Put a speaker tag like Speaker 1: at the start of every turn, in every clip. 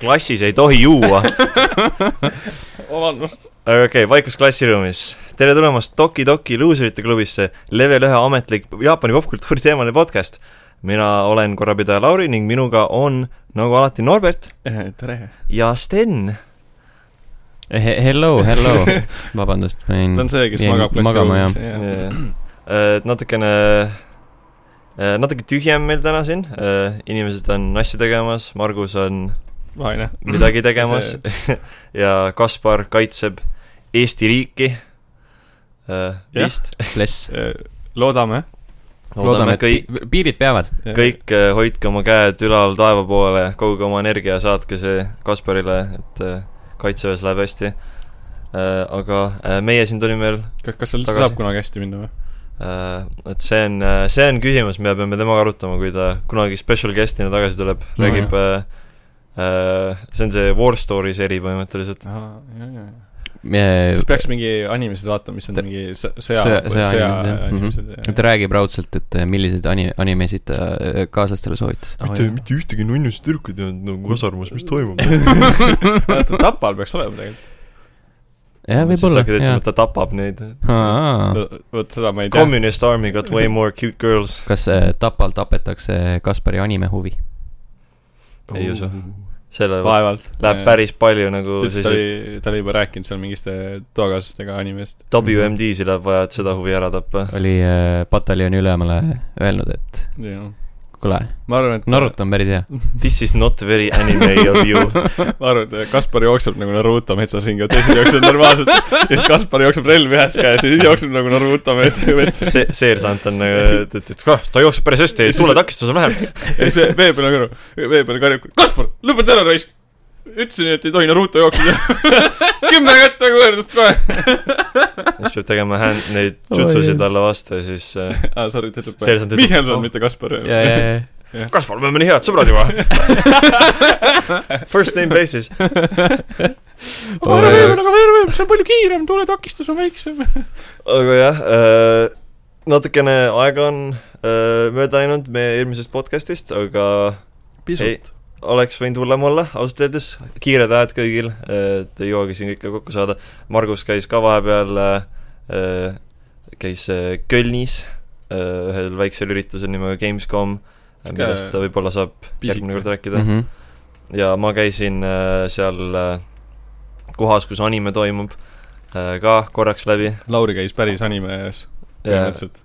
Speaker 1: klassis ei tohi juua .
Speaker 2: vabandust .
Speaker 1: aga okei okay, , vaikus klassiruumis . tere tulemast Toki Toki luuserite klubisse , level ühe ametlik Jaapani popkultuuri teemaline podcast . mina olen korrapidaja Lauri ning minuga on , nagu alati , Norbert
Speaker 2: tere .
Speaker 1: ja Sten .
Speaker 3: Eh, He- , hello , hello , vabandust , ma jäin
Speaker 2: ta on see , kes
Speaker 3: Mm. jäin
Speaker 2: magab
Speaker 3: magama, jah.
Speaker 2: klassiruumis .
Speaker 1: Äh, natukene , natuke tühjem meil täna siin , inimesed on asju tegemas , Margus on
Speaker 2: vaene .
Speaker 1: midagi tegemas ja Kaspar kaitseb Eesti riiki . vist ,
Speaker 3: bless .
Speaker 2: eh, loodame .
Speaker 1: loodame kõik ,
Speaker 3: pi- piirid peavad .
Speaker 1: kõik eh, hoidke oma käed ülal taeva poole , koguge oma energia , saatke see Kasparile , et eh, kaitseväes läheb hästi . aga eh, meie siin tulime veel ,
Speaker 2: kas seal üldse
Speaker 1: Tagasi.
Speaker 2: saab kunagi hästi minna või ?
Speaker 1: äh, et see on , see on küsimus , mida peame temaga arutama , kui ta kunagi special guest'ina tagasi tuleb ,
Speaker 3: No
Speaker 1: räägib , see on see War Story seri põhimõtteliselt .
Speaker 2: siis
Speaker 3: ta
Speaker 2: peaks mingi animesed vaatama , mis on
Speaker 3: Ta-
Speaker 2: mingi sõ- sõja
Speaker 3: sõja- , sõja
Speaker 2: sõja
Speaker 3: animesed, jah. Mhm.
Speaker 2: animesed .
Speaker 3: räägib raudselt , et eh, milliseid ani- , animesid ta eh, kaaslastele soovitas .
Speaker 1: mitte ühtegi nunnust tüdrukut ei olnud nagu kasarmas , mis toimub
Speaker 2: vaata , Tapal peaks olema
Speaker 3: jah , võib-olla , jah .
Speaker 1: ta tapab neid .
Speaker 2: tegelikult . vot seda ma ei tea .
Speaker 1: Communist army got way more cute girls .
Speaker 3: kas eh, Tapal tapetakse Kaspari animehuvi ?
Speaker 1: Ei usu. selle
Speaker 2: vaevalt .
Speaker 1: läheb päris palju nagu
Speaker 2: ta ütles ,
Speaker 1: siis
Speaker 2: ta , oli , ta oli juba rääkinud seal mingiste toakaaslastega animest .
Speaker 1: et WMD-si läheb vaja , et seda huvi ära tappa .
Speaker 3: oli eh, pataljoni ülemale öelnud , et
Speaker 2: jah .
Speaker 3: kuule ,
Speaker 2: Mhm. ma arvan , et
Speaker 3: Naruto on päris hea .
Speaker 1: This is not very anime of you .
Speaker 2: ma arvan , et Kaspar jookseb nagu Naruto metsas ringi , teised jooksevad normaalselt ja siis Kaspar jookseb relv ühes käes ja siis jookseb nagu Naruto met- metsas .
Speaker 1: see , seersant on nagu , et , et , et kah, ta jookseb päris hästi , tuuletakistus on vähem .
Speaker 2: ja siis vee- vee peal nagu , vee peal karjub , Kaspar , lõpeta ära raisk . ütlesin , et ei tohi Naruto jookseda . kümme kätt nagu võrdlust kohe .
Speaker 1: siis peab tegema hand , neid jutsusid talle vastu ja siis äh,
Speaker 2: aa , Ah, sorry , ta ütleb ,
Speaker 1: seersant ütleb ,
Speaker 2: Mihhelson , mitte Kaspar .
Speaker 3: Oh. ja , ja , ja ,
Speaker 1: kas me oleme nii head sõbrad juba ? First name basis .
Speaker 3: Aga ära veeb,
Speaker 2: aga veel võib , see on palju kiirem , tuletakistus on väiksem .
Speaker 1: aga jah , natukene aega on äh, mööda läinud meie eelmisest podcastist , aga Ei. . oleks võinud hullem olla , ausalt öeldes , kiired ajad kõigil , et ei jõuagi siin kõike kokku saada . Margus käis ka vahepeal , käis äh, Kölnis äh, ühel väiksel üritusel nimega Gamescom ,
Speaker 2: Sihuke
Speaker 1: millest ta võib-olla saab järgmine kord rääkida mm .
Speaker 3: mhmh .
Speaker 1: -hmm. ja ma käisin äh, seal äh, kohas , kus anime toimub äh, , ka korraks läbi
Speaker 2: Lauri käis päris anime ees ,
Speaker 1: ja
Speaker 2: põhimõtteliselt .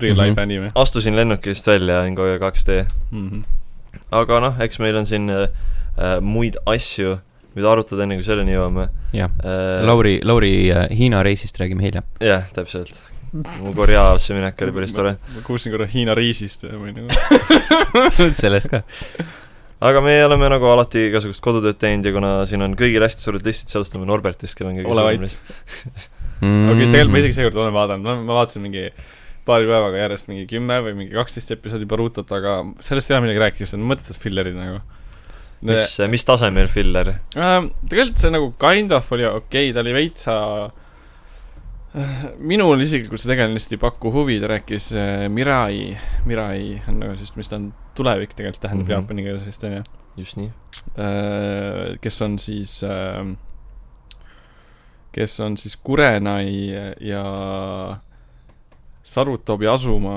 Speaker 2: Real life
Speaker 3: Mhm.
Speaker 2: anime .
Speaker 1: astusin lennukist välja , Ngoja 2D aga noh , eks meil on siin äh, äh, muid asju , mida arutada , enne kui selleni jõuame
Speaker 3: jah ,
Speaker 1: äh, .
Speaker 3: Lauri , Lauri eh, Hiina reisist räägime hiljem .
Speaker 1: jah , täpselt . mu Koreasse minek oli päris tore .
Speaker 2: ma kuulsin korra Hiina riisist ja ma olin nagu ,
Speaker 3: sellest ka .
Speaker 1: aga meie oleme nagu alati igasugust kodutööd teinud ja kuna siin on kõigil hästi suured listid , siis alustame Norbertist , kellel on kõige
Speaker 2: Ole
Speaker 1: suurem
Speaker 2: vait.
Speaker 1: list .
Speaker 2: okei
Speaker 1: Mhm.
Speaker 2: okay, , tegelikult ma isegi seekord olen vaadanud , ma , ma vaatasin mingi paari päevaga järjest mingi kümme või mingi kaksteist episoodi Barutot , aga sellest ei ole midagi rääkida , see on mõttetud fillerid nagu .
Speaker 1: mis , mis tasemel filler ?
Speaker 2: Ähm, tegelikult see nagu kind of oli okei okay, , ta oli veitsa , minul isiklikult see tegelane lihtsalt ei paku huvi , ta rääkis äh, Mirai , Mirai on nagu siis , mis ta on , tulevik tegelikult tähendab
Speaker 1: Mhm.
Speaker 2: mm -hmm. jaapani keeles vist onju ,
Speaker 1: just nii .
Speaker 2: kes on siis äh, , kes on siis Kurenai ja Sarutobi asuma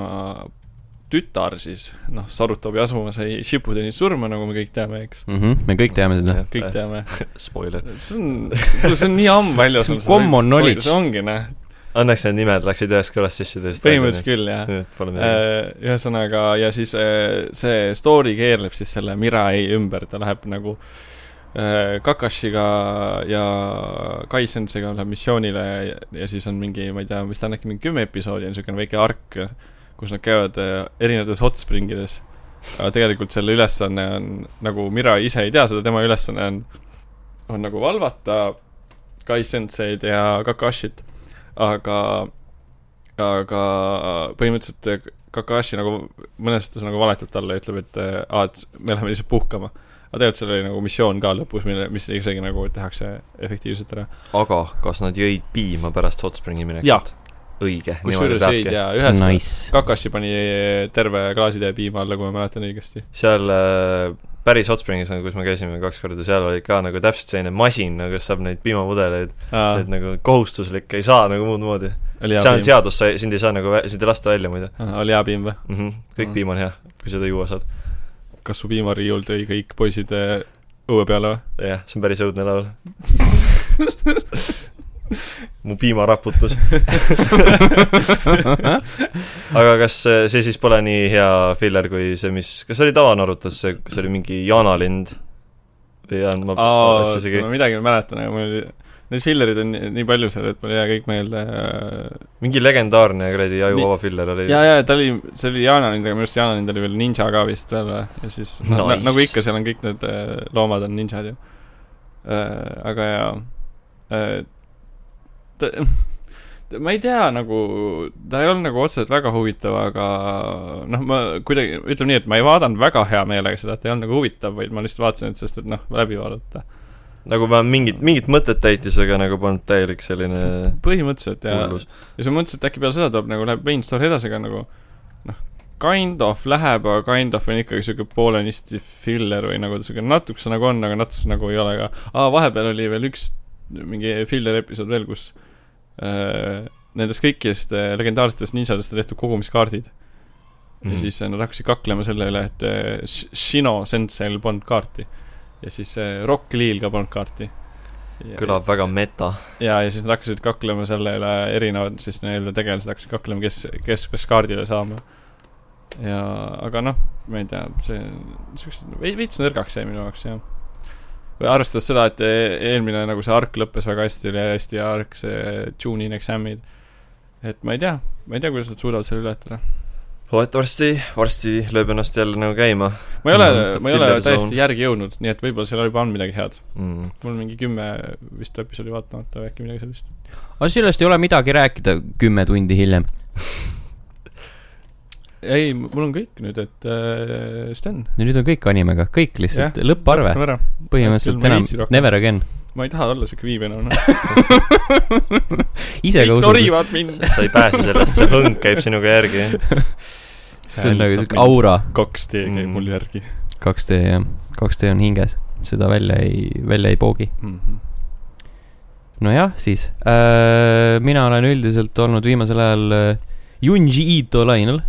Speaker 2: tütar siis , noh , Sarutobi asuma sai Shippudeni surma , nagu me kõik teame , eks ,
Speaker 3: mhmh , Mhm, me kõik teame seda .
Speaker 2: kõik . teame .
Speaker 1: äh, Spoiler .
Speaker 2: see on , kuule see on nii ammu väljas
Speaker 3: See on common knowledge.
Speaker 2: see ongi noh ,
Speaker 1: Õnneks need nimed läksid ühest kõrvast sisse teisest .
Speaker 2: põhimõtteliselt küll jah . Äh,
Speaker 1: küll . Pole midagi .
Speaker 2: ühesõnaga , ja siis äh, see story keerleb siis selle Mirai ümber , ta läheb nagu äh, Kakashiga ja Kai Senseiga läheb missioonile ja, ja siis on mingi , ma ei tea , mis ta on , äkki mingi kümme episoodi on niisugune väike ark , kus nad käivad äh, erinevates hotspringides . aga tegelikult selle ülesanne on , nagu Mirai ise ei tea seda , tema ülesanne on , on nagu valvata Kai Senseid ja Kakashit , aga aga põhimõtteliselt eh, Kakashi nagu mõnes mõttes nagu valetab talle , ütleb , et äh, aa , et me läheme lihtsalt puhkama . aga tegelikult seal oli nagu missioon ka lõpus , mille , mis isegi nagu tehakse efektiivselt ära .
Speaker 1: aga kas nad jõid piima pärast hotspringi
Speaker 2: Jaa.
Speaker 1: minekut ? õige , niimoodi
Speaker 2: kusjuures ei
Speaker 1: peabki .
Speaker 2: tea , ühes eh, nice.
Speaker 3: Nice .
Speaker 2: Kakashi pani terve klaasitäie piima alla , kui ma mäletan õigesti .
Speaker 1: seal äh, päris Hot Springis , nagu kus me käisime kaks korda , seal oli ka nagu täpselt selline masin , nagu kes saab neid piimapudeleid , et nagu kohustuslik , ei saa nagu muud moodi .
Speaker 2: oli
Speaker 1: see on
Speaker 2: A-piim ,
Speaker 1: seadus , sa , sind ei saa nagu , sind ei lasta välja muide
Speaker 2: oli A-piim või ?
Speaker 1: mm . -hmm. kõik
Speaker 2: Mm.
Speaker 1: mm. piim on hea , kui seda juua saad .
Speaker 2: kas su piimariiul tõi kõik poisid äh, õue peale või ?
Speaker 1: jah , see on päris õudne laul . mu piimaraputus . aga kas eh, see see siis pole nii hea filler kui see , mis , kas oli tavanorutas see , kas oli mingi jaanalind ? või ei olnud , ma
Speaker 2: aa
Speaker 1: alles , isegi
Speaker 2: ma midagi ei mäleta , aga mul oli , neid fillerid on nii nii palju seal , et mul ei jää kõik meelde . eh,
Speaker 1: mingi legendaarne kuradi
Speaker 2: Nii-
Speaker 1: ajuvaba filler oli .
Speaker 2: ja , ja ta oli , see oli Jaanalind , aga minu arust Jaanalind oli veel ninja ka vist veel või? ja siis no, na,
Speaker 1: Nice.
Speaker 2: nagu ikka , seal on kõik need äh, loomad on ninjad ju . aga jaa , ta , ma ei tea nagu , ta ei olnud nagu otseselt väga huvitav , aga noh , ma kuidagi , ütleme nii , et ma ei vaadanud väga hea meelega seda , et ta ei olnud nagu huvitav , vaid ma lihtsalt vaatasin , et sest , et noh , läbi vaadata .
Speaker 1: nagu ma mingit , mingit mõtet täitis , aga nagu polnud täielik selline
Speaker 2: põhimõtteliselt jaa
Speaker 1: hullus .
Speaker 2: ja siis ma mõtlesin , et äkki peale seda tuleb nagu läheb main story edasi , aga nagu noh , kind of läheb , aga kind of on ikkagi siuke poolenisti filler või nagu ta siuke natukese nagu on , aga natukese nagu ei ole ka . aa , vahepeal oli veel üks mingi filler episood veel , kus äh, nendest kõikidest äh, legendaarsetest ninjadest on tehtud kogumiskaardid mm . -hmm. ja siis äh, nad hakkasid kaklema selle üle , et äh, Sh- Shino Sensei'l polnud kaarti ja siis äh, Rock Lee'l ka polnud kaarti .
Speaker 1: kõlab väga meta .
Speaker 2: ja , ja siis nad hakkasid kaklema selle üle , erinevad siis nii-öelda tegelased hakkasid kaklema , kes , kes peaks kaardile saama . ja , aga noh , ma ei tea , see , siuksed , veits nõrgaks jäi minu jaoks jah . või arvestades seda , et e- eelmine nagu see ark lõppes väga hästi , oli hästi hea ark , see June in exam'id . et ma ei tea , ma ei tea , kuidas nad suudavad selle ületada .
Speaker 1: vot varsti , varsti lööb ennast jälle nagu käima
Speaker 2: ma ei ole
Speaker 1: Mhm, ,
Speaker 2: ma ei ole
Speaker 1: filler zone.
Speaker 2: täiesti järgi jõudnud , nii et võib-olla seal juba on midagi head .
Speaker 1: mm. .
Speaker 2: mul mingi kümme vist episoodi vaatamata või äkki midagi sellist .
Speaker 3: aga sellest ei ole midagi rääkida kümme tundi hiljem .
Speaker 2: ei , mul on kõik nüüd , et äh, Sten
Speaker 3: nüüd on kõik animega , kõik lihtsalt
Speaker 2: Jah.
Speaker 3: lõpparve ,
Speaker 2: lõpetame ära .
Speaker 3: põhimõtteliselt
Speaker 2: Küll ma
Speaker 3: enam
Speaker 2: viitsin rohkem.
Speaker 3: never again .
Speaker 2: ma ei taha olla siuke viibenäone .
Speaker 3: ise ka
Speaker 2: kõik
Speaker 3: usud ,
Speaker 2: norivad mind .
Speaker 1: sa ei pääse sellest , see hõng käib sinuga järgi .
Speaker 3: see on nagu siuke . aura ,
Speaker 2: kaks D käib
Speaker 1: Mm.
Speaker 2: mul järgi
Speaker 3: 2D jah , 2D on hinges , seda välja ei , välja ei poogi .
Speaker 2: mm . -hmm.
Speaker 3: nojah , siis äh, mina olen üldiselt olnud viimasel ajal äh, Junji Ito lainel .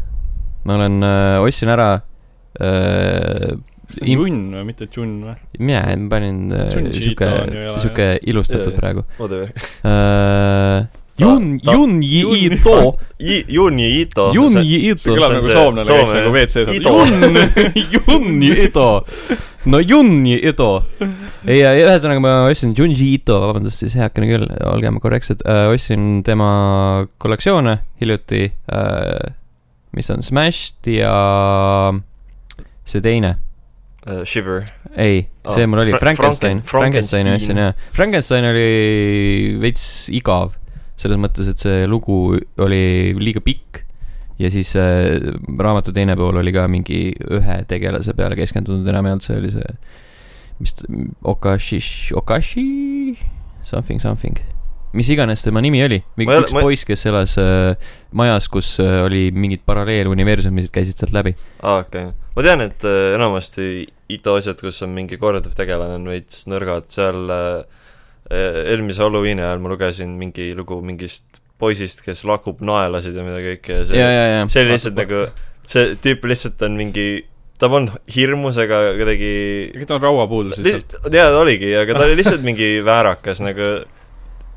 Speaker 3: ma olen äh, , ostsin ära äh,
Speaker 2: kas see on
Speaker 3: Im-
Speaker 2: Jun või mitte Jun või ?
Speaker 3: mina panin äh,
Speaker 2: Junji
Speaker 3: sihuke
Speaker 2: Ito on ju elaja. ,
Speaker 3: sihuke ilustatud
Speaker 1: Jaa,
Speaker 3: ja,
Speaker 1: jaa.
Speaker 3: praegu
Speaker 1: whatever .
Speaker 3: äh, . Jun ,
Speaker 1: ta-
Speaker 3: Junji
Speaker 2: Jun-
Speaker 3: Ito ,
Speaker 1: Junji Ito .
Speaker 3: Junji
Speaker 2: see
Speaker 1: kõlab
Speaker 3: Ito ,
Speaker 2: kõlab
Speaker 1: nagu
Speaker 2: nagu
Speaker 1: soomlane, kes
Speaker 2: soomlane , kes
Speaker 1: nagu
Speaker 2: nagu WC saab .
Speaker 1: Ido.
Speaker 3: Jun , Junji Ito . no Junji Ito . ei , ühesõnaga ma ostsin Junji Ito , vabandust siis , heakene küll , olgem korrektsed äh, , ostsin tema kollektsioone hiljuti äh, , mis on Smashed ja see teine ,
Speaker 1: äh, Shiver .
Speaker 3: ei , see
Speaker 1: Aa,
Speaker 3: mul oli
Speaker 1: Ah, Fra-
Speaker 3: Frankenstein ,
Speaker 1: Franken-
Speaker 3: Frankensteini ostsin
Speaker 1: Frankenstein.
Speaker 3: jaa . Frankenstein oli veits igav , selles mõttes , et see lugu oli liiga pikk ja siis äh, raamatu teine pool oli ka mingi ühe tegelase peale keskendunud enam ei olnud , see oli see , mis , Okashi , Okashi , something , something . mis iganes tema nimi oli ,
Speaker 1: Ma ei ole-
Speaker 3: üks
Speaker 1: ma ei-
Speaker 3: poiss , kes elas äh, majas , kus äh, oli mingid paralleeluniversumid käisid sealt läbi .
Speaker 1: aa , Ah, okei . ma tean , et äh, enamasti Ito asjad , kus on mingi korduv tegelane , on veits nõrgad , seal äh, eelmise Halloweeni ajal ma lugesin mingi lugu mingist poisist , kes lakub naelasid ja mida kõike ja see
Speaker 3: ja , ja , ja .
Speaker 1: see oli lihtsalt nagu , see tüüp lihtsalt on mingi , ta polnud hirmus ega kuidagi
Speaker 2: ega ta on rauapuudus lihtsalt .
Speaker 1: jaa , ta oligi , aga ta oli lihtsalt mingi väärakas nagu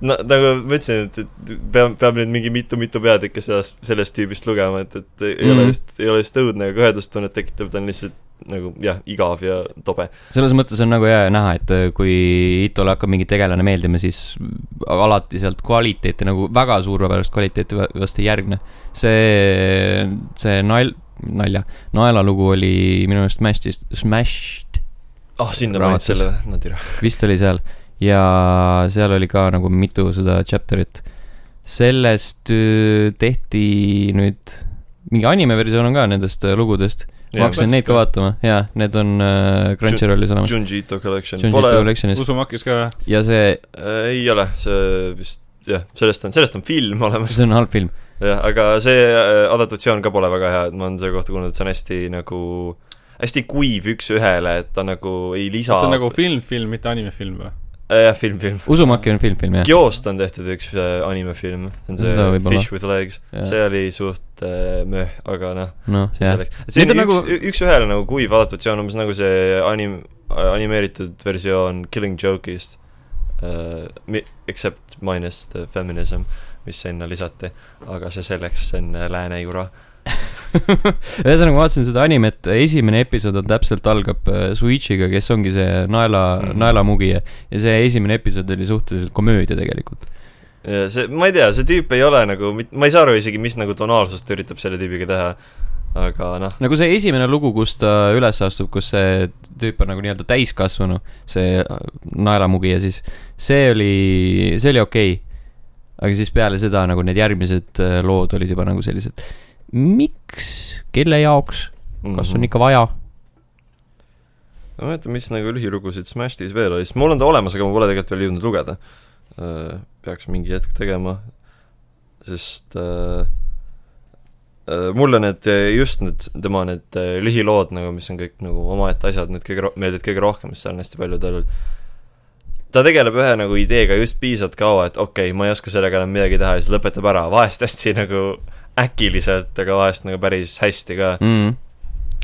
Speaker 1: no nagu ma ütlesin , et , et peab , peab nüüd mingi mitu-mitu peatükki sellest , sellest tüübist lugema , et , et ei mm. ole
Speaker 3: Mhm.
Speaker 1: just , ei ole just õudne ega ühendustunnet tekitav , ta on lihtsalt nagu jah , igav ja tobe .
Speaker 3: selles mõttes on nagu hea näha , et äh, kui Itole hakkab mingi tegelane meeldima , siis alati sealt kvaliteeti nagu väga suurepärast kvaliteeti va- vast ei järgne . see , see nael- , nalja , naelalugu oli minu arust Smashedist , Smashed
Speaker 1: ah , sinna ma
Speaker 3: Raamatus.
Speaker 1: jäin selle , no türa .
Speaker 3: vist oli seal ja seal oli ka nagu mitu seda chapter'it . sellest öö, tehti nüüd mingi animeversioon on ka nendest äh, lugudest , ma hakkasin neid ka vaatama ja need on äh, Crunchyrollis olemas .
Speaker 1: Junji Ito Collection ,
Speaker 3: Junji Ito
Speaker 1: pole ,
Speaker 3: Collectionis
Speaker 2: usumakis ka või ?
Speaker 3: ja see ,
Speaker 1: äh, ei ole , see vist jah , sellest on , sellest on film olemas .
Speaker 3: see on halb film .
Speaker 1: jah , aga see äh, adaptatsioon ka pole väga hea , et ma olen selle kohta kuulnud , et see on hästi nagu hästi kuiv üks-ühele , et ta nagu ei lisa .
Speaker 2: see on nagu film , film , mitte animefilm või ?
Speaker 1: jah , Äh, film , film .
Speaker 3: usumaki on film , film jah .
Speaker 1: Gyost on tehtud üks äh, animefilm , see on
Speaker 3: Seda
Speaker 1: see
Speaker 3: võib-olla.
Speaker 1: Fish with legs ,
Speaker 3: Jah.
Speaker 1: see oli suht äh, möh , aga noh ,
Speaker 3: noh ,
Speaker 1: see
Speaker 3: jah .
Speaker 1: selleks . et see
Speaker 3: Need
Speaker 1: on
Speaker 3: on
Speaker 1: üks
Speaker 3: nagu- ,
Speaker 1: üks-ühele nagu kuiv adaptatsioon , see on umbes nagu see anim- , animeeritud versioon Killing Joke'ist uh, . Except minus the feminism , mis sinna lisati , aga see selleks , see on äh, lääne jura .
Speaker 3: ühesõnaga , ma vaatasin seda animet , esimene episood on täpselt , algab äh, Suichiga , kes ongi see naela mm ,
Speaker 1: Mhm.
Speaker 3: -hmm. naelamugija . ja see esimene episood oli suhteliselt komöödia tegelikult .
Speaker 1: ja see , ma ei tea , see tüüp ei ole nagu , ma ei saa aru isegi , mis nagu tonaalsust ta üritab selle tüübiga teha , aga noh ,
Speaker 3: nagu see esimene lugu , kus ta üles astub , kus see tüüp on nagu nii-öelda täiskasvanu , see naeramugija siis , see oli , see oli okei okay. . aga siis peale seda nagu need järgmised äh, lood olid juba nagu sellised , miks , kelle jaoks , kas
Speaker 1: mhm.
Speaker 3: on ikka vaja ?
Speaker 1: ma mäletan , mis nagu lühilugusid Smashis veel oli , sest mul on ta olemas , aga ma pole tegelikult veel jõudnud lugeda . peaks mingi hetk tegema , sest äh, äh, mulle need , just need , tema need äh, lühilood nagu , mis on kõik nagu omaette asjad , need kõige ro- , meeldivad kõige rohkem , sest seal on hästi palju tal ta tegeleb ühe nagu ideega just piisavalt kaua , et okei okay, , ma ei oska sellega enam midagi teha ja siis lõpetab ära , vahest hästi nagu äkiliselt , aga vahest nagu päris hästi ka .
Speaker 3: Mm.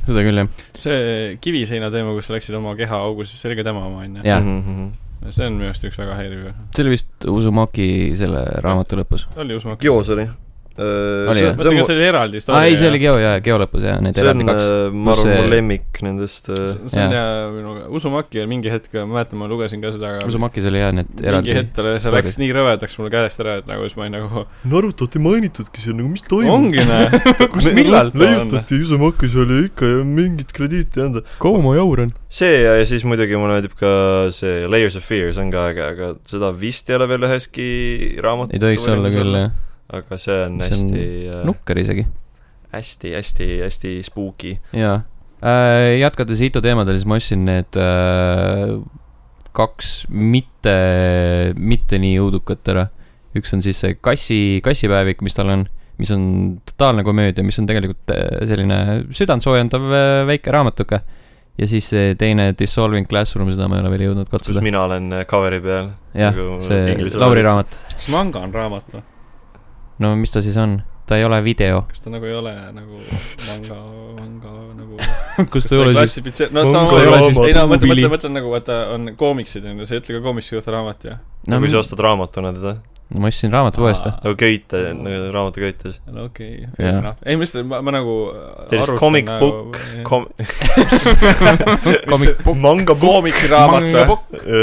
Speaker 3: seda küll , jah .
Speaker 2: see kiviseina teema , kus sa läksid oma keha augu sisse , see oli ka tema oma , onju .
Speaker 3: Jah.
Speaker 1: Mhm,
Speaker 2: see on minu arust üks väga häiriv .
Speaker 3: see oli vist Uzumaki selle raamatu lõpus .
Speaker 2: oli usumatu .
Speaker 1: Gios oli .
Speaker 3: Oli, jah?
Speaker 2: mõtle , kas see oli eraldi
Speaker 3: aa ,
Speaker 2: story ?
Speaker 3: ei , see oli Geo ja Geo lõpus ja need
Speaker 1: see on äh,
Speaker 3: eraldi , kaks .
Speaker 1: ma arvan ,
Speaker 3: Kus see-
Speaker 1: mu lemmik nendest äh,
Speaker 2: see on ja minu , Usumaki ja mingi hetk , ma mäletan , ma lugesin ka seda , aga
Speaker 3: Uzumakis oli jah need
Speaker 2: mingi
Speaker 3: eraldi .
Speaker 2: hetk talle , see
Speaker 3: story.
Speaker 2: läks nii rõvedaks mul käest ära , et nagu siis ma olin nagu ,
Speaker 4: Narutot ei mainitudki seal , nagu mis toimub ?
Speaker 2: ongi näe , kus , millal ta on ?
Speaker 4: leiutati Usamaki seal ja ikka ja mingit krediiti ei anda .
Speaker 3: kaua ma jauran ?
Speaker 1: see ja , ja siis muidugi mulle meeldib ka see Layers of Fear , see on ka äge , aga seda vist ei ole veel üheski raamatus
Speaker 3: ei tohiks olla küll , jah .
Speaker 1: aga see on
Speaker 3: See on Noh.
Speaker 1: hästi ,
Speaker 3: nukker isegi .
Speaker 1: hästi , hästi , hästi spooky .
Speaker 3: jaa , jätkates Ito teemadel , siis ma ostsin need äh, kaks mitte , mitte nii õudukat ära . üks on siis see kassi , kassipäevik , mis tal on , mis on totaalne komöödia , mis on tegelikult äh, selline südantsoojendav äh, väike raamatuke . ja siis see teine Dissolving Classroom , seda ma ei ole veel jõudnud
Speaker 1: kus
Speaker 3: katsuda .
Speaker 1: mina olen äh, coveri peal .
Speaker 3: jah ,
Speaker 1: nagu
Speaker 3: see
Speaker 1: inglise
Speaker 3: Lauri
Speaker 1: keeles.
Speaker 3: raamat .
Speaker 2: kas manga on raamat või ?
Speaker 3: no mis ta siis on ? ta ei ole video ,
Speaker 2: kas ta nagu ei ole nagu manga , manga nagu
Speaker 3: kus ta ei ole siis ,
Speaker 2: klassifitseer- , no
Speaker 4: Manga
Speaker 2: sama ei
Speaker 4: ei ole
Speaker 2: ole
Speaker 4: siis
Speaker 2: siis , ei no mõtle ,
Speaker 3: mobiili-
Speaker 2: mõtle , mõtle nagu vaata , on koomiksid on ju , sa ei ütle ka koomiksi kohta raamat ju .
Speaker 1: no
Speaker 3: no
Speaker 1: kui Nagu sa ostad raamatuna teda ,
Speaker 3: ma ostsin raamatupoest , jah .
Speaker 1: nagu köite , raamatu köites .
Speaker 2: no okei ,
Speaker 3: Jaa.
Speaker 2: fair enough . ei , ma lihtsalt , ma , ma nagu
Speaker 1: There is comic book , kom- ,
Speaker 3: koomik ,
Speaker 1: manga book ,
Speaker 2: koomiksiraamat või ?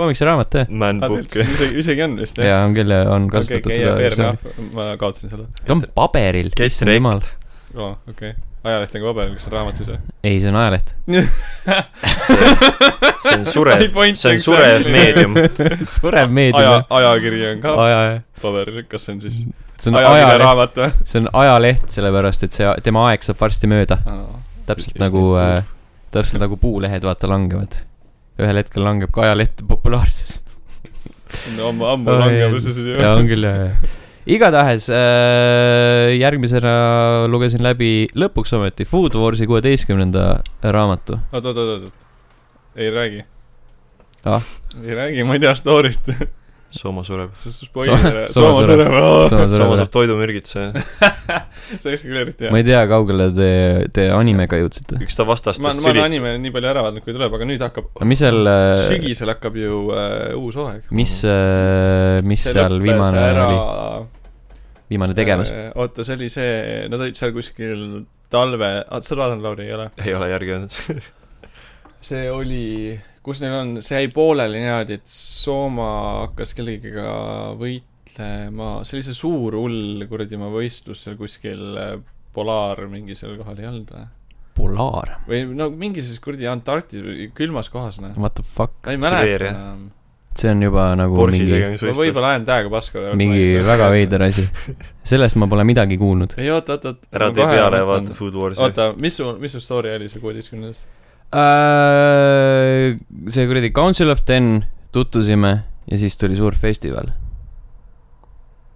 Speaker 3: koomiksiraamat , jah .
Speaker 1: man book .
Speaker 2: isegi , isegi on vist jah ?
Speaker 3: jaa , on küll , on kasutatud
Speaker 2: okei ,
Speaker 3: seda
Speaker 2: fair
Speaker 3: versiooni .
Speaker 2: enough , ma kaotasin selle .
Speaker 3: ta on paberil .
Speaker 1: Kes
Speaker 3: issand jumal.
Speaker 2: aa , okei . ajaleht on ka paberil , kas see on raamat siis või ?
Speaker 3: ei , see on ajaleht .
Speaker 1: see on surev , see on surev . meedium .
Speaker 3: surev
Speaker 2: aja
Speaker 3: meedium ,.
Speaker 2: ajakiri on ka
Speaker 3: aja ,
Speaker 2: paberil , kas see on siis
Speaker 3: see on ajaleht ,
Speaker 2: ajakirjaraamat või ?
Speaker 3: see on ajaleht , sellepärast et see , tema aeg saab varsti mööda , täpselt
Speaker 2: Just
Speaker 3: nagu
Speaker 2: nii.
Speaker 3: äh, , täpselt nagu puulehed , vaata , langevad . ühel hetkel langeb ka ajaleht populaarsus .
Speaker 2: see on ammu , ammu langevuses ju .
Speaker 3: jaa , on küll , jaa , jaa . igatahes äh, järgmisena lugesin läbi lõpuks ometi Food Warsi kuueteistkümnenda raamatu .
Speaker 2: oot , oot , oot , oot , ei räägi
Speaker 3: Ah. .
Speaker 2: ei räägi , ma ei tea story't ,
Speaker 1: Sooma sureb .
Speaker 2: see on spoiler ,
Speaker 3: Sooma
Speaker 2: Soome
Speaker 3: sureb.
Speaker 2: sureb , see
Speaker 1: Sooma saab toidumürgituse .
Speaker 2: oleks küll eriti hea
Speaker 3: ma . ei tea , kaugele te , te animega jõudsite .
Speaker 1: üks ta
Speaker 2: ma ,
Speaker 1: vastastes
Speaker 2: ma olen
Speaker 1: sülitas .
Speaker 2: anime nii palju ära vaadanud , kui tuleb , aga nüüd hakkab ,
Speaker 3: aga mis seal äh,
Speaker 2: sügisel hakkab ju äh, uus hooaeg .
Speaker 3: mis , mis seal viimane ära... oli ,? viimane
Speaker 2: Äh.
Speaker 3: tegevus ?
Speaker 2: oota , see oli see , nad olid seal kuskil talve , sa oled vaadanud , Lauri , ei ole ?
Speaker 1: ei ole järgi öelnud .
Speaker 2: see oli , kus neil on , see jäi pooleli niimoodi , et Sooma hakkas kellegiga võitlema , see oli see suur hull kuradi oma võistlus seal kuskil äh, polaar mingi seal kohal ei olnud või ?
Speaker 3: Polaar ,
Speaker 2: või no mingi siis kuradi Antarktis , külmas kohas noh .
Speaker 3: what the fuck ,
Speaker 2: ma ei
Speaker 1: Sibeeria.
Speaker 2: mäleta enam .
Speaker 3: see on juba nagu
Speaker 1: Borsi
Speaker 3: mingi ,
Speaker 2: ma
Speaker 1: tegemisvõistlus .
Speaker 2: võib-olla ajan täiega paska .
Speaker 3: mingi väga . veider asi . sellest ma pole midagi kuulnud
Speaker 2: ei oota , oota , oota .
Speaker 1: ära tee peale ja vaata . Food Warsi .
Speaker 2: oota , mis sul , mis su story oli see kuueteistkümnes ?
Speaker 3: uh, . see kuradi Council of Ten tutvusime ja siis tuli suur festival .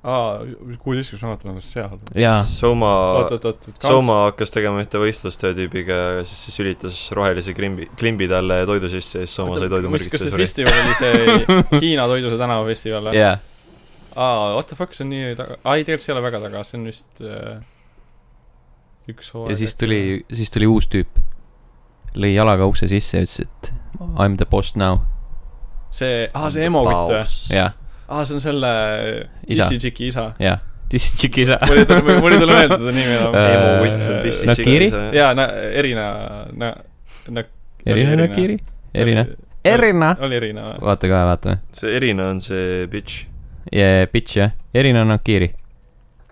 Speaker 2: aa , kuueteistkümnes raamat on vist seal .
Speaker 3: jaa ,
Speaker 1: Soma ,
Speaker 2: oot , oot ,
Speaker 1: Soma hakkas tegema ühte võistlust ühe tüübiga ja siis see sülitas rohelise klimbi , klimbi talle toidu sisse ja siis Soma sai
Speaker 2: mis , kas
Speaker 1: toidumürgituse
Speaker 2: see
Speaker 1: suri .
Speaker 2: festival oli see Hiina toiduse tänava festival või ?
Speaker 3: jaa .
Speaker 2: aa , what the fuck , see on nii taga , aa ei , tegelikult see ei ole väga taga , see on vist äh, üks hooaeg .
Speaker 3: ja siis tuli , siis tuli uus tüüp . lõi jalaga ukse sisse ja ütles , et I m the boss now .
Speaker 2: see , aa see emo kutt või ?
Speaker 3: jah ,
Speaker 2: aa , see on selle
Speaker 3: Isa.
Speaker 2: Issitsiki isa .
Speaker 3: jah . This is Chick Isa .
Speaker 2: mul ei tule , mul ei tule meelde ta nimi
Speaker 3: Äh,
Speaker 1: emo
Speaker 2: enam
Speaker 1: kutt on . dissi
Speaker 3: Nakiri?
Speaker 1: tšikis .
Speaker 2: jaa , na- , Erina , na- , na- .
Speaker 3: Erina Nakiri ? Erina ?. Erina !
Speaker 2: oli Erina või ?
Speaker 3: vaata kohe , vaatame .
Speaker 1: see Erina on see bitch .
Speaker 3: Yeah, bitch jah , Erina Nakiri .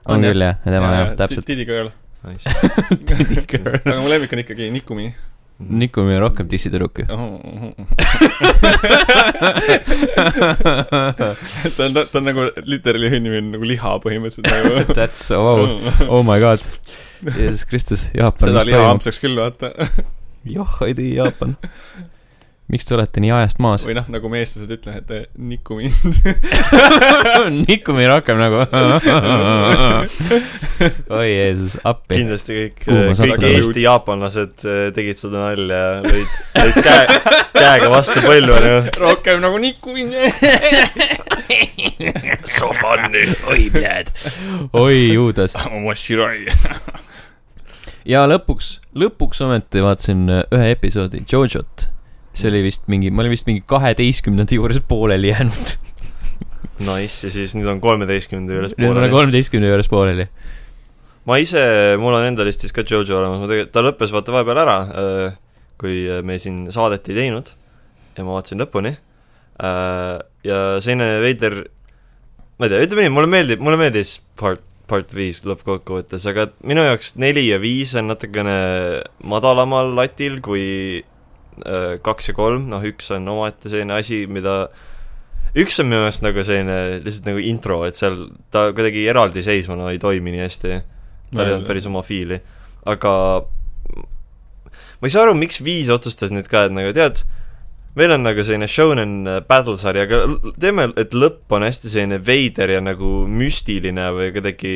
Speaker 3: on
Speaker 2: On, jah?
Speaker 3: küll jah , tema jah , täpselt .
Speaker 2: Didi Girl .
Speaker 1: Nice .
Speaker 2: aga mu lemmik on ikkagi Nikumi .
Speaker 3: Nikumi on rohkem dissitüdruk ju .
Speaker 2: ta on , ta on nagu literally hünni on nagu liha põhimõtteliselt nagu .
Speaker 3: That's , wow , oh my god . Jeesus Kristus , Jaapan ,
Speaker 2: seda
Speaker 3: mis
Speaker 2: liha
Speaker 3: toimub ?
Speaker 2: ampsaks küll vaata .
Speaker 3: joh , ei tee Jaapan . miks te olete nii ajast maas ?
Speaker 2: või noh , nagu me eestlased ütleme , et eh, Nikumi .
Speaker 3: Nikumi rohkem nagu . oi Jeesus , appi .
Speaker 1: kindlasti kõik ,
Speaker 3: Kuhu ma
Speaker 1: kõik
Speaker 3: sattusin?
Speaker 1: Eesti-jaapanlased eh, tegid seda nalja , lõid , lõid käe , käega vastu põlve nagu .
Speaker 2: rohkem nagu Nikumi .
Speaker 1: So funny .
Speaker 3: oi , pljääd . oi , juudas .
Speaker 2: Mashirai .
Speaker 3: ja lõpuks , lõpuks ometi vaatasin äh, ühe episoodi Jojo't . see oli vist mingi , ma olin vist mingi kaheteistkümnenda juures pooleli jäänud .
Speaker 1: Nice , ja siis nüüd on kolmeteistkümnenda juures
Speaker 3: nüüd nagu ma olen
Speaker 1: pooleli .
Speaker 3: kolmeteistkümne juures pooleli .
Speaker 1: ma ise , mul on enda listis ka Jojo olemas , ma tegelikult , ta lõppes vaata vahepeal ära , kui äh, me siin saadet ei teinud ja ma vaatasin lõpuni . ja selline veider , ma ei tea , ütleme nii , mulle meeldib , mulle meeldis part , part viis lõppkokkuvõttes , aga minu jaoks neli ja viis on natukene madalamal latil kui äh, kaks ja kolm , noh , üks on omaette selline asi , mida üks on minu meelest nagu selline lihtsalt nagu intro , et seal ta kuidagi eraldiseisvana ei toimi nii hästi . tal ei olnud päris oma fiili , aga ma ei saa aru , miks Viis otsustas nüüd ka , et nagu tead , meil on nagu selline shonen battle sari , aga l- teeme , et lõpp on hästi selline veider ja nagu müstiline või kuidagi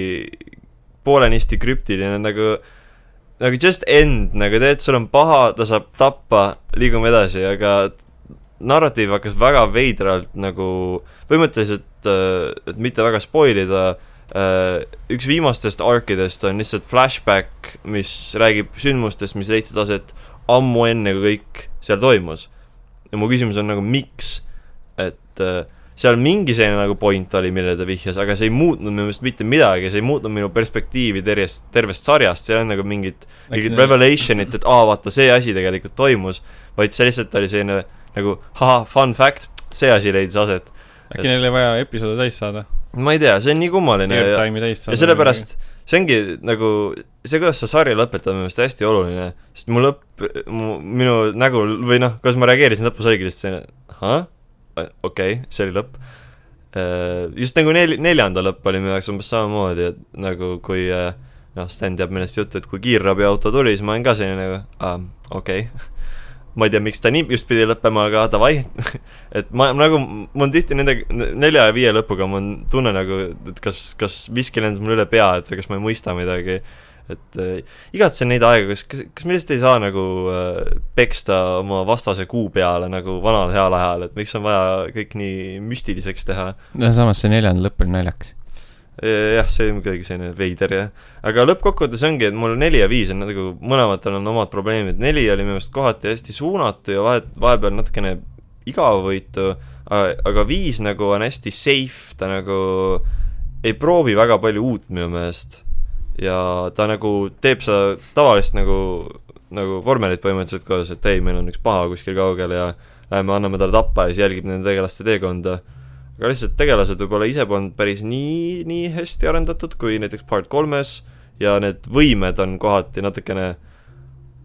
Speaker 1: poolenisti krüptiline nagu , nagu just end , nagu tead , sul on paha , ta saab tappa , liigume edasi , aga narratiiv hakkas väga veidralt nagu , põhimõtteliselt , et mitte väga spoil ida , Äh, üks viimastest arkidest on lihtsalt flashback , mis räägib sündmustest , mis leidsid aset ammu enne , kui kõik seal toimus . ja mu küsimus on nagu , miks ? et äh, seal mingi selline nagu point oli , millele ta vihjas , aga see ei muutnud minu meelest mitte midagi , see ei muutnud minu perspektiivi tervest , tervest sarjast , seal on nagu mingid mingit . revelation'it , et aa , vaata , see asi tegelikult toimus , vaid see lihtsalt oli selline nagu haha , fun fact , see asi leidis aset .
Speaker 2: äkki neil oli vaja episoode täis saada ?
Speaker 1: ma ei tea , see on nii kummaline ja,
Speaker 2: Airtime'i täis saada .
Speaker 1: ja sellepärast see ongi nagu , see , kuidas sa sarja lõpetad , on minu meelest hästi oluline , sest mu lõpp , mu , minu nägu või noh , kuidas ma reageerisin lõpus oligi lihtsalt selline , ahah , okei okay, , see oli lõpp . Just nagu nel- , neljanda lõpp oli minu jaoks umbes samamoodi , et nagu kui äh, noh , Sten teab millest juttu , et kui kiirabiauto tuli , siis ma olin ka selline nagu aa , okei okay. ma ei tea , miks ta nii just pidi lõppema , aga davai . et ma nagu , mul on tihti nende n- nelja ja viie lõpuga , mul on tunne nagu , et kas , kas miski lendas mul üle pea , et või kas ma ei mõista midagi . et äh, igatsen neid aegu , kas , kas , kas me lihtsalt ei saa nagu äh, peksta oma vastase kuu peale nagu vanal heal ajal , et miks on vaja kõik nii müstiliseks teha
Speaker 3: no samas see neljanda lõpp oli naljakas .
Speaker 1: jah , see on kuidagi selline veider jah , aga lõppkokkuvõttes ongi , et mul neli ja viis on nagu mõlematel on omad probleemid , neli oli minu meelest kohati hästi suunatu ja vahet , vahepeal natukene igavavõitu , aga viis nagu on hästi safe , ta nagu ei proovi väga palju uut minu meelest . ja ta nagu teeb seda tavalist nagu , nagu vormelit põhimõtteliselt koos , et ei , meil on üks paha kuskil kaugel ja lähme anname talle tappa ja siis jälgib nende tegelaste teekonda . aga lihtsalt tegelased võib-olla ise polnud päris nii , nii hästi arendatud kui näiteks part kolmes ja need võimed on kohati natukene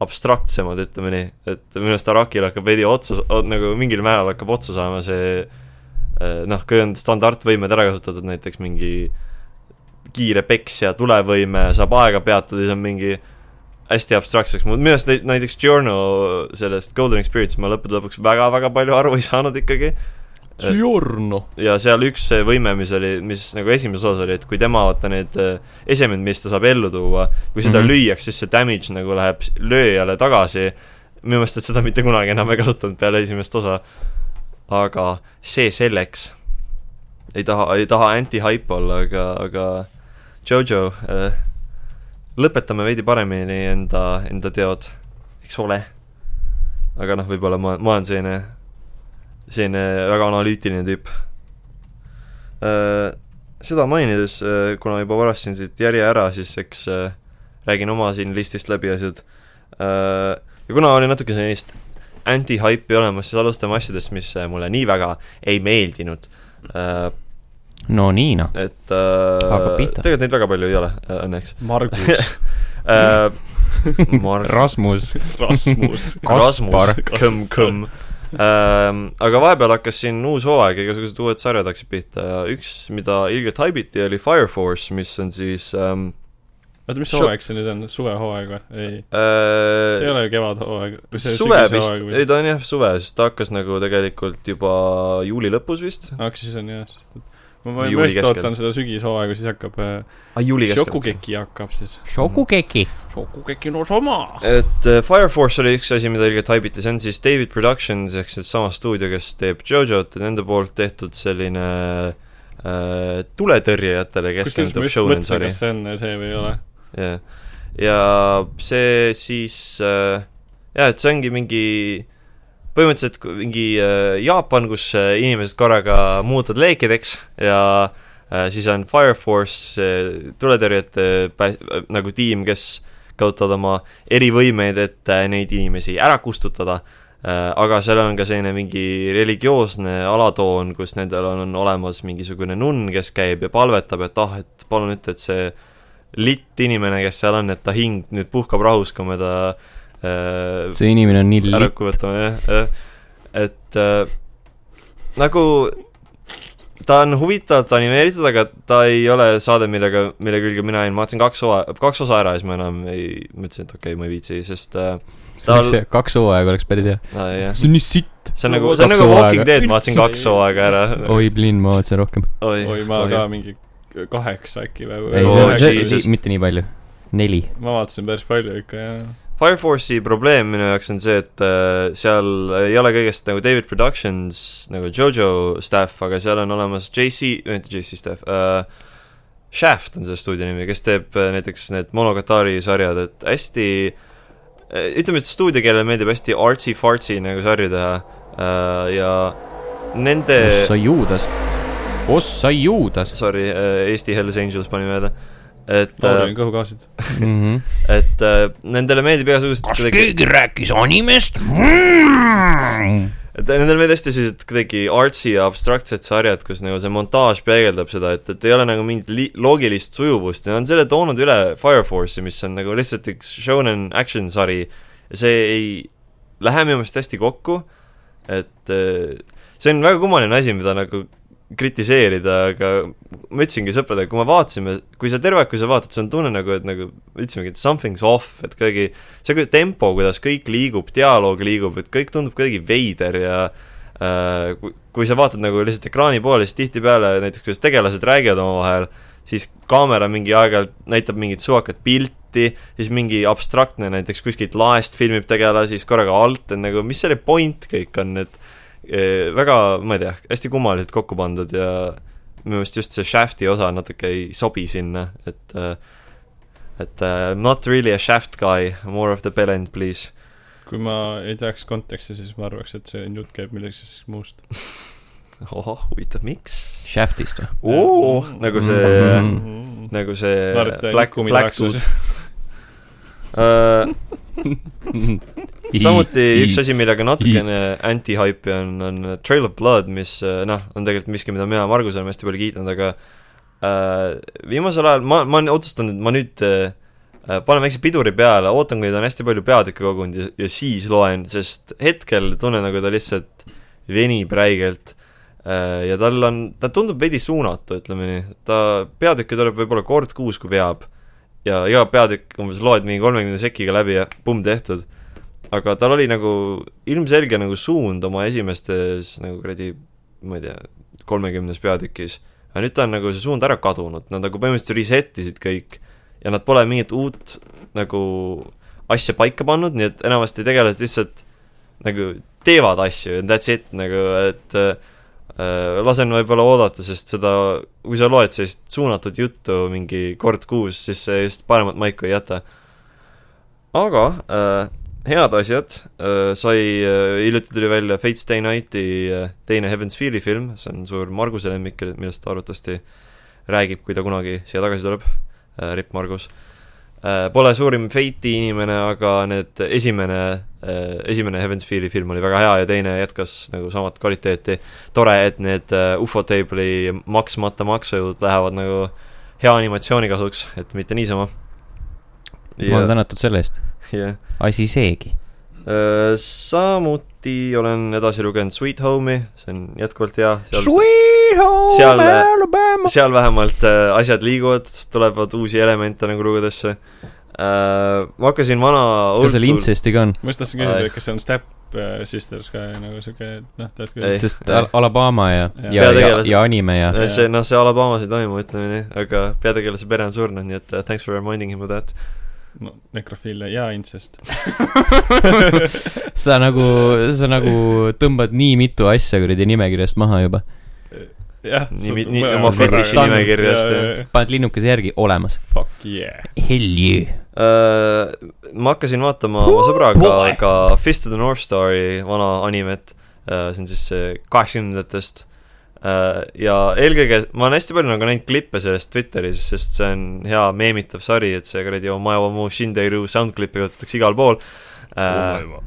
Speaker 1: abstraktsemad , ütleme nii , et minu arust Arakil hakkab veidi otsa , nagu mingil määral hakkab otsa saama see eh, noh , kui on standardvõimed ära kasutatud , näiteks mingi kiire peks ja tulevõime saab aega peatada , siis on mingi hästi abstraktseks muutunud , minu arust näit- näiteks Journo sellest Golden Experience ma lõppude lõpuks väga-väga palju aru ei saanud ikkagi .
Speaker 5: Giorno .
Speaker 1: ja seal üks see võime , mis oli , mis nagu esimeses osas oli , et kui tema , vaata need eh, esemed , mis ta saab ellu tuua , kui seda mm
Speaker 3: Mhm.
Speaker 1: -hmm. lüüakse , siis see damage nagu läheb s- lööjale tagasi . minu meelest , et seda mitte kunagi enam ei kasutanud peale esimest osa . aga see selleks . ei taha , ei taha anti-hype olla , aga , aga Jojo , lõpetame veidi paremini enda , enda teod , eks ole . aga noh , võib-olla ma , ma olen selline , selline väga analüütiline tüüp . Äh, seda mainides , kuna juba varastasin siit järje ära , siis eks äh, räägin oma siin listist läbi asjad . ja kuna oli natuke sellist anti-hype'i olemas , siis alustame asjadest , mis äh, mulle nii väga ei meeldinud .
Speaker 3: no nii noh .
Speaker 1: et äh,
Speaker 3: Hakka pihta.
Speaker 1: tegelikult neid väga palju ei ole , õnneks .
Speaker 5: Margus .
Speaker 1: Äh, Mar-
Speaker 3: Rasmus .
Speaker 2: Rasmus .
Speaker 1: Rasmus ,
Speaker 3: Kaspar.
Speaker 1: kõmm , kõmm . Ehm, aga vahepeal hakkas siin uus hooaeg , igasugused uued sarjad hakkasid pihta ja üks , mida ilgelt haibiti , oli Fire Force , mis on siis ähm,
Speaker 2: oota , mis
Speaker 1: Sure.
Speaker 2: hooaeg see nüüd on , suvehooaeg või ? ei , see ei
Speaker 1: äh,
Speaker 2: ole ju kevadhooaeg .
Speaker 1: suve vist , ei ta on jah suve , sest ta hakkas nagu tegelikult juba juuli lõpus vist .
Speaker 2: aga Ah, siis on jah , sest et ma ma
Speaker 1: Juuli
Speaker 2: just
Speaker 1: keskel.
Speaker 2: ootan seda sügishooaegu , siis hakkab
Speaker 1: aa , Ah, juuli keskel .
Speaker 2: Šokugeki hakkab siis .
Speaker 3: Shokugeki .
Speaker 2: Šokugeki no sama .
Speaker 1: et äh, Fire Force oli üks asi , mida ilgelt haibiti , see on siis David Productions ehk siis sama stuudio , kes teeb JoJo't ja nende poolt tehtud selline äh, tuletõrjejatele
Speaker 2: kusjuures
Speaker 1: keskenduv
Speaker 2: ma just
Speaker 1: shonen
Speaker 2: mõtlesin ,
Speaker 1: sari .
Speaker 2: kas see on see või ei ole .
Speaker 1: jah , ja see siis äh, jah , et see ongi mingi põhimõtteliselt ku- mingi äh, Jaapan , kus äh, inimesed korraga muutuvad leekideks ja äh, siis on Fire Force äh, tuletõrjete pä- äh, nagu tiim , kes kasutavad oma erivõimeid , et äh, neid inimesi ära kustutada . aga seal on ka selline mingi religioosne alatoon , kus nendel on, on olemas mingisugune nunn , kes käib ja palvetab , et ah , et palun ütle , et see litt inimene , kes seal on , et ta hing nüüd puhkab rahus , kui me ta äh,
Speaker 3: see inimene on nii
Speaker 1: ära
Speaker 3: lipp .
Speaker 1: võtame , jah , jah . et äh, nagu ta on huvitavalt animeeritud , aga ta ei ole saade , millega , mille külge mina jäin , ma vaatasin kaks osa , kaks osa ära ja siis ma enam ei , mõtlesin , et okei okay, , ma ei viitsi , sest äh, tal-
Speaker 3: kaks hooaega oleks päris hea .
Speaker 1: aa, jah ,
Speaker 5: see on nii sitt .
Speaker 1: see on nagu ,
Speaker 3: Kaks
Speaker 1: see on nagu Walking
Speaker 3: hooaega.
Speaker 1: Dead , ma vaatasin
Speaker 2: Üldse
Speaker 1: kaks hooaega ära .
Speaker 3: oi , Blin , ma ootasin rohkem .
Speaker 2: oi , ma ka mingi kaheksa äkki või
Speaker 3: ei ,
Speaker 1: Oi,
Speaker 3: see on ,
Speaker 1: oleks
Speaker 3: see
Speaker 1: Jesus.
Speaker 3: li- mitte nii palju . neli .
Speaker 2: ma vaatasin päris palju ikka ja
Speaker 1: Fire Force'i probleem minu jaoks on see , et äh, seal ei ole kõigest nagu David Productions nagu Jojo staff , aga seal on olemas JC , mitte JC staff äh, , Shaft on see stuudio nimi , kes teeb äh, näiteks need Monogatari sarjad , et hästi äh, ütleme , et stuudio , kellele meeldib hästi artsy-fartsy nagu sarju teha äh, ja nende
Speaker 3: ossa juudas . ossa juudas .
Speaker 1: sorry äh, , Eesti Hells Angels pani mööda , et äh,
Speaker 2: laulin kõhukaasid .
Speaker 3: Mhm.
Speaker 1: et äh, nendele meeldib igasugused kuidagi-
Speaker 3: rääkis animest ? Mm.
Speaker 1: et nendel olid hästi sellised kuidagi artsy ja abstraktsed sarjad , kus nagu see montaaž peegeldab seda , et , et ei ole nagu mingit li- , loogilist sujuvust ja nad on selle toonud üle Fire Force'i , mis on nagu lihtsalt üks shonen action sari . see ei lähe minu meelest hästi kokku , et eh, see on väga kummaline asi , mida nagu kritiseerida , aga ma ütlesingi sõpradele , kui me vaatasime , kui sa terve aeg , kui sa vaatad , sul on tunne nagu , et nagu ütlesimegi , et something's off , et kuidagi see kui- tempo , kuidas kõik liigub , dialoog liigub , et kõik tundub kuidagi veider ja äh, kui, kui sa vaatad nagu lihtsalt ekraani poole , siis tihtipeale näiteks , kuidas tegelased räägivad omavahel , siis kaamera mingi aeg-ajalt näitab mingit suvakat pilti , siis mingi abstraktne näiteks kuskilt laest filmib tegelasi , siis korraga alt on nagu , mis selle point kõik on , et eh, väga , ma ei tea , hästi kummaliselt kokku pandud ja minu meelest just see Shafti osa natuke ei sobi sinna , et äh, et uh, not really a shaft guy , more of the bellend please .
Speaker 2: kui ma ei teaks konteksti , siis ma arvaks , et see jutt käib millestki muust .
Speaker 1: ohoh , huvitav , miks ?
Speaker 3: Shaftist või ?
Speaker 1: oo , nagu see mm , -hmm.
Speaker 2: see
Speaker 1: nagu see
Speaker 2: Mart
Speaker 1: Black , Black Tooth
Speaker 2: Kumitahaksus .
Speaker 1: uh, . samuti üks asi , millega natukene anti-hype'i on , on Trail of Blood , mis äh, noh , on tegelikult miski , mida mina ja Margus oleme hästi palju kiitnud , aga äh, viimasel ajal ma , ma olen otsustanud , et ma nüüd äh, äh, panen väikse piduri peale , ootan , kuni ta on hästi palju peatükke kogunud ja, ja siis loen , sest hetkel tunnen , nagu ta lihtsalt venib räigelt äh, ja tal on , ta tundub veidi suunatu , ütleme nii , ta , peatükki tuleb võib-olla kord kuus , kui veab . ja iga peatükk umbes loed mingi kolmekümne sekiga läbi ja pumm tehtud . aga tal oli nagu ilmselge nagu suund oma esimestes nagu kuradi ma ei tea , kolmekümnes peatükis . aga nüüd ta on nagu see suund ära kadunud , nad nagu põhimõtteliselt reset isid kõik ja nad pole mingit uut nagu asja paika pannud , nii et enamasti tegelased lihtsalt nagu teevad asju ja that's it nagu , et äh, lasen võib-olla oodata , sest seda , kui sa loed sellist suunatud juttu mingi kord kuus , siis see just paremat maiku ei jäta . aga äh, head asjad äh, sai äh, , hiljuti tuli välja Fate Stay Nighti äh, teine Heaven's Feel'i film , see on suur Marguse lemmik , millest ta arvatavasti räägib , kui ta kunagi siia tagasi tuleb äh, , Ripp Margus . Pole suurim Fate'i inimene , aga need esimene , esimene Heaven's Feel'i film oli väga hea ja teine jätkas nagu samat kvaliteeti . tore , et need äh, ufo table'i maksmata maksujõud lähevad nagu hea animatsiooni kasuks , et mitte niisama .
Speaker 3: jumal tänatud selle eest ,
Speaker 1: jah ,
Speaker 3: asi seegi .
Speaker 1: Äh, samuti olen edasi lugenud Sweet Home'i , see on jätkuvalt hea .
Speaker 3: Sweet home
Speaker 1: seal-
Speaker 3: Alabama .
Speaker 1: seal vähemalt äh, asjad liiguvad , tulevad uusi elemente nagu lugudesse äh, . ma hakkasin vana
Speaker 3: kas seal intsesti ka on ?
Speaker 2: ma just tahtsin küsida , et kas see on Step äh, Sisters ka nagu siuke , noh , tead
Speaker 1: Ei.
Speaker 2: küll .
Speaker 3: sest Al- Alabama ja ,
Speaker 2: Ja.
Speaker 3: ja , ja ,
Speaker 1: Peategelased.
Speaker 3: ja anime ja
Speaker 1: Äh, see , noh , see Alabamas ei toimu , ütleme nii , aga peategelase pere on surnud , nii et uh, thanks for reminding him of that .
Speaker 2: no nekrofiilia ja intsest .
Speaker 3: sa nagu , sa nagu tõmbad nii mitu asja kuradi nimekirjast maha juba .
Speaker 2: jah .
Speaker 1: Nii mi- nii- oma fetiši nimekirjast, jah.
Speaker 3: paned linnukese järgi , olemas .
Speaker 2: Fuck yeah .
Speaker 3: Hell yeah .
Speaker 1: Uh, ma hakkasin vaatama oma sõbraga ka Fist of the North Stari vana animet uh, , see on siis see kaheksakümnendatest uh, . ja eelkõige ma olen hästi palju nagu näinud klippe sellest Twitteris , sest see on hea meemitav sari , et see kuradi Omaeva Mu Shinderu soundklippi kasutatakse igal pool
Speaker 4: Oh
Speaker 1: uh, .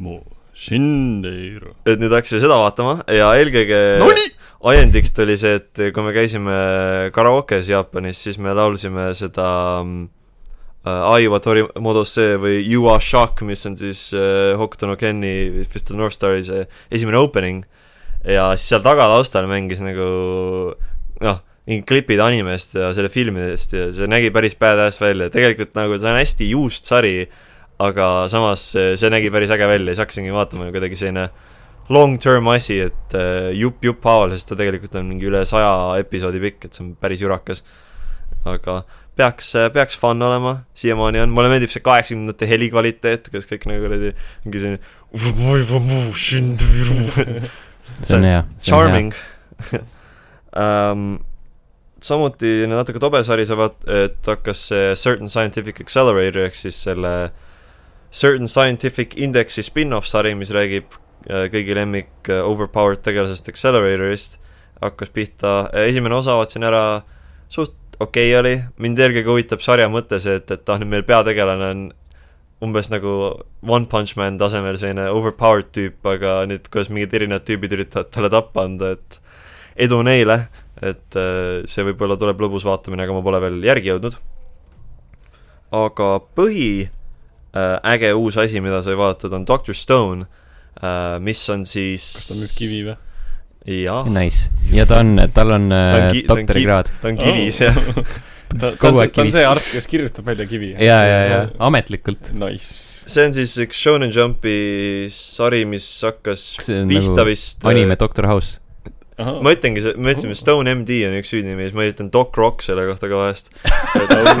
Speaker 2: mu Shindeiro .
Speaker 1: et nüüd hakkasime seda vaatama ja eelkõige
Speaker 2: Nonii!
Speaker 1: ajendiks tuli see , et kui me käisime karaokes Jaapanis , siis me laulsime seda mm, äh, Aiva Tori Modose või You are shock , mis on siis äh, Hokuto no Ken'i Fist of the North Stari see esimene opening . ja siis seal taga taustal mängis nagu noh , mingid klipid animest ja selle filmidest ja see nägi päris badass välja , tegelikult nagu see on hästi juust sari , aga samas see, see nägi päris äge välja ja siis hakkasingi vaatama ja kuidagi selline long-term asi , et äh, jupp-jupp haaval , sest ta tegelikult on mingi üle saja episoodi pikk , et see on päris jurakas . aga peaks , peaks fun olema , siiamaani on , mulle meeldib see kaheksakümnendate heli kvaliteet , kus kõik nagu kuradi mingi selline
Speaker 3: see on hea .
Speaker 1: charming um, . samuti natuke tobe sari sa vaat- , et hakkas see Certain Scientific Accelerator ehk siis selle Certain Scientific Indexi spin-off sari , mis räägib äh, kõigi lemmik äh, overpowered tegelasest Acceleratorist , hakkas pihta , esimene osa vaatasin ära , suht okei okay oli , mind eelkõige huvitab sarja mõte see , et , et ah , nüüd meil peategelane on umbes nagu One Punch Man tasemel selline overpowered tüüp , aga nüüd kuidas mingid erinevad tüübid üritavad talle tappa anda , et edu neile , et äh, see võib-olla tuleb lõbus vaatamine , aga ma pole veel järgi jõudnud . aga põhi äh, äge uus asi , mida sai vaadatud , on Doctor Stone , mis on siis
Speaker 2: kas ta müüb kivi või ?
Speaker 1: jaa ,
Speaker 3: Nice . ja ta on , tal on
Speaker 1: Ta on
Speaker 3: äh,
Speaker 1: ki- ta on
Speaker 3: doktorikraad .
Speaker 1: ta on
Speaker 2: Oh.
Speaker 1: kivis jah .
Speaker 2: ta , ta
Speaker 3: Kogu
Speaker 2: on see ,
Speaker 3: aeg
Speaker 2: ta on
Speaker 3: kivi.
Speaker 2: see arst , kes kirjutab välja kivi .
Speaker 3: ja , ja , ja . ametlikult .
Speaker 2: Nice .
Speaker 1: see on siis üks Shonen Jumpi sari , mis hakkas
Speaker 3: kas see on
Speaker 1: pihta
Speaker 3: nagu
Speaker 1: vist äh,
Speaker 3: anime Doctor House ?
Speaker 1: ma ütlengi , me ütlesime Stone MD on üks süüdnimi ja siis ma ütlen Doc Rock selle kohta ka vahest .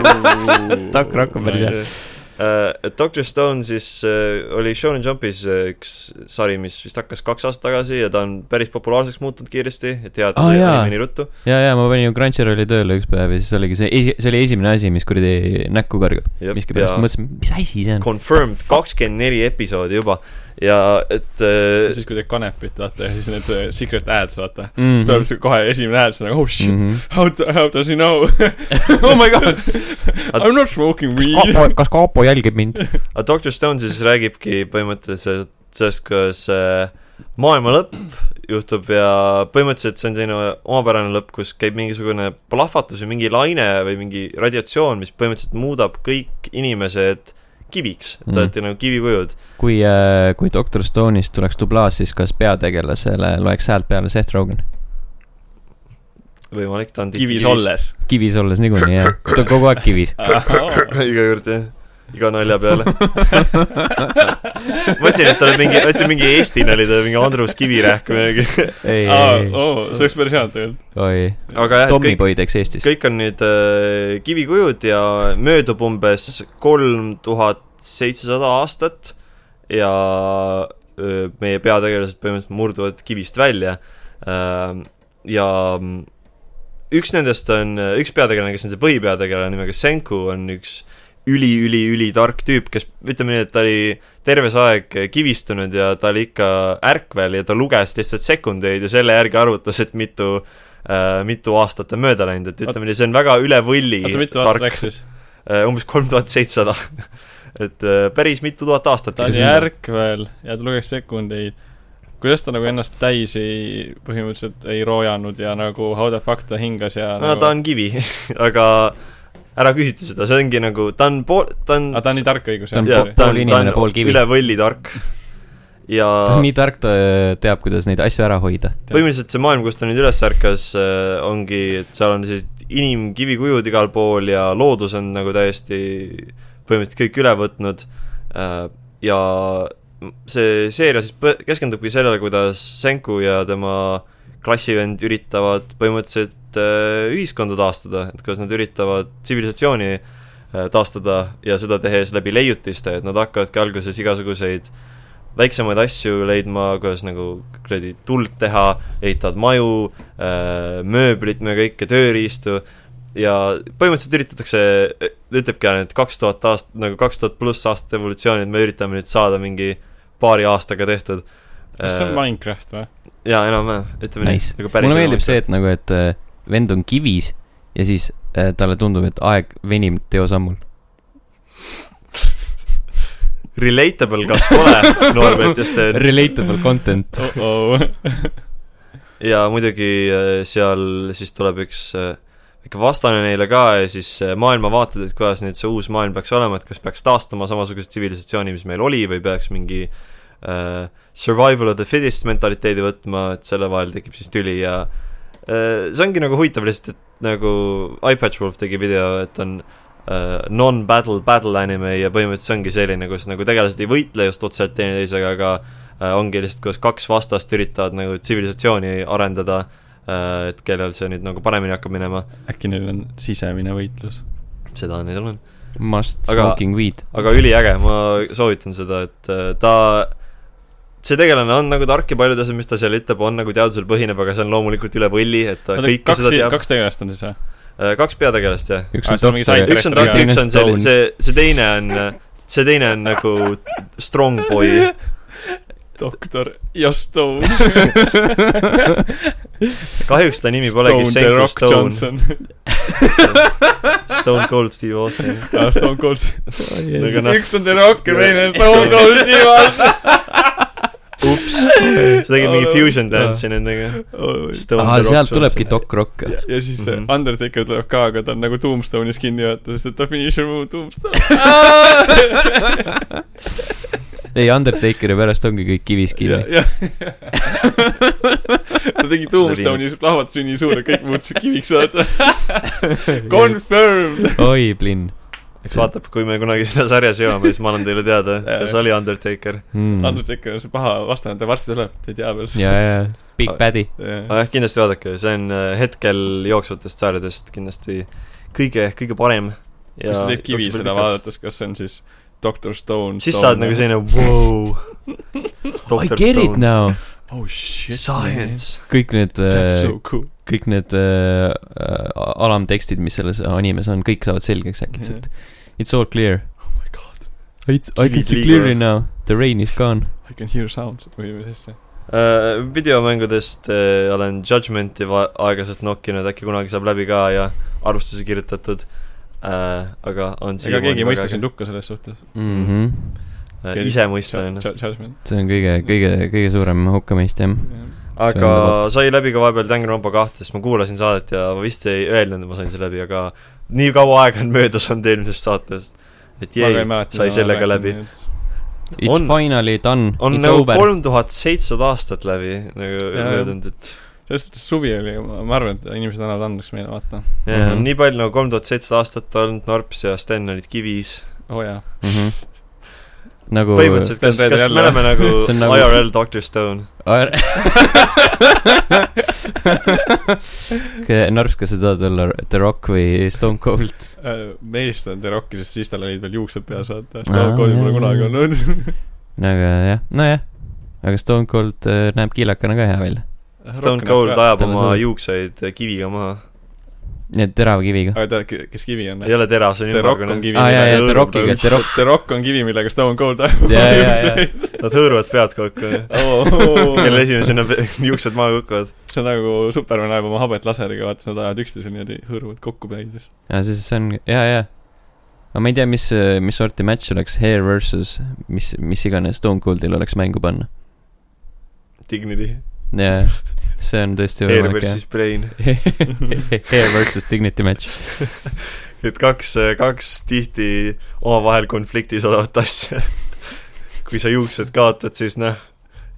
Speaker 3: Doc Rock on päris hea.
Speaker 1: et Äh, Doctor Stone siis äh, oli Shonen Jumpis äh, üks sari , mis vist hakkas kaks aastat tagasi ja ta on päris populaarseks muutunud kiiresti , et hea , et ta
Speaker 3: Aa,
Speaker 1: sai
Speaker 3: Ah, jaa.
Speaker 1: anime nii ruttu .
Speaker 3: ja , ja ma panin ju Crunchyrolli tööle üks päev ja siis oligi see esi- , see oli esimene asi , mis kuradi näkku kargab .
Speaker 1: ja
Speaker 3: miskipärast mõtlesin , mis asi see on .
Speaker 1: Confirmed kakskümmend neli episoodi juba ja et äh,
Speaker 2: siis , kui te kanepit vaata ja siis need äh, secret ads vaata .
Speaker 1: Mhm.
Speaker 3: Mm
Speaker 2: tuleb see kohe esimene hääl , siis on nagu oh shit ,
Speaker 3: -hmm.
Speaker 2: how , how does he know ? Oh my god , I m not smoking weed .
Speaker 3: Kaapo , kas Kaapo jälgib mind ?
Speaker 1: aga Doctor Stone siis räägibki põhimõtteliselt sellest , kuidas äh, maailma lõpp juhtub ja põhimõtteliselt see on selline omapärane lõpp , kus käib mingisugune plahvatus või mingi laine või mingi radiatsioon , mis põhimõtteliselt muudab kõik inimesed kiviks , et
Speaker 3: Mhm.
Speaker 1: te olete nagu kivikujud .
Speaker 3: kui äh, , kui Doctor Stone'ist tuleks dublaaž , siis kas peategelasele loeks häält peale Seth Rogen ?
Speaker 1: võimalik , ta on
Speaker 2: kivis . olles .
Speaker 3: kivis olles niikuinii jah , ta on kogu aeg kivis .
Speaker 1: iga kord jah . iga nalja peale . mõtlesin , et tuleb mingi , mõtlesin mingi Eesti nali , tuleb mingi Andrus Kivirähk või midagi .
Speaker 3: ei , ei ,
Speaker 2: oo , see oleks päris hea tegelikult .
Speaker 3: oi ,
Speaker 1: aga jah , et oh. kõik ,
Speaker 3: Tommyboy teeks Eestis .
Speaker 1: kõik on nüüd äh, kivikujud ja möödub umbes kolm tuhat seitsesada aastat ja öö, meie peategelased põhimõtteliselt murduvad kivist välja ähm, ja mm, üks nendest on , üks peategelane , kes on see põhipeategelane nimega Senku , on üks üli-üli-ülitark tüüp , kes ütleme nii , et ta oli terve see aeg äh, kivistunud ja ta oli ikka ärkvel ja ta luges lihtsalt sekundeid ja selle järgi arvutas , et mitu äh, mitu aastat on mööda läinud , et ütleme nii , see on väga üle võlli
Speaker 2: oota , mitu aastat läks siis ?
Speaker 1: Äh, umbes kolm tuhat seitsesada . et äh, päris mitu tuhat aastat .
Speaker 2: ta oli . ärkvel ja ta luges sekundeid . kuidas ta nagu ennast täis ei , põhimõtteliselt ei roojanud ja nagu how the fuck ta hingas ja
Speaker 1: no
Speaker 2: nagu...
Speaker 1: ta on kivi , aga ära küsita seda , see ongi nagu , ta on pool , ta on
Speaker 2: aga ta on nii tark õigus ,
Speaker 3: Ta on
Speaker 1: jah,
Speaker 3: pool- ta on inimene, pool kivi.
Speaker 1: üle võlli tark . ja
Speaker 3: ta on nii tark , ta teab , kuidas neid asju ära hoida .
Speaker 1: põhimõtteliselt see maailm , kus ta nüüd üles ärkas , ongi , et seal on sellised inimkivikujud igal pool ja loodus on nagu täiesti põhimõtteliselt kõik üle võtnud äh, ja see seeria siis põ- keskendubki sellele , kuidas Senku ja tema klassivend üritavad põhimõtteliselt äh, ühiskonda taastada , et kuidas nad üritavad tsivilisatsiooni äh, taastada ja seda tehes läbi leiutiste , et nad hakkavadki alguses igasuguseid väiksemaid asju leidma , kuidas nagu kuradi tuld teha , ehitavad maju , mööblit , me kõike , tööriistu ja põhimõtteliselt üritatakse , ütlebki ainult kaks tuhat aastat , nagu kaks tuhat pluss aastat evolutsiooni , et me üritame nüüd saada mingi paari aastaga tehtud .
Speaker 2: kas
Speaker 1: Äh.
Speaker 2: see on Minecraft või ?
Speaker 1: jaa , enam-vähem , ütleme
Speaker 3: Nice.
Speaker 1: nii .
Speaker 3: mulle meeldib see , et nagu , et äh, vend on kivis ja siis äh, talle tundub , et aeg venib teosammul .
Speaker 1: Relatable , kas pole , Norbert , just see
Speaker 3: Relatable content .
Speaker 2: oh-oh ,
Speaker 1: ja muidugi äh, seal siis tuleb üks äh, väike vastane neile ka ja siis äh, maailmavaated , et kuidas nüüd see uus maailm peaks olema , et kas peaks taastama samasuguse tsivilisatsiooni , mis meil oli , või peaks mingi äh, survival of the fittest mentaliteedi võtma , et selle vahel tekib siis tüli ja äh, see ongi nagu huvitav lihtsalt , et nagu iPatchWolf tegi video , et on äh, non-battle battle anime ja põhimõtteliselt see ongi selline , kus nagu tegelased ei võitle just otseselt teineteisega , aga äh, ongi lihtsalt , kuidas kaks vastast üritavad nagu tsivilisatsiooni arendada , et kellel see nüüd nagu paremini hakkab minema ,
Speaker 2: äkki neil on sisemine võitlus ?
Speaker 1: seda neil on .
Speaker 3: Must
Speaker 1: Aga-
Speaker 3: smoking weed .
Speaker 1: aga üliäge , ma soovitan seda , et äh, ta , see tegelane on nagu tark ja paljud asjad , mis ta seal ütleb , on nagu teadusel põhineb , aga see on loomulikult üle võlli , et ta kõike
Speaker 2: kaks
Speaker 1: seda , teab .
Speaker 2: kaks tegelast on siis või ?
Speaker 1: kaks peategelast , jah .
Speaker 3: üks
Speaker 2: Aa,
Speaker 3: Ah, on
Speaker 2: seal on mingi
Speaker 3: doktor
Speaker 2: side-
Speaker 3: ja
Speaker 1: üks on
Speaker 2: Director
Speaker 1: tark ,
Speaker 2: ja
Speaker 1: üks on see
Speaker 3: Stone. ,
Speaker 1: see , see teine on , see teine on nagu strong boy .
Speaker 2: doktor Jostone .
Speaker 1: kahjuks ta nimi polegi Senku Stone , Stone Cold Steve Austin .
Speaker 2: Ah, Stone Cold .
Speaker 1: Aga noh,
Speaker 2: üks on The Rock ja teine on
Speaker 1: Stone
Speaker 2: Stone Cold Steve Austin .
Speaker 1: ups , sa tegid mingi fusion dance'i nendega .
Speaker 3: aa , Ah, sealt tulebki Doc Rock .
Speaker 2: ja siis see
Speaker 1: Mhm.
Speaker 2: Undertaker tuleb ka , aga ta on nagu Tombstone'is kinni vaata , sest et ta finisher move Tombstone .
Speaker 3: ei , Undertakeri pärast ongi kõik kivis kinni .
Speaker 2: jah . ta tegi Tombstone'is plahvatuseni suure , kõik muutsid kiviks vaata . Confirmed .
Speaker 3: oi , plinn
Speaker 1: eks vaatab , kui me kunagi sinna sarjas jõuame , siis ma annan teile teada , kas oli Undertaker .
Speaker 3: mm. .
Speaker 2: Undertaker on see paha vastane , ta varsti tuleb , te ei tea veel .
Speaker 3: ja , ja , Big Baddy .
Speaker 2: jah .
Speaker 1: aga jah , kindlasti vaadake , see on äh, hetkel jooksvatest sarjadest kindlasti kõige , kõige parem .
Speaker 2: kus ta teeb kivi seda ? vaadates , kas see on siis Doctor Stone .
Speaker 1: siis saad nagu selline wow, .
Speaker 3: I get it now .
Speaker 2: oh shit .
Speaker 1: Science .
Speaker 3: kõik need ,
Speaker 2: That's so cool .
Speaker 3: kõik need äh, äh, alamtekstid , mis selles animes on , kõik saavad selgeks äkitselt . It's all clear .
Speaker 2: Oh my god ,
Speaker 3: It's , I can see
Speaker 1: Kivi
Speaker 3: clearly now . The rain is gone .
Speaker 2: I can hear sounds või mis asja .
Speaker 1: videomängudest äh, olen Judgmenti va- aeglaselt nokkinud , äkki kunagi saab läbi ka ja arvustuse kirjutatud äh, . aga on
Speaker 2: ega keegi ei mõista
Speaker 1: nagu väga-
Speaker 2: sind hukka selles suhtes .
Speaker 3: mm . -hmm.
Speaker 1: äh, ise mõista ennast .
Speaker 2: Judgment .
Speaker 3: see on kõige ,
Speaker 1: Mm.
Speaker 3: kõige , kõige suurem hukkamõist , jah . See on
Speaker 1: aga
Speaker 3: vabalt.
Speaker 1: sai läbi ka vahepeal Danganronpa kahte , sest ma kuulasin saadet ja ma vist ei öelnud , et ma sain selle läbi , aga nii kaua aega on möödas olnud eelmisest saatest . et jäi , sai sellega läbi .
Speaker 3: It's
Speaker 1: On-
Speaker 3: on, finally done .
Speaker 1: on
Speaker 3: It's
Speaker 1: nagu
Speaker 3: over .
Speaker 1: kolm tuhat seitsesada aastat läbi nagu
Speaker 2: Jaa, jah.
Speaker 1: möödunud , et
Speaker 2: selles suhtes suvi oli , ma arvan , et inimesed annavad andeks meile , vaata .
Speaker 1: ja, mm
Speaker 3: Mhm.
Speaker 1: -hmm. nii palju nagu kolm tuhat seitsesada aastat olnud Norps ja Sten olid kivis
Speaker 2: oo Oh, jaa .
Speaker 3: mhmh . nagu .
Speaker 1: põhimõtteliselt , kas ,
Speaker 2: Spencer
Speaker 1: kas
Speaker 2: jälle.
Speaker 1: me oleme nagu
Speaker 3: See on nagu-
Speaker 1: IRL Doctor Stone ?
Speaker 3: Narps , kas sa tahad olla The Rock või Stone Cold ?
Speaker 2: Äh, meelistan The Rocki , sest siis tal olid veel juuksed peas , vaata .
Speaker 3: Aa,
Speaker 2: Stone Coldi pole
Speaker 3: jaa,
Speaker 2: kunagi
Speaker 3: jaa.
Speaker 2: olnud .
Speaker 3: aga jah , nojah . aga Stone Cold äh, näeb kiilakana ka hea välja .
Speaker 2: nagu
Speaker 1: Stone Cold ajab
Speaker 3: Talle
Speaker 1: oma
Speaker 3: sobib.
Speaker 1: juukseid kiviga maha .
Speaker 3: nii et terava kiviga .
Speaker 2: aga tead , kes kivi on ?
Speaker 1: ei ole terav , see on noh.
Speaker 2: The Rock on
Speaker 1: ümmargune .
Speaker 2: kivi .
Speaker 3: aa jaa , jaa ,
Speaker 1: Õõrub
Speaker 3: The Rockiga , The Rock .
Speaker 2: The Rock on kivi , millega Stone Cold ajab
Speaker 3: Jaa, jaa, jaa.
Speaker 2: juukseid .
Speaker 1: Nad hõõruvad pead kokku .
Speaker 2: Oh.
Speaker 1: kelle esimesena pe- juuksed maha kukuvad .
Speaker 2: see on nagu Superman ajab oma habet laseriga , vaata , siis nad ajavad üksteise niimoodi , hõõruvad kokku päid ja siis .
Speaker 3: aa , siis see on , jaa , jaa . aga ma ei tea , mis , mis sorti match oleks Hair versus mis , mis iganes Stone Coldil oleks mängu panna .
Speaker 1: Dignity .
Speaker 3: jaa , see on tõesti
Speaker 1: Air
Speaker 3: võimalik jah .
Speaker 1: versus Brain .
Speaker 3: Hair versus Dignity match .
Speaker 1: et kaks , kaks tihti omavahel konfliktis olevat asja . kui sa juuksed kaotad , siis noh ,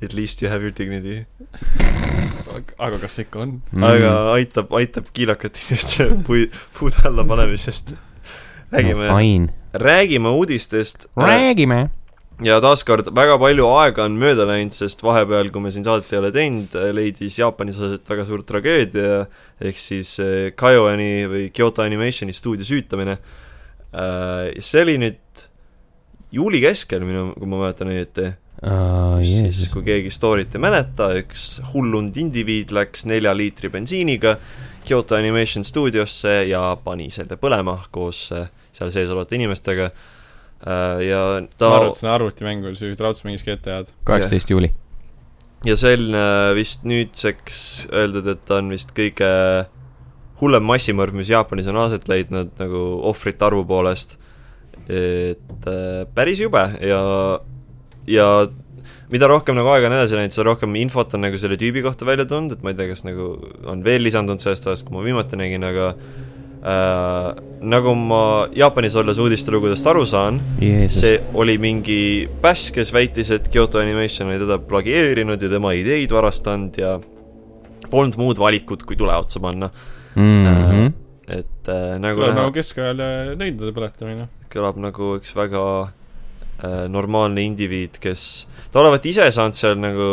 Speaker 1: at least you have your dignity .
Speaker 2: aga kas ikka on ?
Speaker 3: Mm.
Speaker 1: aga aitab , aitab kiilakat inimeste pui- , puud alla panemisest . räägime
Speaker 3: no, . fine .
Speaker 1: räägime uudistest .
Speaker 3: räägime .
Speaker 1: ja taaskord väga palju aega on mööda läinud , sest vahepeal , kui me siin saadet ei ole teinud , leidis Jaapanis aset väga suur tragöödia ehk siis eh, Kyoani või Kyoto Animationi stuudio süütamine . see oli nüüd juuli keskel minu , kui ma mäletan õieti
Speaker 3: Oh,
Speaker 1: siis , kui keegi story't ei mäleta , üks hullunud indiviid läks nelja liitri bensiiniga Kyoto Animation stuudiosse ja pani selle põlema koos äh, seal sees olevate inimestega . ja
Speaker 2: ma
Speaker 1: ta
Speaker 2: arvan , et see on arvutimängul , see raudselt mängis GTA-d .
Speaker 3: kaheksateist juuli .
Speaker 1: ja see on äh, vist nüüdseks öeldud , et ta on vist kõige hullem massimõrv , mis Jaapanis on aset leidnud nagu ohvrite arvu poolest . et äh, päris jube ja , ja mida rohkem nagu aega on edasi läinud , seda rohkem infot on nagu selle tüübi kohta välja tulnud , et ma ei tea , kas nagu on veel lisandunud sellest ajast , kui ma viimati nägin , aga äh, nagu ma Jaapanis olles uudistelugudest aru saan , see oli mingi päss , kes väitis , et Kyoto Animation oli teda plagieerinud ja tema ideid varastanud ja polnud muud valikut , kui tule otsa panna .
Speaker 3: mm .
Speaker 1: et äh, nagu
Speaker 2: tuleb
Speaker 1: näha
Speaker 2: nagu , keskajal äh, leidlade põletamine .
Speaker 1: kõlab nagu üks väga äh, normaalne indiviid , kes , ta olevat ise saanud seal nagu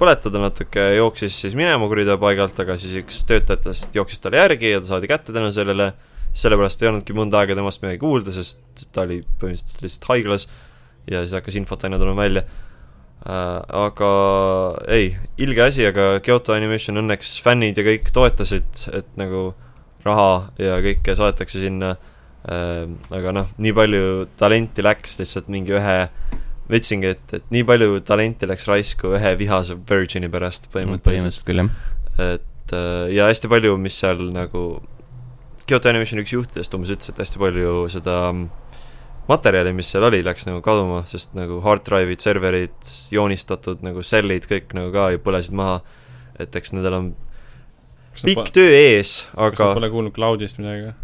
Speaker 1: põletada natuke , jooksis siis minema kuriteo paigalt , aga siis üks töötajatest jooksis talle järgi ja ta saadi kätte tänu sellele . sellepärast ei olnudki mõnda aega temast midagi kuulda , sest ta oli põhimõtteliselt lihtsalt haiglas ja siis hakkas infot aina tulema välja . Uh, aga ei , ilge asi , aga Kyoto Animation õnneks fännid ja kõik toetasid , et nagu raha ja kõike saadetakse sinna Ähm, aga noh , nii palju talenti läks lihtsalt mingi ühe , ma ütlesingi , et , et nii palju talenti läks raisku ühe vihase virgin'i pärast põhimõtteliselt .
Speaker 3: põhimõtteliselt küll jah .
Speaker 1: et äh, ja hästi palju , mis seal nagu , Kyoto Animationi üks juhtidest umbes ütles , et hästi palju seda mm, materjali , mis seal oli , läks nagu kaduma , sest nagu hard drive'id , serverid , joonistatud nagu sellid , kõik nagu ka ju põlesid maha . et eks nendel on pikk
Speaker 2: kas
Speaker 1: töö ees , aga
Speaker 2: sa pole kuulnud Cloudist midagi või ?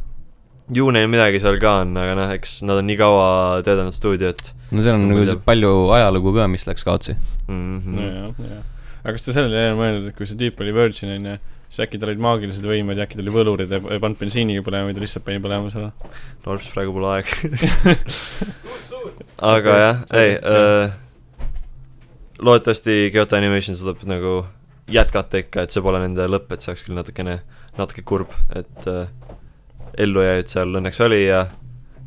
Speaker 1: ju neil midagi seal ka on , aga noh , eks nad on nii kaua töötanud stuudiot
Speaker 3: no seal on
Speaker 1: Mulle
Speaker 3: nagu
Speaker 1: teab.
Speaker 3: palju ajalugu ka , mis läks kaotsi .
Speaker 1: mm . -hmm.
Speaker 2: nojah , nojah . aga kas te sellele ei ole mõelnud , et kui see tüüp oli Virgin onju , siis äkki tal olid maagilised võimed ja äkki ta oli võlurid ja ei pannud bensiiniga põlema , vaid lihtsalt pani põlema selle .
Speaker 1: Norps , praegu pole aeg . aga jah , ei äh, , loodetavasti Kyoto Animation suudab nagu jätkata ikka , et see pole nende lõpp , et see oleks küll natukene , natuke kurb , et äh, ellujääjaid seal õnneks oli ja ,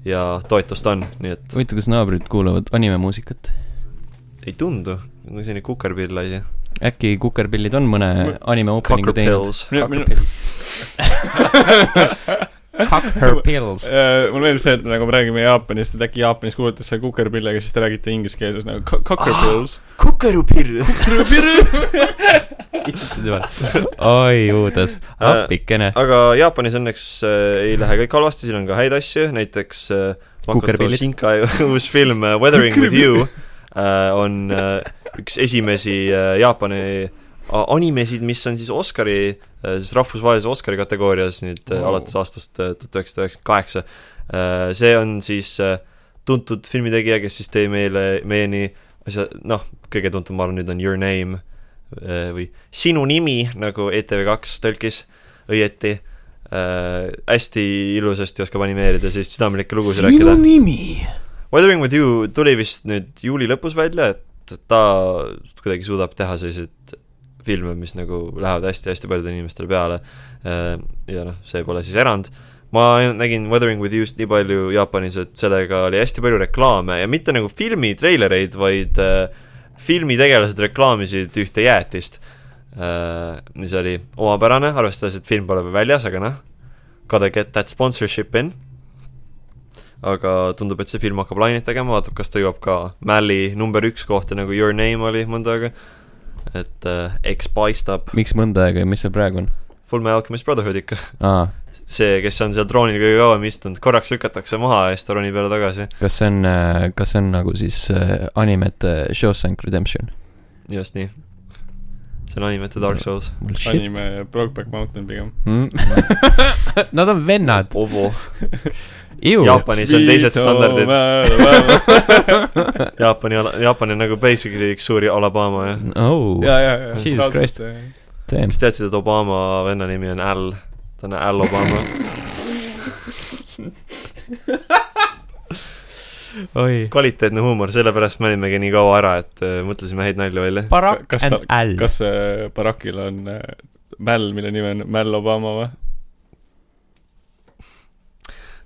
Speaker 1: ja toetust on , nii et
Speaker 3: huvitav , kas naabrid kuulavad animemuusikat ?
Speaker 1: ei tundu , nagu selline kukerpill asi .
Speaker 3: äkki Kukerpillid on mõne
Speaker 2: Mul-
Speaker 3: anime openingu teinud ?
Speaker 1: Cockapills ,
Speaker 2: minu , minu ,
Speaker 3: Kukerpills .
Speaker 2: mul meeldis see , et nagu me räägime Jaapanist , et äkki Jaapanis kuulatakse kukerpillega , siis te räägite inglise keeles nagu ka-
Speaker 1: Ah,
Speaker 2: cockapills .
Speaker 1: kukerupill .
Speaker 3: oi õudes ,
Speaker 1: Äh,
Speaker 3: appikene .
Speaker 1: aga Jaapanis õnneks äh, ei lähe kõik halvasti , siin on ka häid asju , näiteks äh, Makoto
Speaker 3: Kukerpillid.
Speaker 1: Shinkai uus film äh, Weathering with you äh, on äh, üks esimesi äh, Jaapani a- animesid , mis on siis Oscari äh, , siis rahvusvahelise Oscari kategoorias nüüd wow.
Speaker 2: Wow.
Speaker 1: alates aastast eh, tuhat üheksasada üheksakümmend kaheksa . see on siis äh, tuntud filmitegija , kes siis tõi meile , meieni asja , noh , kõige tuntum , ma arvan , nüüd on Your Name äh, või Sinu nimi , nagu ETV2 tõlkis õieti . Eh, Äh, hästi ilusasti oskab animeerida , sellist südamlikke lugusid rääkida .
Speaker 3: nimi
Speaker 1: Weathering with you tuli vist nüüd juuli lõpus välja , et ta kuidagi suudab teha selliseid filme , mis nagu lähevad hästi-hästi paljudele inimestele peale . ja noh , see pole siis erand . ma nägin Weathering with you'st nii palju Jaapanis , et sellega oli hästi palju reklaame ja mitte nagu filmi treilereid , vaid äh, filmitegelased reklaamisid ühte jäätist . mis oli omapärane , arvestades , et film pole veel väljas , aga noh , gotta get that sponsorship in . aga tundub , et see film hakkab lainet tegema , vaatab , kas ta jõuab ka Mälli number üks kohta , nagu Your Name oli mõnda aega . et äh, eks paistab
Speaker 3: miks mõnda aega ja mis seal praegu on ?
Speaker 1: Full Metal Alchemist Brotherhood ikka .
Speaker 3: aa ,
Speaker 1: see , kes on seal troonil kõige kauem istunud , korraks lükatakse maha ja siis ta ronib jälle tagasi .
Speaker 3: kas see on , kas see on nagu siis äh, animete Shawshank Redemption ?
Speaker 1: just nii . see on animete Dark Souls .
Speaker 3: mul shit .
Speaker 2: anime Brokeback Mountain pigem .
Speaker 3: Hmm? Nad on vennad ,
Speaker 1: Ovo ,
Speaker 3: ju .
Speaker 1: Jaapanis on teised standardid .
Speaker 2: standardid
Speaker 1: Jaapani , Jaapan on nagu basically üks suuri Alabama ja .
Speaker 3: oh ,
Speaker 2: ja , ja , ja .
Speaker 3: Jesus Christ. . damn .
Speaker 1: kas teadsid , et Obama venna nimi on Al ? ta on Al Obama .
Speaker 3: oi .
Speaker 1: kvaliteetne huumor , sellepärast me olimegi nii kaua ära , et äh, mõtlesime häid nalju välja .
Speaker 3: Barack
Speaker 2: Kas ta-
Speaker 3: and Al .
Speaker 2: kas äh, Barackil on äh, Mäll , mille nimi on Mäll Obama või ?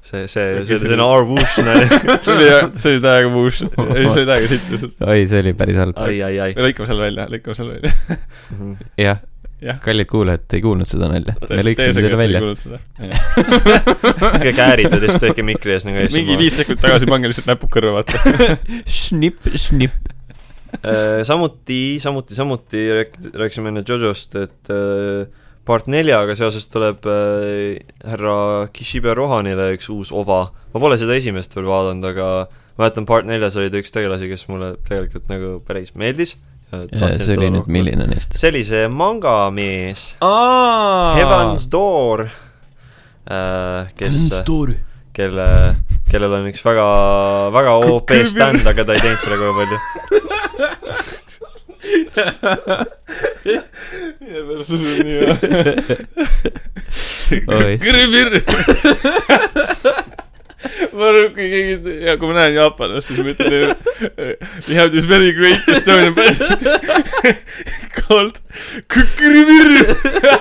Speaker 1: see , see , see oli selline arvuus nali .
Speaker 2: see oli , see oli täiega muus , see oli täiega sitt lihtsalt .
Speaker 3: oi , see oli päris halb .
Speaker 1: ai , ai , ai .
Speaker 2: me lõikame selle välja , lõikame selle välja .
Speaker 3: jah
Speaker 2: Jah. ,
Speaker 3: kallid kuulajad , te ei kuulnud seda nalja . me lõiksime selle välja .
Speaker 1: tehke käärid ja siis tehke mikri ees nagu ees .
Speaker 2: mingi viis sekundit tagasi pange lihtsalt näpud kõrva , vaata .
Speaker 3: Snipp , snipp .
Speaker 1: Äh, samuti , samuti , samuti rääk- rääkisime enne Jojost , et äh, part neljaga seoses tuleb äh, härra Kishibe Rohanile üks uus ova . ma pole seda esimest veel vaadanud , aga mäletan , part neljas oli ta üks tegelasi , kes mulle tegelikult nagu päris meeldis .
Speaker 3: see oli nüüd ,? milline neist ?
Speaker 1: see oli see mangamees ,
Speaker 3: Heaven's
Speaker 1: Evans Door , kes , kelle , kellel on üks väga , väga OP stand , aga ta ei teinud sellega väga palju .
Speaker 3: Oi.
Speaker 2: kõrvipirr . ma arvan , kui keegi , ja kui ma näen jaapanlast , siis ma ütlen , we have this very great Estonian band called kõrvipirr .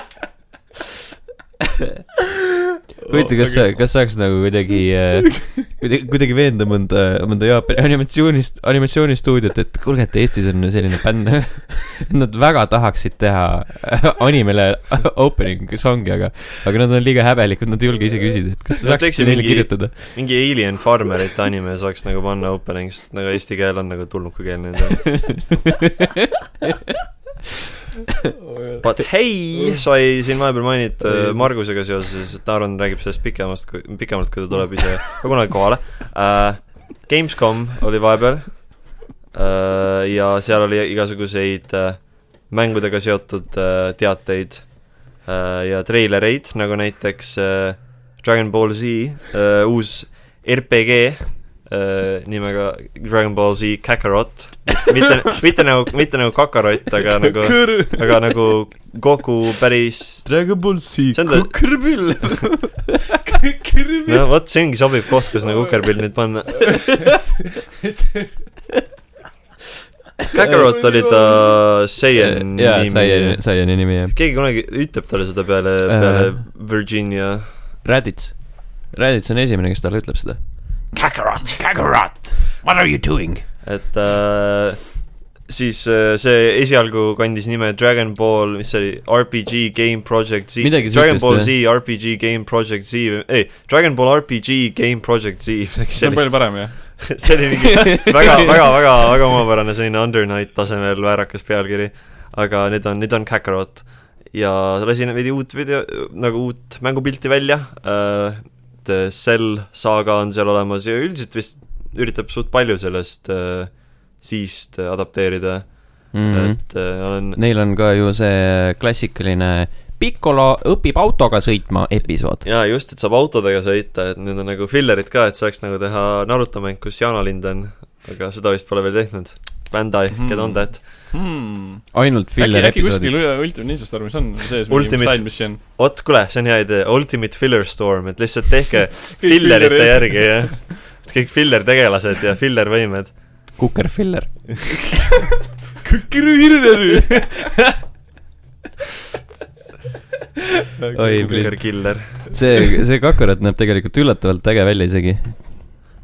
Speaker 3: huvitav , kas sa , kas saaks nagu kuidagi äh, , kuidagi , kuidagi veenda mõnda , mõnda Jaapani animatsioonist , animatsioonistuudiot , et kuulge , et Eestis on selline bänd . Nad väga tahaksid teha äh, animele opening song'i , aga , aga nad on liiga häbelikud , nad ei julge ise küsida , et kas te
Speaker 1: Nad
Speaker 3: saaksite
Speaker 1: teeksid
Speaker 3: neile
Speaker 1: mingi-
Speaker 3: kirjutada .
Speaker 1: mingi Alien Farmerit anime saaks nagu panna opening , sest nagu eesti keel on nagu tulnukakeel nende jaoks . But hei , sai siin vahepeal mainitud äh, Margusega seoses , et Aaron räägib sellest pikemast , pikemalt , kui ta tuleb ise ka kunagi kohale uh, . Gamescom oli vahepeal uh, ja seal oli igasuguseid uh, mängudega seotud uh, teateid uh, ja treilereid , nagu näiteks uh, Dragon Ball Z uh, uus RPG uh, nimega Dragon Ball Z Kakarot , mitte , mitte nagu , mitte nagu Kakarott , aga nagu aga nagu Goku päris ,
Speaker 4: Dragon Ball Z
Speaker 1: see on ta ,
Speaker 2: kõrvill .
Speaker 1: no vot , see ongi sobiv koht , kus nagu kukerpill nüüd panna . Kakarot oli ta Saiyan
Speaker 3: Äh, jaa , sai
Speaker 1: nimi .,
Speaker 3: sai on nimi jah .
Speaker 1: keegi kunagi ütleb talle seda peale ,
Speaker 3: Äh.
Speaker 1: peale Virginia .
Speaker 3: Raditz , Raditz on esimene , kes talle ütleb seda . Kakarot , Kakarot , what are you doing ?
Speaker 1: et äh, siis äh, see esialgu kandis nime Dragon Ball , mis see oli , RPG Game Project Z ,
Speaker 3: Midagi
Speaker 1: Dragon
Speaker 3: sihukest,
Speaker 1: Ball
Speaker 3: jah.
Speaker 1: Z RPG Game Project Z , ei , Dragon Ball RPG Game Project Z .
Speaker 2: see on palju parem jah .
Speaker 1: see oli mingi väga , väga , väga , väga omapärane selline Undernight tasemel väärakas pealkiri . aga need on , need on Kakarot . ja lasin veidi uut video , nagu uut mängupilti välja . et Cell saaga on seal olemas ja üldiselt vist üritab suht palju sellest äh, siist adapteerida mm ,
Speaker 3: Mhm.
Speaker 1: -hmm. et äh, olen
Speaker 3: Neil on ka ju see klassikaline Piccolo õpib autoga sõitma episood .
Speaker 1: jaa , just , et saab autodega sõita , et need on nagu fillerid ka , et saaks nagu teha Naruto mäng , kus Yana lind on , aga seda vist pole veel tehtud . Bandai mm ,
Speaker 2: Mhm.
Speaker 1: -hmm. get on that .
Speaker 3: ainult
Speaker 2: äkki ,
Speaker 3: filler
Speaker 2: äkki kuskil
Speaker 3: episoodid .
Speaker 2: üle Ultimate Ninja Stormis on sees mingi
Speaker 1: Ultimate-
Speaker 2: side mission .
Speaker 1: vot , kuule , see on hea idee , Ultimate Filler Storm , et lihtsalt tehke fillerite järgi ja kõik filler tegelased ja filler võimed .
Speaker 3: kukerfiller . Oi,
Speaker 1: Kuker killer .
Speaker 3: see , see Kakarot näeb tegelikult üllatavalt äge välja isegi .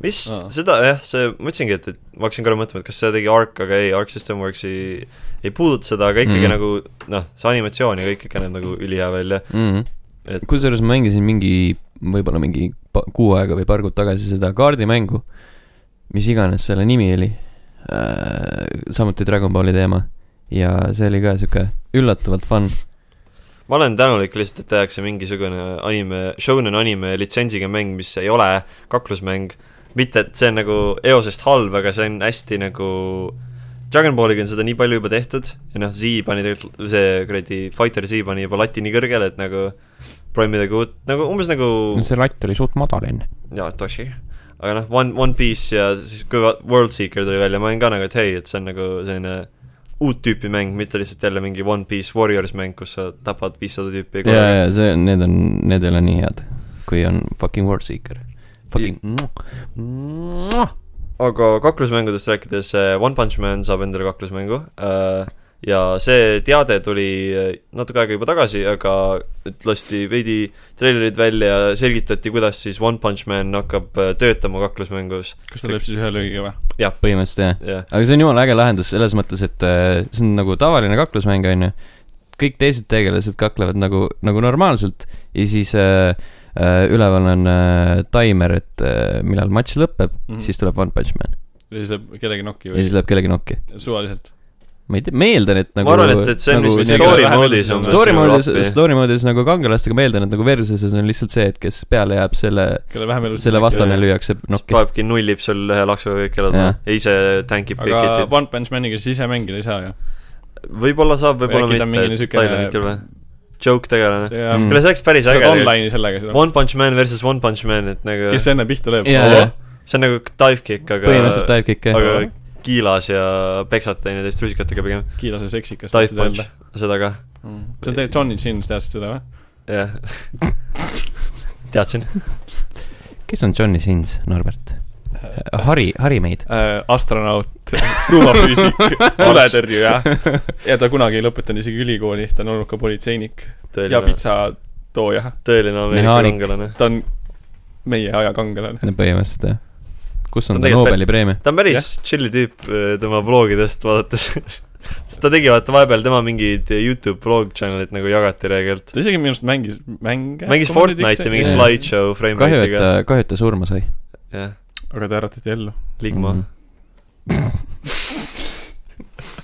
Speaker 1: mis
Speaker 2: Aa.
Speaker 1: seda jah , see , ma ütlesingi , et , et ma hakkasin korra mõtlema , et kas see tegi Ark , aga ei , Ark System Works ei , ei puuduta seda , aga ikkagi
Speaker 3: Mhm.
Speaker 1: mm. nagu noh , see animatsioon ja kõik ikka näeb nagu ülihea välja .
Speaker 3: mm.
Speaker 1: Et- .
Speaker 3: kusjuures ma mängisin mingi , võib-olla mingi pa- kuu aega või paar kuud tagasi seda kaardimängu , mis iganes selle nimi oli äh, . samuti Dragon Balli teema ja see oli ka sihuke üllatavalt fun .
Speaker 1: ma olen tänulik lihtsalt , et tehakse mingisugune anime , shonen anime litsentsiga mäng , mis ei ole kaklusmäng . mitte , et see on nagu eosest halb , aga see on hästi nagu Dragon Balliga on seda nii palju juba tehtud ja noh , Z pani tegelikult , see kuradi Fighter Z pani juba lati nii kõrgele , et nagu proovime midagi uut , nagu umbes nagu
Speaker 3: see latt oli suht madal enne .
Speaker 1: jaa , Toshi . aga noh , One , One Piece ja siis kui va- World Seeker tuli välja , ma olin ka nagu , et hei , et see on nagu selline uut tüüpi mäng , mitte lihtsalt jälle mingi One Piece Warriors mäng , kus sa tapad viissada tüüpi
Speaker 3: ja , ja see , need on , need ei ole nii head , kui on fucking World Seeker . Fucking .
Speaker 1: aga kaklusmängudest rääkides , One Punch Man saab endale kaklusmängu äh, ja see teade tuli äh, natuke aega juba tagasi , aga et lasti veidi treilerid välja ja selgitati , kuidas siis One Punch Man hakkab äh, töötama kaklusmängus ,
Speaker 2: kas ta lööb siis ühe löögiga või ?
Speaker 3: põhimõtteliselt jah .
Speaker 1: jah .
Speaker 3: aga see on jumala äge lahendus selles mõttes , et äh, see on nagu tavaline kaklusmäng , onju . kõik teised tegelased kaklevad nagu , nagu normaalselt ja siis äh, äh, üleval on äh, taimer , et äh, millal matš lõpeb mm ,
Speaker 2: Mhm.
Speaker 3: -hmm. siis tuleb One Punch Man
Speaker 2: ja siis lööb kedagi nokki
Speaker 3: ja
Speaker 2: või
Speaker 3: siis lööb kellegi nokki .
Speaker 2: suvaliselt .
Speaker 3: ma ei tea , ma eeldan , et nagu .
Speaker 1: ma arvan , et , et see on
Speaker 3: nagu,
Speaker 1: vist
Speaker 2: nii-
Speaker 1: story
Speaker 2: vähe-
Speaker 1: mode'is
Speaker 2: vähe-
Speaker 1: umbes .
Speaker 3: story mode'is , story mode'is nagu kangelastega , ma eeldan , et nagu versuses on lihtsalt see , et kes peale jääb , selle ,
Speaker 2: kelle vähem elus .
Speaker 3: selle vastane
Speaker 1: jah.
Speaker 3: lüüakse
Speaker 1: nokki .
Speaker 3: nokki .
Speaker 1: paebki nullib sul ühe laksuga kõik elada
Speaker 3: Noh, Jah.
Speaker 1: ja ise tankib kõik
Speaker 2: aga
Speaker 1: hitid .
Speaker 2: One Punch Maniga siis ise mängida ei saa ju .
Speaker 1: võib-olla saab , võib-olla
Speaker 2: äkki ta
Speaker 1: mitte ,
Speaker 2: on mingi
Speaker 1: et
Speaker 2: niisugune-
Speaker 1: Tyler hetkel või ? Joke tegelane .
Speaker 2: ja
Speaker 3: Mm.
Speaker 1: kuule , see oleks päris
Speaker 2: sa oled
Speaker 1: äge .
Speaker 2: online'i sellega siis .
Speaker 1: One Punch Man versus One Punch Man , et nagu
Speaker 2: kes enne pihta lööb
Speaker 3: Jaa,
Speaker 1: Oo.
Speaker 3: jaa.
Speaker 1: see on nagu dive kick ,
Speaker 3: põhimõtteliselt
Speaker 1: aga ,
Speaker 3: tajub kõike .
Speaker 1: aga kiilas ja peksad teineteist rusikatega pigem .
Speaker 2: kiilase seksikas .
Speaker 1: Dive punch , seda ka ,
Speaker 2: see on tegelikult Johnny Sins , teadsid seda või ?
Speaker 1: jah . teadsin .
Speaker 3: kes on Johnny Sins , Norbert ? Hari , Hari meid .
Speaker 2: Äh, astronaut , tuumafüüsik , tuletõrjuja ja ta kunagi ei lõpetanud isegi ülikooli , ta on olnud ka politseinik ja
Speaker 1: tõeline ,
Speaker 2: pitsatooja .
Speaker 1: tõeline Ameerika
Speaker 3: Mehaanik.
Speaker 1: kangelane .
Speaker 2: ta on meie aja kangelane .
Speaker 3: no põhimõtteliselt jah . kus
Speaker 1: Ta
Speaker 3: on
Speaker 1: on
Speaker 3: ta
Speaker 1: tegelikult
Speaker 3: Nobeli preemia ?
Speaker 1: ta on päris chill'i tüüp eh, tema blogidest vaadates . sest ta tegi vaata vahepeal tema mingeid Youtube blog channel'id nagu jagati reegelt .
Speaker 2: ta isegi minu arust mängis mänge .
Speaker 1: mängis Fortnite'i mingi
Speaker 3: Jaa.
Speaker 1: slideshow frame
Speaker 3: kahju , et
Speaker 1: rate'iga .
Speaker 3: ta , kahju , et ta surma sai .
Speaker 1: jah ,
Speaker 2: aga ta äratati ellu .
Speaker 1: Ligma .
Speaker 3: Mhm.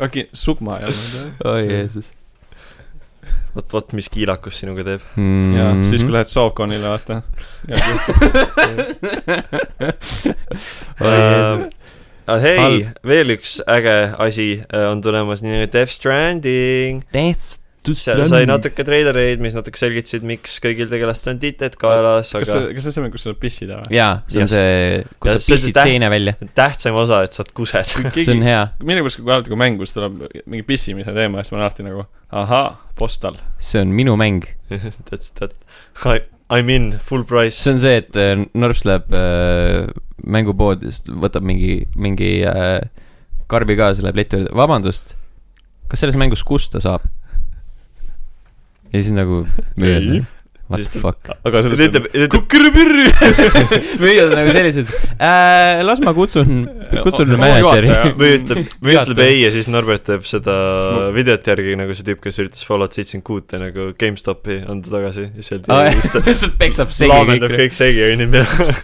Speaker 2: äkki Sugma ei olnud
Speaker 3: oi Jeesus .
Speaker 1: vot , vot mis kiilakus sinuga teeb .
Speaker 3: Mm.
Speaker 2: või ? jaa , siis
Speaker 3: Mm-hmm.
Speaker 2: kui lähed Sookonile , vaata .
Speaker 1: Äh, ah, hei
Speaker 3: Halb. ,
Speaker 1: veel üks äge asi eh, on tulemas , nii nagu Death Stranding .
Speaker 3: Death to
Speaker 1: seal sai . natuke treilereid , mis natuke selgitasid , miks kõigil tegelastel on tiited kaelas ,
Speaker 2: kas
Speaker 1: aga
Speaker 2: see , kas see on see , kus sa saad pissida või ?
Speaker 3: jaa , see on
Speaker 1: Just.
Speaker 3: see ,
Speaker 1: Ja
Speaker 3: kus
Speaker 1: see
Speaker 3: sa
Speaker 1: on see
Speaker 3: pissid
Speaker 1: täht-
Speaker 3: seina välja .
Speaker 1: tähtsam osa , et saad kused .
Speaker 3: see on
Speaker 2: keegi ,
Speaker 3: hea ,
Speaker 2: millegipärast kui alati , kui mängus tuleb mingi pissimise teema , siis ma olen alati nagu ahaa , postal .
Speaker 3: see on minu mäng .
Speaker 1: That's that , I , I m in , full price
Speaker 3: see . on see , et äh, Norps läheb äh, mängupoodi , siis võtab mingi , mingi äh, karbi kaasa , läheb leti juurde , vabandust , kas selles mängus kusta saab ? ja siis nagu
Speaker 2: Ei.
Speaker 3: mööda , what
Speaker 1: Siis ta-
Speaker 3: the fuck .
Speaker 2: aga
Speaker 1: ta
Speaker 2: sellest
Speaker 1: ütleb , ta ütleb ,
Speaker 2: kukkiripirri .
Speaker 3: müüjad on nagu sellised äh, , las ma kutsun , kutsun
Speaker 2: Oo,
Speaker 3: mänedžeri .
Speaker 2: juhataja.
Speaker 1: või ütleb , või ütleb
Speaker 3: Juhataja.
Speaker 1: ei ja siis Norbert teeb seda
Speaker 2: Siis ma-
Speaker 1: videot järgi nagu see tüüp , kes üritas Fallout seitsekümmend kuute nagu GameStopi anda tagasi ja siis
Speaker 3: Aa,
Speaker 1: öeldi , siis ta
Speaker 3: lihtsalt peksab segi
Speaker 1: laamendab
Speaker 3: kõik .
Speaker 1: kõik segi ja inimene ,
Speaker 2: aa ,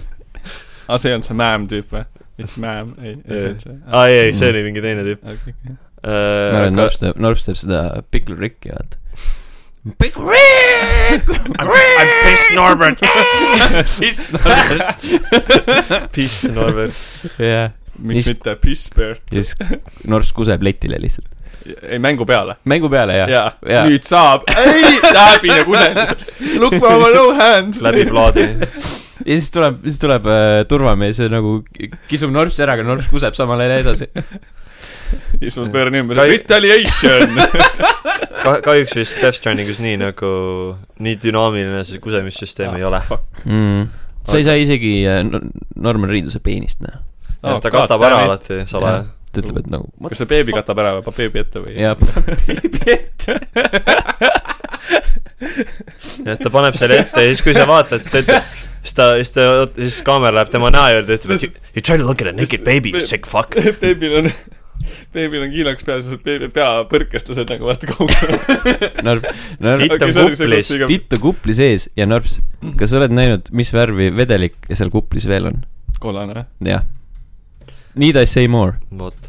Speaker 2: Ah, see ei olnud see määm tüüp või ? mitte määm , ei , ei see on see . Ah,
Speaker 1: aa ei , ei , see oli mingi teine tüüp .
Speaker 3: ma arvan , et
Speaker 1: aga
Speaker 3: Norps teeb , Norps teeb seda Pickle Ricki , vaata . Pickle Rick !
Speaker 1: I pissed Norbert .
Speaker 3: Piss Norbert .
Speaker 1: Peace Norbert .
Speaker 3: jah ,
Speaker 2: miks
Speaker 3: Mis-
Speaker 2: mitte pisspöör ?
Speaker 3: ja siis Norps kuseb letile lihtsalt .
Speaker 2: ei , mängu peale .
Speaker 3: mängu peale , jah ?
Speaker 2: jaa
Speaker 3: Jaa. ,
Speaker 2: nüüd saab . ei , läbi nagu usendus . Look my no hands .
Speaker 1: läbi plaadi .
Speaker 3: ja siis tuleb , siis tuleb äh, turvamees ja nagu kisub Norps ära , aga Norps kuseb samal ajal edasi .
Speaker 2: ja siis ma pööran ümber
Speaker 1: Kai- .
Speaker 2: Retaliation .
Speaker 1: ka- , kahjuks
Speaker 2: Ah.
Speaker 1: vist Death Strandingus nii nagu , nii dünaamiline see kusemissüsteem ei ole .
Speaker 3: mm. sa ei saa isegi äh, Nor- Norman Reeduse peenist näha .
Speaker 1: jah , ta
Speaker 2: Oh,
Speaker 1: katab
Speaker 2: God
Speaker 1: ära
Speaker 2: damn it.
Speaker 1: alati salaja .
Speaker 3: ta ütleb , et nagu
Speaker 2: kas see beebi katab ära või paneb beebi ette või ?
Speaker 3: jah ,
Speaker 2: beebi ette .
Speaker 1: jah , ta paneb selle ette ja siis , kui sa vaatad , siis ta ütleb , siis ta , siis ta , siis kaamera läheb tema näo juurde ja ütleb , et you, you try to look at a naked baby , you sick fuck .
Speaker 2: beebil on , beebil on kiilaks peas , beebi pea põrkestas , et nagu vaata kaugele .
Speaker 3: Norb , Norb ,
Speaker 1: Titt on kuplis.
Speaker 3: titt on kupli sees ja Norbs , kas sa oled näinud , mis värvi vedelik seal kuplis veel on ?
Speaker 2: kollane .
Speaker 3: jah . Need I say more .
Speaker 1: vot ,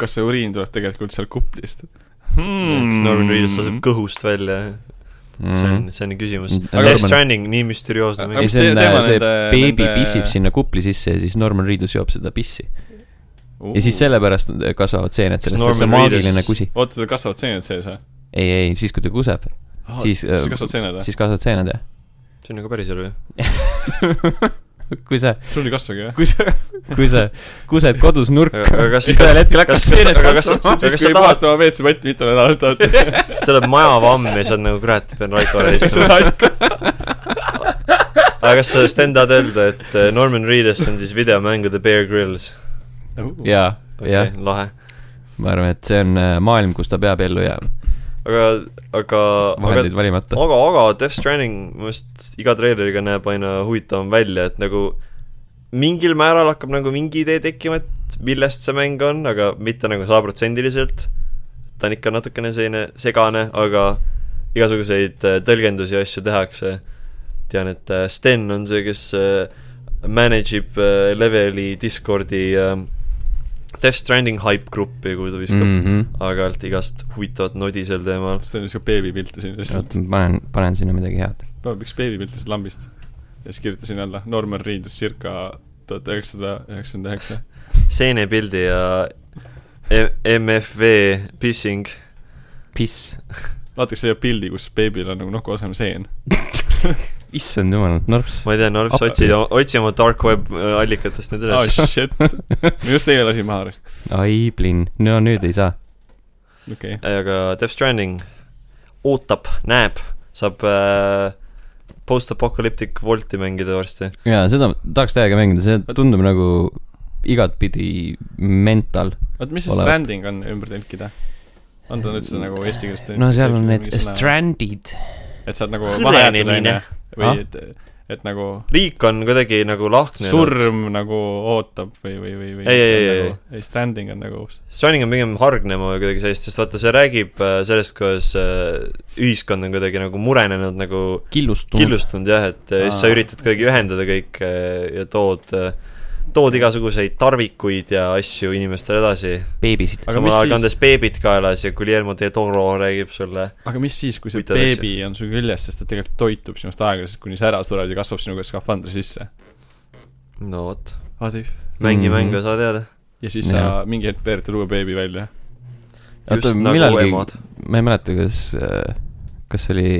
Speaker 2: kas see uriin tuleb tegelikult sealt kuplist Hmm.
Speaker 1: siis Norman Reedus laseb kõhust välja , see
Speaker 3: Mhm.
Speaker 1: on , see on küsimus .
Speaker 3: Aga
Speaker 1: Death
Speaker 3: Norman-
Speaker 1: Stranding , nii müsterioosne
Speaker 2: Hmm. Aga
Speaker 1: mäng
Speaker 3: ei , see on äh,
Speaker 2: teema
Speaker 3: see
Speaker 2: nende-
Speaker 3: beebi
Speaker 2: nende-
Speaker 3: pissib sinna kupli sisse ja siis Norman Reedus joob seda pissi . ja siis . sellepärast nad- kasvavad seened sellest , sest see on
Speaker 1: Norman Reedus-
Speaker 3: maagiline kusi .
Speaker 2: oota , tal kasvavad seened sees või ?
Speaker 3: ei , ei , siis kui ta kuseb ,
Speaker 1: Ah,
Speaker 3: Siis, äh,
Speaker 2: siis kasvavad seened või ?
Speaker 3: siis kasvavad seened jah .
Speaker 1: see on nagu päris elu ju .
Speaker 3: kui sa ,
Speaker 2: sul ei kasvagi või ?
Speaker 3: kui sa , kui sa kused kodus nurka
Speaker 1: Aga- aga kas-
Speaker 3: siis ühel
Speaker 1: kas- kas-
Speaker 3: hetkel hakkavad
Speaker 1: kas-
Speaker 3: seened
Speaker 1: aga kas-
Speaker 3: kasvama .
Speaker 1: kas
Speaker 2: siis ,
Speaker 1: sa
Speaker 2: kui ei
Speaker 1: tahad-
Speaker 2: puhasta oma WC-potti mitu nädalat oled .
Speaker 1: siis tuleb majavamm ja siis on nagu kurat , pean Raikole istuma . aga kas sa , Sten , tahad öelda , et äh, Norman Reedus on siis videomängude Bear Grylls ?
Speaker 3: jaa , jah
Speaker 1: okei , lahe .
Speaker 3: ma arvan , et see on äh, maailm , kus ta peab ellu jääma ,
Speaker 1: aga , aga , aga
Speaker 3: vahendeid valimata .
Speaker 1: aga , aga Death Stranding minu meelest iga treileriga näeb aina huvitavam välja , et nagu mingil määral hakkab nagu mingi idee tekkima , et millest see mäng on , aga mitte nagu sajaprotsendiliselt . ta on ikka natukene selline segane , aga igasuguseid äh, tõlgendusi ja asju tehakse . tean , et äh, Sten on see , kes äh, manage ib äh, leveli Discordi äh, Death Stranding hype gruppi , kuhu ta viskab mm.
Speaker 3: Mhm.
Speaker 1: aeg-ajalt igast huvitavat nodi sel teemal .
Speaker 2: siis teeme siukse beebipilte siin lihtsalt .
Speaker 3: panen , panen sinna midagi head .
Speaker 2: tuleb üks beebipilt lihtsalt lambist . ja siis kirjutasin alla Norman Reedus circa tuhat üheksasada üheksakümmend üheksa .
Speaker 1: seenepildi ja e- MFV pissing .
Speaker 3: piss .
Speaker 2: vaataks selle pildi , kus beebil on nagu nuku asemel seen .
Speaker 3: issand jumal , norps .
Speaker 1: ma ei tea , Norb , sa
Speaker 3: Appi.
Speaker 1: otsi , otsi oma dark web äh, allikatest need
Speaker 2: oh
Speaker 1: üles .
Speaker 2: shit , ma just teie lasin maha ,
Speaker 3: ai , plinn , no nüüd ei saa .
Speaker 2: okei okay. .
Speaker 1: aga Death Stranding ootab , näeb , saab äh, post-apocalyptic Volti mängida varsti .
Speaker 3: jaa , seda tahaks täiega mängida , see tundub nagu igatpidi mental .
Speaker 2: oota , mis see
Speaker 3: Olevat.
Speaker 2: stranding on ümber tõlkida ? on ta nüüd seda nagu eesti keeles
Speaker 3: no seal
Speaker 1: nagu
Speaker 3: on need . strandid .
Speaker 2: et saad nagu
Speaker 1: Hõrenemine.
Speaker 2: vahe jätta , onju .
Speaker 3: Ah?
Speaker 2: või et , et nagu
Speaker 1: riik on kuidagi nagu lahknenud .
Speaker 2: surm nagu ootab või , või , või , või .
Speaker 1: Ei, ei, ei,
Speaker 2: ei . ei , stranding on nagu uus .
Speaker 1: Stranding on pigem hargnema või kuidagi sellist , sest vaata , see räägib äh, sellest , kuidas äh, ühiskond on kuidagi nagu murenenud nagu
Speaker 3: killustunud .
Speaker 1: killustunud jah , et äh, siis sa
Speaker 2: Aa.
Speaker 1: üritad kuidagi ühendada kõik äh, ja tood , tood igasuguseid tarvikuid ja asju inimestele edasi .
Speaker 3: beebisid .
Speaker 2: Aga
Speaker 1: samal
Speaker 2: mis
Speaker 1: ajal
Speaker 2: siis-
Speaker 1: kandes beebid kaelas ja Guillermo de Toro räägib sulle .
Speaker 2: aga mis siis , kui see
Speaker 1: Huvitav asi.
Speaker 2: beebi on su küljes , sest ta tegelikult toitub sinust aeglaselt , kuni sa ära sured ja kasvab sinuga skafandri sisse .
Speaker 1: no vot ,
Speaker 2: What if ?
Speaker 1: mängi
Speaker 3: Mhm.
Speaker 1: mängu , sa tead .
Speaker 2: ja siis sa
Speaker 3: Jah.
Speaker 2: mingi hetk veeretad uue beebi välja .
Speaker 3: oota ,
Speaker 1: nagu
Speaker 3: millalgi , ma ei mäleta , kas , kas see oli ,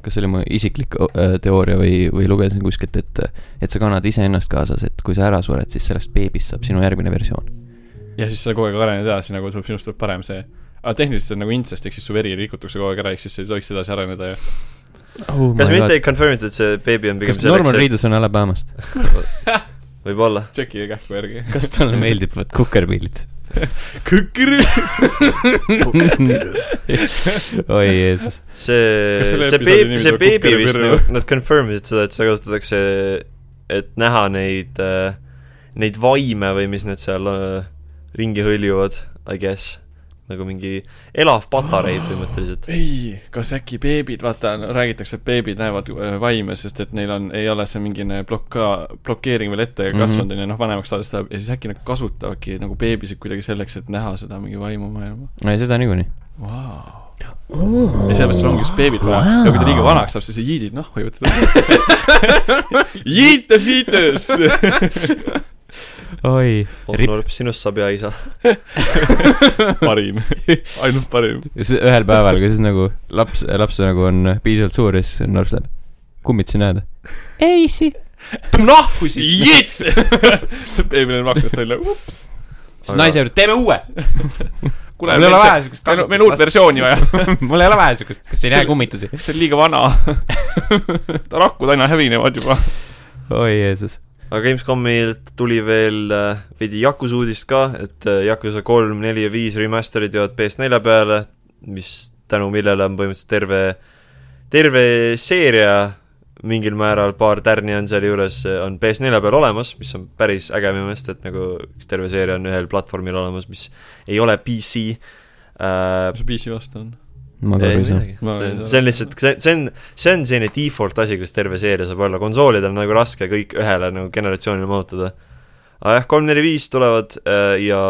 Speaker 3: kas see oli mu isiklik äh, teooria või , või lugesin kuskilt , et , et sa kannad iseennast kaasas , et kui sa ära sured , siis sellest beebist saab sinu järgmine versioon .
Speaker 2: ja siis sa kogu aeg arened edasi , nagu tuleb sinust tuleb parem see . aga tehniliselt see on nagu intsest , ehk siis su veri rikutakse kogu aeg ära , ehk siis sa ei tohiks edasi areneda ja
Speaker 3: Oh
Speaker 1: kas mitte ei confirm ita , et see beebi on pigem
Speaker 3: kas Norman
Speaker 1: selleks ,
Speaker 3: Reedus on Alabamast ?
Speaker 1: et võib-olla .
Speaker 2: tšeki kähku järgi .
Speaker 3: kas talle meeldivad kukerpillid ?
Speaker 2: kõkri .
Speaker 3: oi Jeesus .
Speaker 1: see ,
Speaker 2: Kas selle
Speaker 1: see
Speaker 2: episoodi
Speaker 1: beeb-
Speaker 2: nimi
Speaker 1: see
Speaker 2: tuleb
Speaker 1: beebi
Speaker 2: Kukkeri
Speaker 1: vist
Speaker 2: Pirju?
Speaker 1: nagu , nad confirm isid seda , et seda kasutatakse , et näha neid , neid vaime või mis need seal äh, ringi hõljuvad , I guess . nagu mingi elav patarei põhimõtteliselt .
Speaker 2: ei , kas äkki beebid , vaata , räägitakse , et beebid näevad äh, vaime , sest et neil on , ei ole see mingine bloka- , blokeering veel ette
Speaker 3: Mhm.
Speaker 2: kasvanud , onju , noh , vanemaks saades tahab ja siis äkki nad kasutavadki nagu beebisid kuidagi selleks , et näha seda mingi vaimumaailma
Speaker 3: ei , seda niikuinii .
Speaker 2: wow. . ja sellepärast sul ongi just beebid vaja wow. ja kui ta liiga vanaks saab , siis sa jiidid nahku ja võtad Yeet the fetus
Speaker 3: oi .
Speaker 1: oh
Speaker 3: Rip-
Speaker 1: Norb , sinust saab hea isa .
Speaker 2: parim , ainult parim .
Speaker 3: ühel päeval , kui siis nagu laps , laps nagu on piisavalt suur ja siis Norman ütleb , kummit sina jääd ? ei , si- .
Speaker 2: nahku siit . beebil on aknast välja , ups .
Speaker 3: siis naise juurde , teeme uue .
Speaker 2: kuule ,
Speaker 3: Mul ei
Speaker 2: meil
Speaker 3: ole
Speaker 2: on
Speaker 3: vaja siukest
Speaker 2: meil on , meil on uut
Speaker 3: kasutust.
Speaker 2: versiooni vaja .
Speaker 3: mul ei ole vaja siukest , kas ei näe kummitusi ?
Speaker 2: see on liiga vana . rakud aina hävinevad juba .
Speaker 3: oi Jeesus .
Speaker 1: aga Gamescomilt tuli veel äh, veidi Yakuza uudist ka , et äh, Yakuza kolm , neli ja viis remaster'id jõuavad PS4 peale , mis tänu millele on põhimõtteliselt terve , terve seeria mingil määral , paar tärni on sealjuures , on PS4 peal olemas , mis on päris äge minu meelest , et nagu üks terve seeria on ühel platvormil olemas , mis ei ole PC äh, .
Speaker 2: mis su PC vastu on ?
Speaker 3: ma ka
Speaker 1: ei
Speaker 3: ei saa .
Speaker 1: midagi ,
Speaker 2: Ma
Speaker 1: see on
Speaker 2: ei , saa.
Speaker 1: see on lihtsalt , see , see on , see on selline default asi , kus terve seeria saab olla , konsoolidel on nagu raske kõik ühele nagu generatsioonile mahutada . aga jah , kolm , neli , viis tulevad äh, ja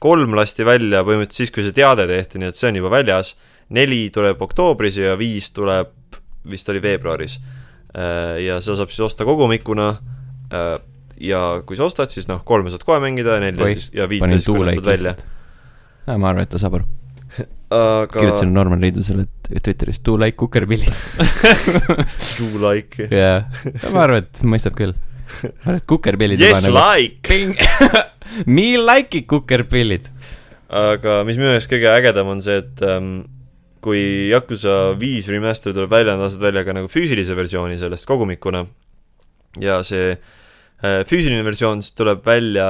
Speaker 1: kolm lasti välja põhimõtteliselt siis , kui see teade tehti , nii et see on juba väljas , neli tuleb oktoobris ja viis tuleb , vist oli veebruaris . ja seda saab siis osta kogumikuna äh, ja kui sa ostad , siis noh , kolme saad kohe mängida , nelja
Speaker 3: Oi,
Speaker 1: siis ja viite
Speaker 3: panin
Speaker 1: siis
Speaker 3: tuuleid
Speaker 1: kõnetad välja .
Speaker 3: lihtsalt . aa , ma arvan , et ta saab aru .
Speaker 1: aga
Speaker 3: kirjutasin Norman Reedusele Twitteris do like kukerpillid .
Speaker 1: do like .
Speaker 3: jaa , ma arvan , et mõistab küll . ma arvan , et kukerpillid nagu-
Speaker 1: Yes , like !
Speaker 3: Ping. Me like it kukerpillid .
Speaker 1: aga mis minu jaoks kõige ägedam on see , et ähm, kui Yakuza viis remaster tuleb välja , nad lased välja ka nagu füüsilise versiooni sellest kogumikuna . ja see äh, füüsiline versioon siis tuleb välja ,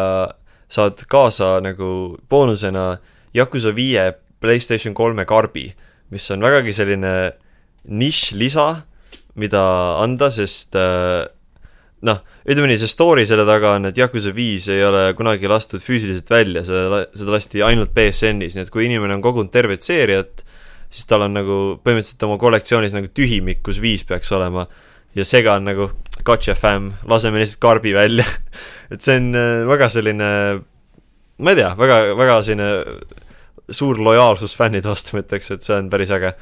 Speaker 1: saad kaasa nagu boonusena Yakuza viie Playstation kolme karbi , mis on vägagi selline nišš-lisa , mida anda , sest äh, noh , ütleme nii , see story selle taga on , et Yakuza viis ei ole kunagi lastud füüsiliselt välja , seda , seda lasti ainult BSN-is , nii et kui inimene on kogunud tervet seeriat , siis tal on nagu põhimõtteliselt oma kollektsioonis nagu tühimik , kus viis peaks olema . ja sega on nagu gotcha fam , laseme lihtsalt karbi välja . et see on äh, väga selline , ma ei tea , väga , väga selline suur lojaalsus fännide vastu , ma ütleks , et see on päris äge .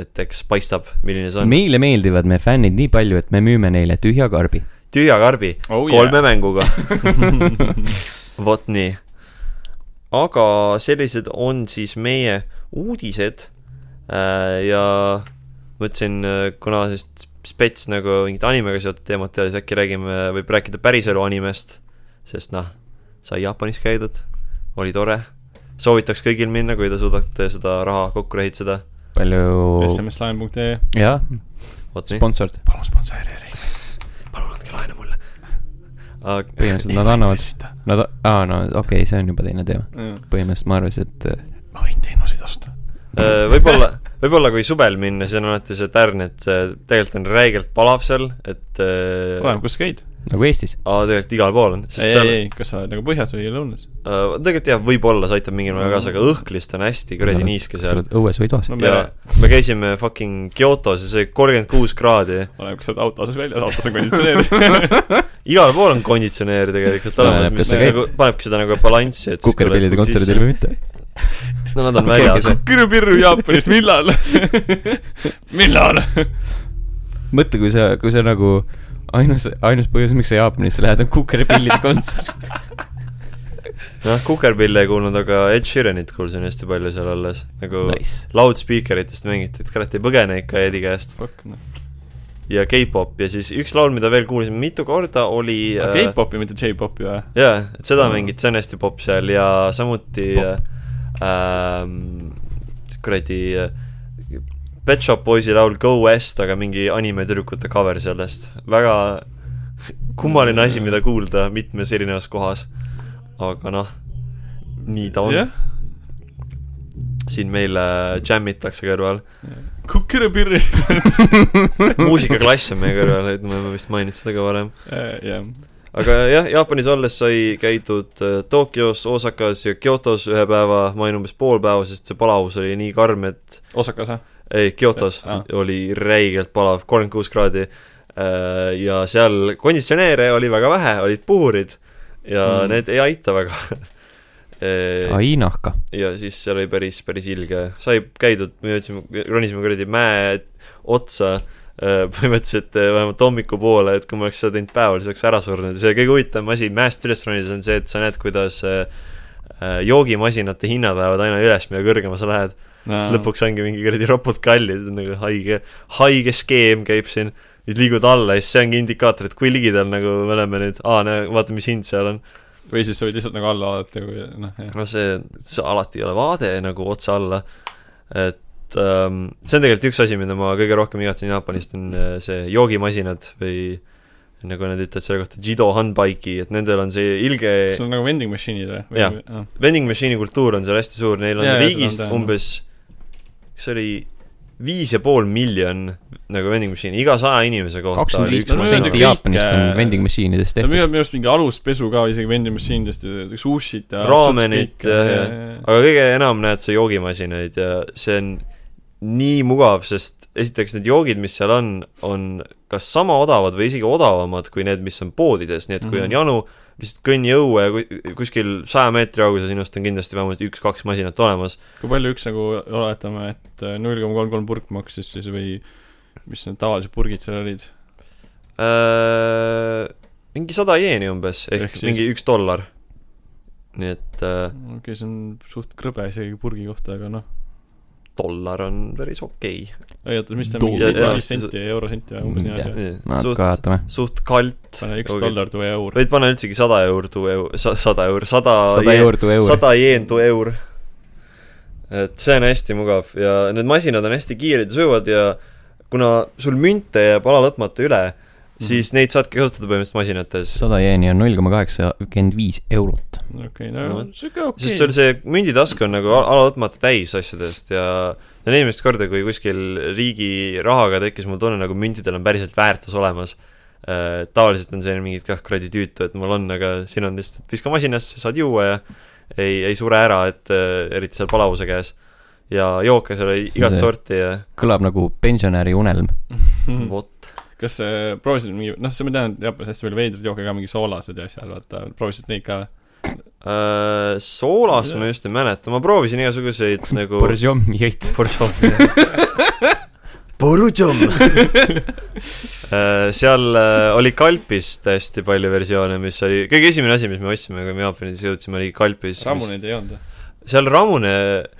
Speaker 1: et eks paistab , milline see on .
Speaker 3: meile meeldivad me fännid nii palju , et me müüme neile tühja karbi .
Speaker 1: tühja karbi
Speaker 2: oh,
Speaker 1: kolme . mänguga . vot nii . aga sellised on siis meie uudised äh, ja mõtlesin , kuna sellist spets nagu mingit animega seotud teemat ei ole , siis äkki räägime , võib rääkida päriselu animest , sest noh , sai Jaapanis käidud , oli tore , soovitaks kõigil minna , kui te suudate seda raha kokku rehitseda ,
Speaker 3: palju ,
Speaker 2: smslaen.ee
Speaker 3: jah ,
Speaker 1: vot nii ,
Speaker 3: sponsorid ,
Speaker 2: palun sponsoreeri .
Speaker 1: palun andke laenu mulle . aga
Speaker 3: põhimõtteliselt nad annavad , nad , aa no okei okay, , see on juba teine teema . põhimõtteliselt ma arvasin , et äh,
Speaker 2: ma võin teenuseid osta .
Speaker 1: Äh, võib-olla , võib-olla kui suvel minna , siis on alati see tärn , et see tegelikult on räigelt palav seal , et äh,
Speaker 2: oleneb , kus sa käid .
Speaker 3: nagu Eestis .
Speaker 1: aa , tegelikult igal pool on , sest
Speaker 2: ei ,
Speaker 1: seal
Speaker 2: ei , ei , kas sa oled nagu põhjas või lõunas ?
Speaker 1: äh, tegelikult jah , võib-olla see aitab mingil määral kaasa , aga õhk lihtsalt on hästi kuradi niiske
Speaker 3: sa
Speaker 1: seal .
Speaker 3: oled õues või toas
Speaker 2: No ?
Speaker 1: ja me käisime fucking Kyotos ja see oli kolmkümmend kuus kraadi .
Speaker 2: oleneb , kas sa oled autos väljas , autos on konditsioneeritud .
Speaker 1: igal pool on konditsioneer tegelikult olemas ,
Speaker 3: Oleneb,
Speaker 1: mis
Speaker 3: kas sa
Speaker 1: nagu
Speaker 3: käid-
Speaker 1: panebki seda nagu balanssi , et
Speaker 3: kukerpillide kontserdil või mitte ?
Speaker 1: mitte ? no nad on
Speaker 3: Okei,
Speaker 1: väljas
Speaker 3: okei, .
Speaker 2: kirju-pirju Jaapanist , millal ? millal ?
Speaker 3: mõtle , kui sa , kui sa nagu ainus , ainus põhjus , miks sa Jaapanisse lähed , on kukerpillide kontsert .
Speaker 1: noh , kukerpille ei kuulnud , aga Ed Sheeranit kuulsin hästi palju seal alles , nagu
Speaker 3: Nice .
Speaker 1: loudspeaker itest mängiti , et kurat ei põgene ikka Edi käest .
Speaker 2: Fuck noh .
Speaker 1: ja K-pop ja siis üks laul , mida veel kuulsin mitu korda , oli
Speaker 2: Ah,
Speaker 1: äh,
Speaker 2: K-popi , mitte J-popi või ?
Speaker 1: jaa , et seda
Speaker 2: Mm.
Speaker 1: mängiti , see on hästi popp seal ja samuti äh, ähm, kuradi äh, Pet Shop Boysi laul Go West , aga mingi animetüdrukute cover sellest , väga kummaline asi , mida kuulda mitmes erinevas kohas . aga noh , nii ta on
Speaker 2: jah
Speaker 1: yeah. ,, siin meile džämmitakse kõrval ,
Speaker 2: kirju-pirju .
Speaker 1: muusikaklass on meie kõrval , et ma ma vist maininud seda ka varem .
Speaker 2: Äh, jah .
Speaker 1: aga jah , Jaapanis olles sai käidud äh, Tokyos , Osakas ja Kyotos ühe päeva , ma olin umbes pool päeva , sest see palavus oli nii karm , et
Speaker 2: Osakas või ?
Speaker 1: ei , Kyotos
Speaker 2: Ah.
Speaker 1: oli räigelt palav , kolmkümmend kuus kraadi . ja seal konditsioneere oli väga vähe , olid puhurid ja
Speaker 2: Mm.
Speaker 1: mm. need ei aita väga E,
Speaker 3: ai nahka .
Speaker 1: ja siis seal oli päris , päris ilge , sai käidud , me jõudsime , ronisime kuradi mäe otsa äh, põhimõtteliselt äh, vähemalt hommikupoole , et kui ma oleks seda teinud päeval , siis oleks ära surnud ja see kõige huvitavam asi mäest üles ronides on see , et sa näed , kuidas äh, äh, joogimasinate hinnad lähevad aina üles , mida kõrgema sa lähed . siis . lõpuks ongi mingi kuradi ropult kallid , nagu haige , haige skeem käib siin . siis liigud alla ja siis see ongi indikaator , et kui ligidal nagu me oleme nüüd , aa , näe , vaata , mis hind seal on .
Speaker 2: või siis sa võid lihtsalt nagu alla vaadata , kui noh , jah .
Speaker 1: no see , see alati ei ole vaade nagu otse alla , et ähm, see on tegelikult üks asi , mida ma kõige rohkem igatsen Jaapanist , on äh, see joogimasinad või nagu nad ütlevad selle kohta , Jido Hanbaiki , et nendel on see ilge
Speaker 2: kas need on nagu vending machine'id või?
Speaker 1: Jah.
Speaker 2: või ? ah. jah .
Speaker 1: vending machine'i kultuur on seal hästi suur , neil on
Speaker 2: Jaa, jaa,
Speaker 1: riigist
Speaker 2: seda on teada.
Speaker 1: umbes , kas see oli viis ja pool miljon nagu vending machine'i , iga saja inimese kohta
Speaker 3: kakskümmend
Speaker 1: oli
Speaker 3: viis
Speaker 1: üks äh,
Speaker 2: masin-
Speaker 3: protsenti
Speaker 1: masin .
Speaker 3: Jaapanist on
Speaker 2: kõik-
Speaker 3: vending machine'idest
Speaker 2: Nad
Speaker 3: tehtud .
Speaker 2: müüvad minu arust mingi aluspesu ka isegi vending machine idest , sushit ja
Speaker 1: Raamenit
Speaker 2: ja ,
Speaker 1: ja- ja-
Speaker 2: ja .
Speaker 1: aga kõige enam näed sa joogimasinaid ja see on nii mugav , sest esiteks need joogid , mis seal on , on kas sama odavad või isegi odavamad kui need , mis on poodides , nii et kui
Speaker 2: Mhm.
Speaker 1: on janu , lihtsalt kõnni õue ja ku- kuskil saja meetri kaugusel sinust on kindlasti vähemalt üks-kaks masinat olemas .
Speaker 2: kui palju üks nagu , oletame , et äh, null koma kolm kolm purk maksis siis või mis need tavalised purgid seal olid ?
Speaker 1: Äh, mingi sada jeeni umbes , ehk
Speaker 2: Ehk siis-
Speaker 1: mingi üks dollar . nii et äh,
Speaker 2: okei okay, , see on suht krõbe isegi purgi kohta , aga noh .
Speaker 1: dollar on päris okei
Speaker 2: ei oota , mis ta
Speaker 3: Doos-
Speaker 2: mingi
Speaker 1: Jaa, jaa.
Speaker 2: seitseteist senti ja eurosenti või umbes
Speaker 3: Ma ei tea.
Speaker 2: niimoodi .
Speaker 3: ma
Speaker 1: suht ,
Speaker 3: ka vaatame .
Speaker 1: suht kalt ,
Speaker 2: pane üks
Speaker 1: Joogid.
Speaker 2: dollar to eur .
Speaker 1: võid panna üldsegi sada eurdu , sada eur , sada
Speaker 3: sada
Speaker 1: jeen-
Speaker 3: eur to eur .
Speaker 1: sada jeendu eur . et see on hästi mugav ja need masinad on hästi kiired ja sujuvad ja kuna sul münte jääb ala lõpmata üle mm , -hmm. siis neid saadki kasutada põhimõtteliselt masinates .
Speaker 3: sada jeeni on null koma kaheksakümmend viis eurot .
Speaker 2: okei ,
Speaker 1: No.
Speaker 2: no sihuke okei .
Speaker 1: sest sul see münditask on nagu al- ala lõpmata täis asjadest ja see on esimest korda , kui kuskil riigi rahaga tekkis mul tunne , nagu müntidel on päriselt väärtus olemas . tavaliselt on selline mingi kah kuradi tüütu , et mul on , aga siin on lihtsalt , et viska masinasse , saad juua ja ei , ei sure ära , et äh, eriti seal palavuse käes . ja jooke seal oli
Speaker 3: See on
Speaker 1: igat
Speaker 3: see-
Speaker 1: sorti ja
Speaker 3: kõlab nagu pensionäri unelm .
Speaker 2: Mhm.
Speaker 1: vot .
Speaker 2: Hmm. kas äh, proovisid mingi , noh , see ma tean , Jaapanis hästi palju veidraid jooke ka , mingi soolased ja asjad , vaata , proovisid neid ka
Speaker 1: äh, Soolast ma just ei mäleta , ma proovisin igasuguseid nagu
Speaker 3: Boržom jõid .
Speaker 1: Borjom . Borjom . seal äh, oli kalpist hästi palju versioone , mis oli kõige esimene asi , mis me ostsime , kui me Jaapanisse jõudsime , oli kalpis .
Speaker 2: ramuneid ei olnud või ?
Speaker 1: seal ramune ,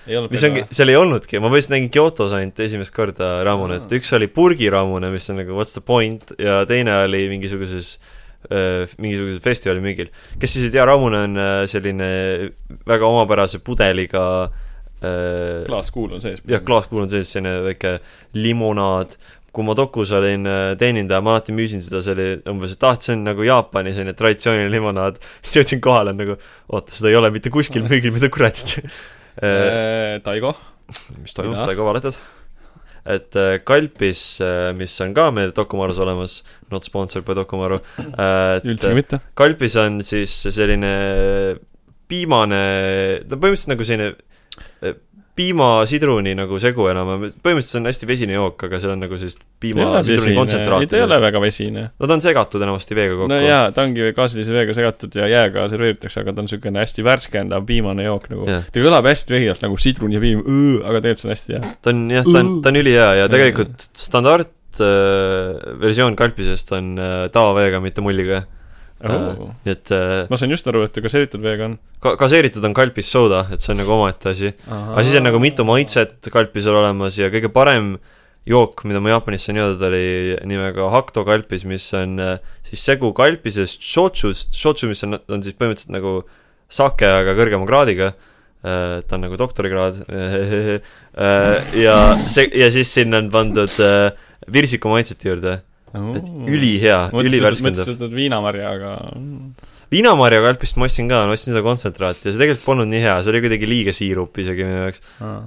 Speaker 2: ei olnud
Speaker 1: mis ongi , seal ei olnudki , ma vist nägin Kyotos ainult esimest korda ramunet ,
Speaker 2: Aa.
Speaker 1: üks oli purgiramune , mis on nagu what's the point ja teine oli mingisuguses äh, mingisugusel festivali müügil . kes siis ei tea , ramune on äh, selline väga omapärase pudeliga äh,
Speaker 2: klaaskuul on sees .
Speaker 1: jah , klaaskuul on sees selline väike limonaad , kui ma Dokus olin äh, teenindaja , ma alati müüsin seda , see oli umbes , et ah , et see on nagu Jaapani selline traditsiooniline limonaad . siis jõudsin kohale nagu , oota , seda ei ole mitte kuskil müügil , mida kuradi äh, .
Speaker 2: Taigo ,
Speaker 1: mis toimub ,
Speaker 2: mida?
Speaker 1: ta ei kavaletad . et äh, Kalpis , mis on ka meil Dokumarus olemas , not sponsored by Dokumaru äh, .
Speaker 2: üldsegi mitte .
Speaker 1: kalpis on siis selline piimane , ta põhimõtteliselt nagu selline eh, piima-sidruni nagu segu enam-vähem , põhimõtteliselt see on hästi vesine jook , aga seal on nagu sellist piima-sidruni
Speaker 2: ei , ta ei ole
Speaker 1: kontsentraati .
Speaker 2: väga vesine .
Speaker 1: no ta on segatud enamasti veega kokku
Speaker 2: no . jaa , ta ongi gaasilise veega segatud ja jääga serveeritakse , aga ta on niisugune hästi värskendav piimane jook nagu .
Speaker 1: Jah.
Speaker 2: ta kõlab hästi veidalt nagu sidrun ja piim , aga tegelikult see on hästi hea .
Speaker 1: ta on jah , ta on , ta on ülihea ja tegelikult standardversioon kalpisest on eh, tavaveega , mitte mulliga .
Speaker 2: Oh.
Speaker 1: nii et eh,
Speaker 2: ma sain just aru , et ta gaseeritud veega on .
Speaker 1: ka- gaseeritud on kalpis sooda , et see on nagu omaette asi . aga siis on nagu mitu maitset kalpisel olemas ja kõige parem jook , mida ma Jaapanis sain jooda , ta oli nimega Hakto kalpis , mis on äh, siis segu kalpisest shotsust , shotsu , mis on , on siis põhimõtteliselt nagu sake , aga kõrgema kraadiga . ta on nagu doktorikraad Eh, ja see , ja siis sinna on pandud äh, virsiku maitset juurde , et ülihea , ülivärskendav .
Speaker 2: Mm. mõtlesin , Oh. et on viinamarja , aga
Speaker 1: viinamarja kalpist ma ostsin ka , ma ostsin seda kontsentraati ja see tegelikult polnud nii hea , see oli kuidagi liiga siirup isegi minu jaoks ,
Speaker 2: aa.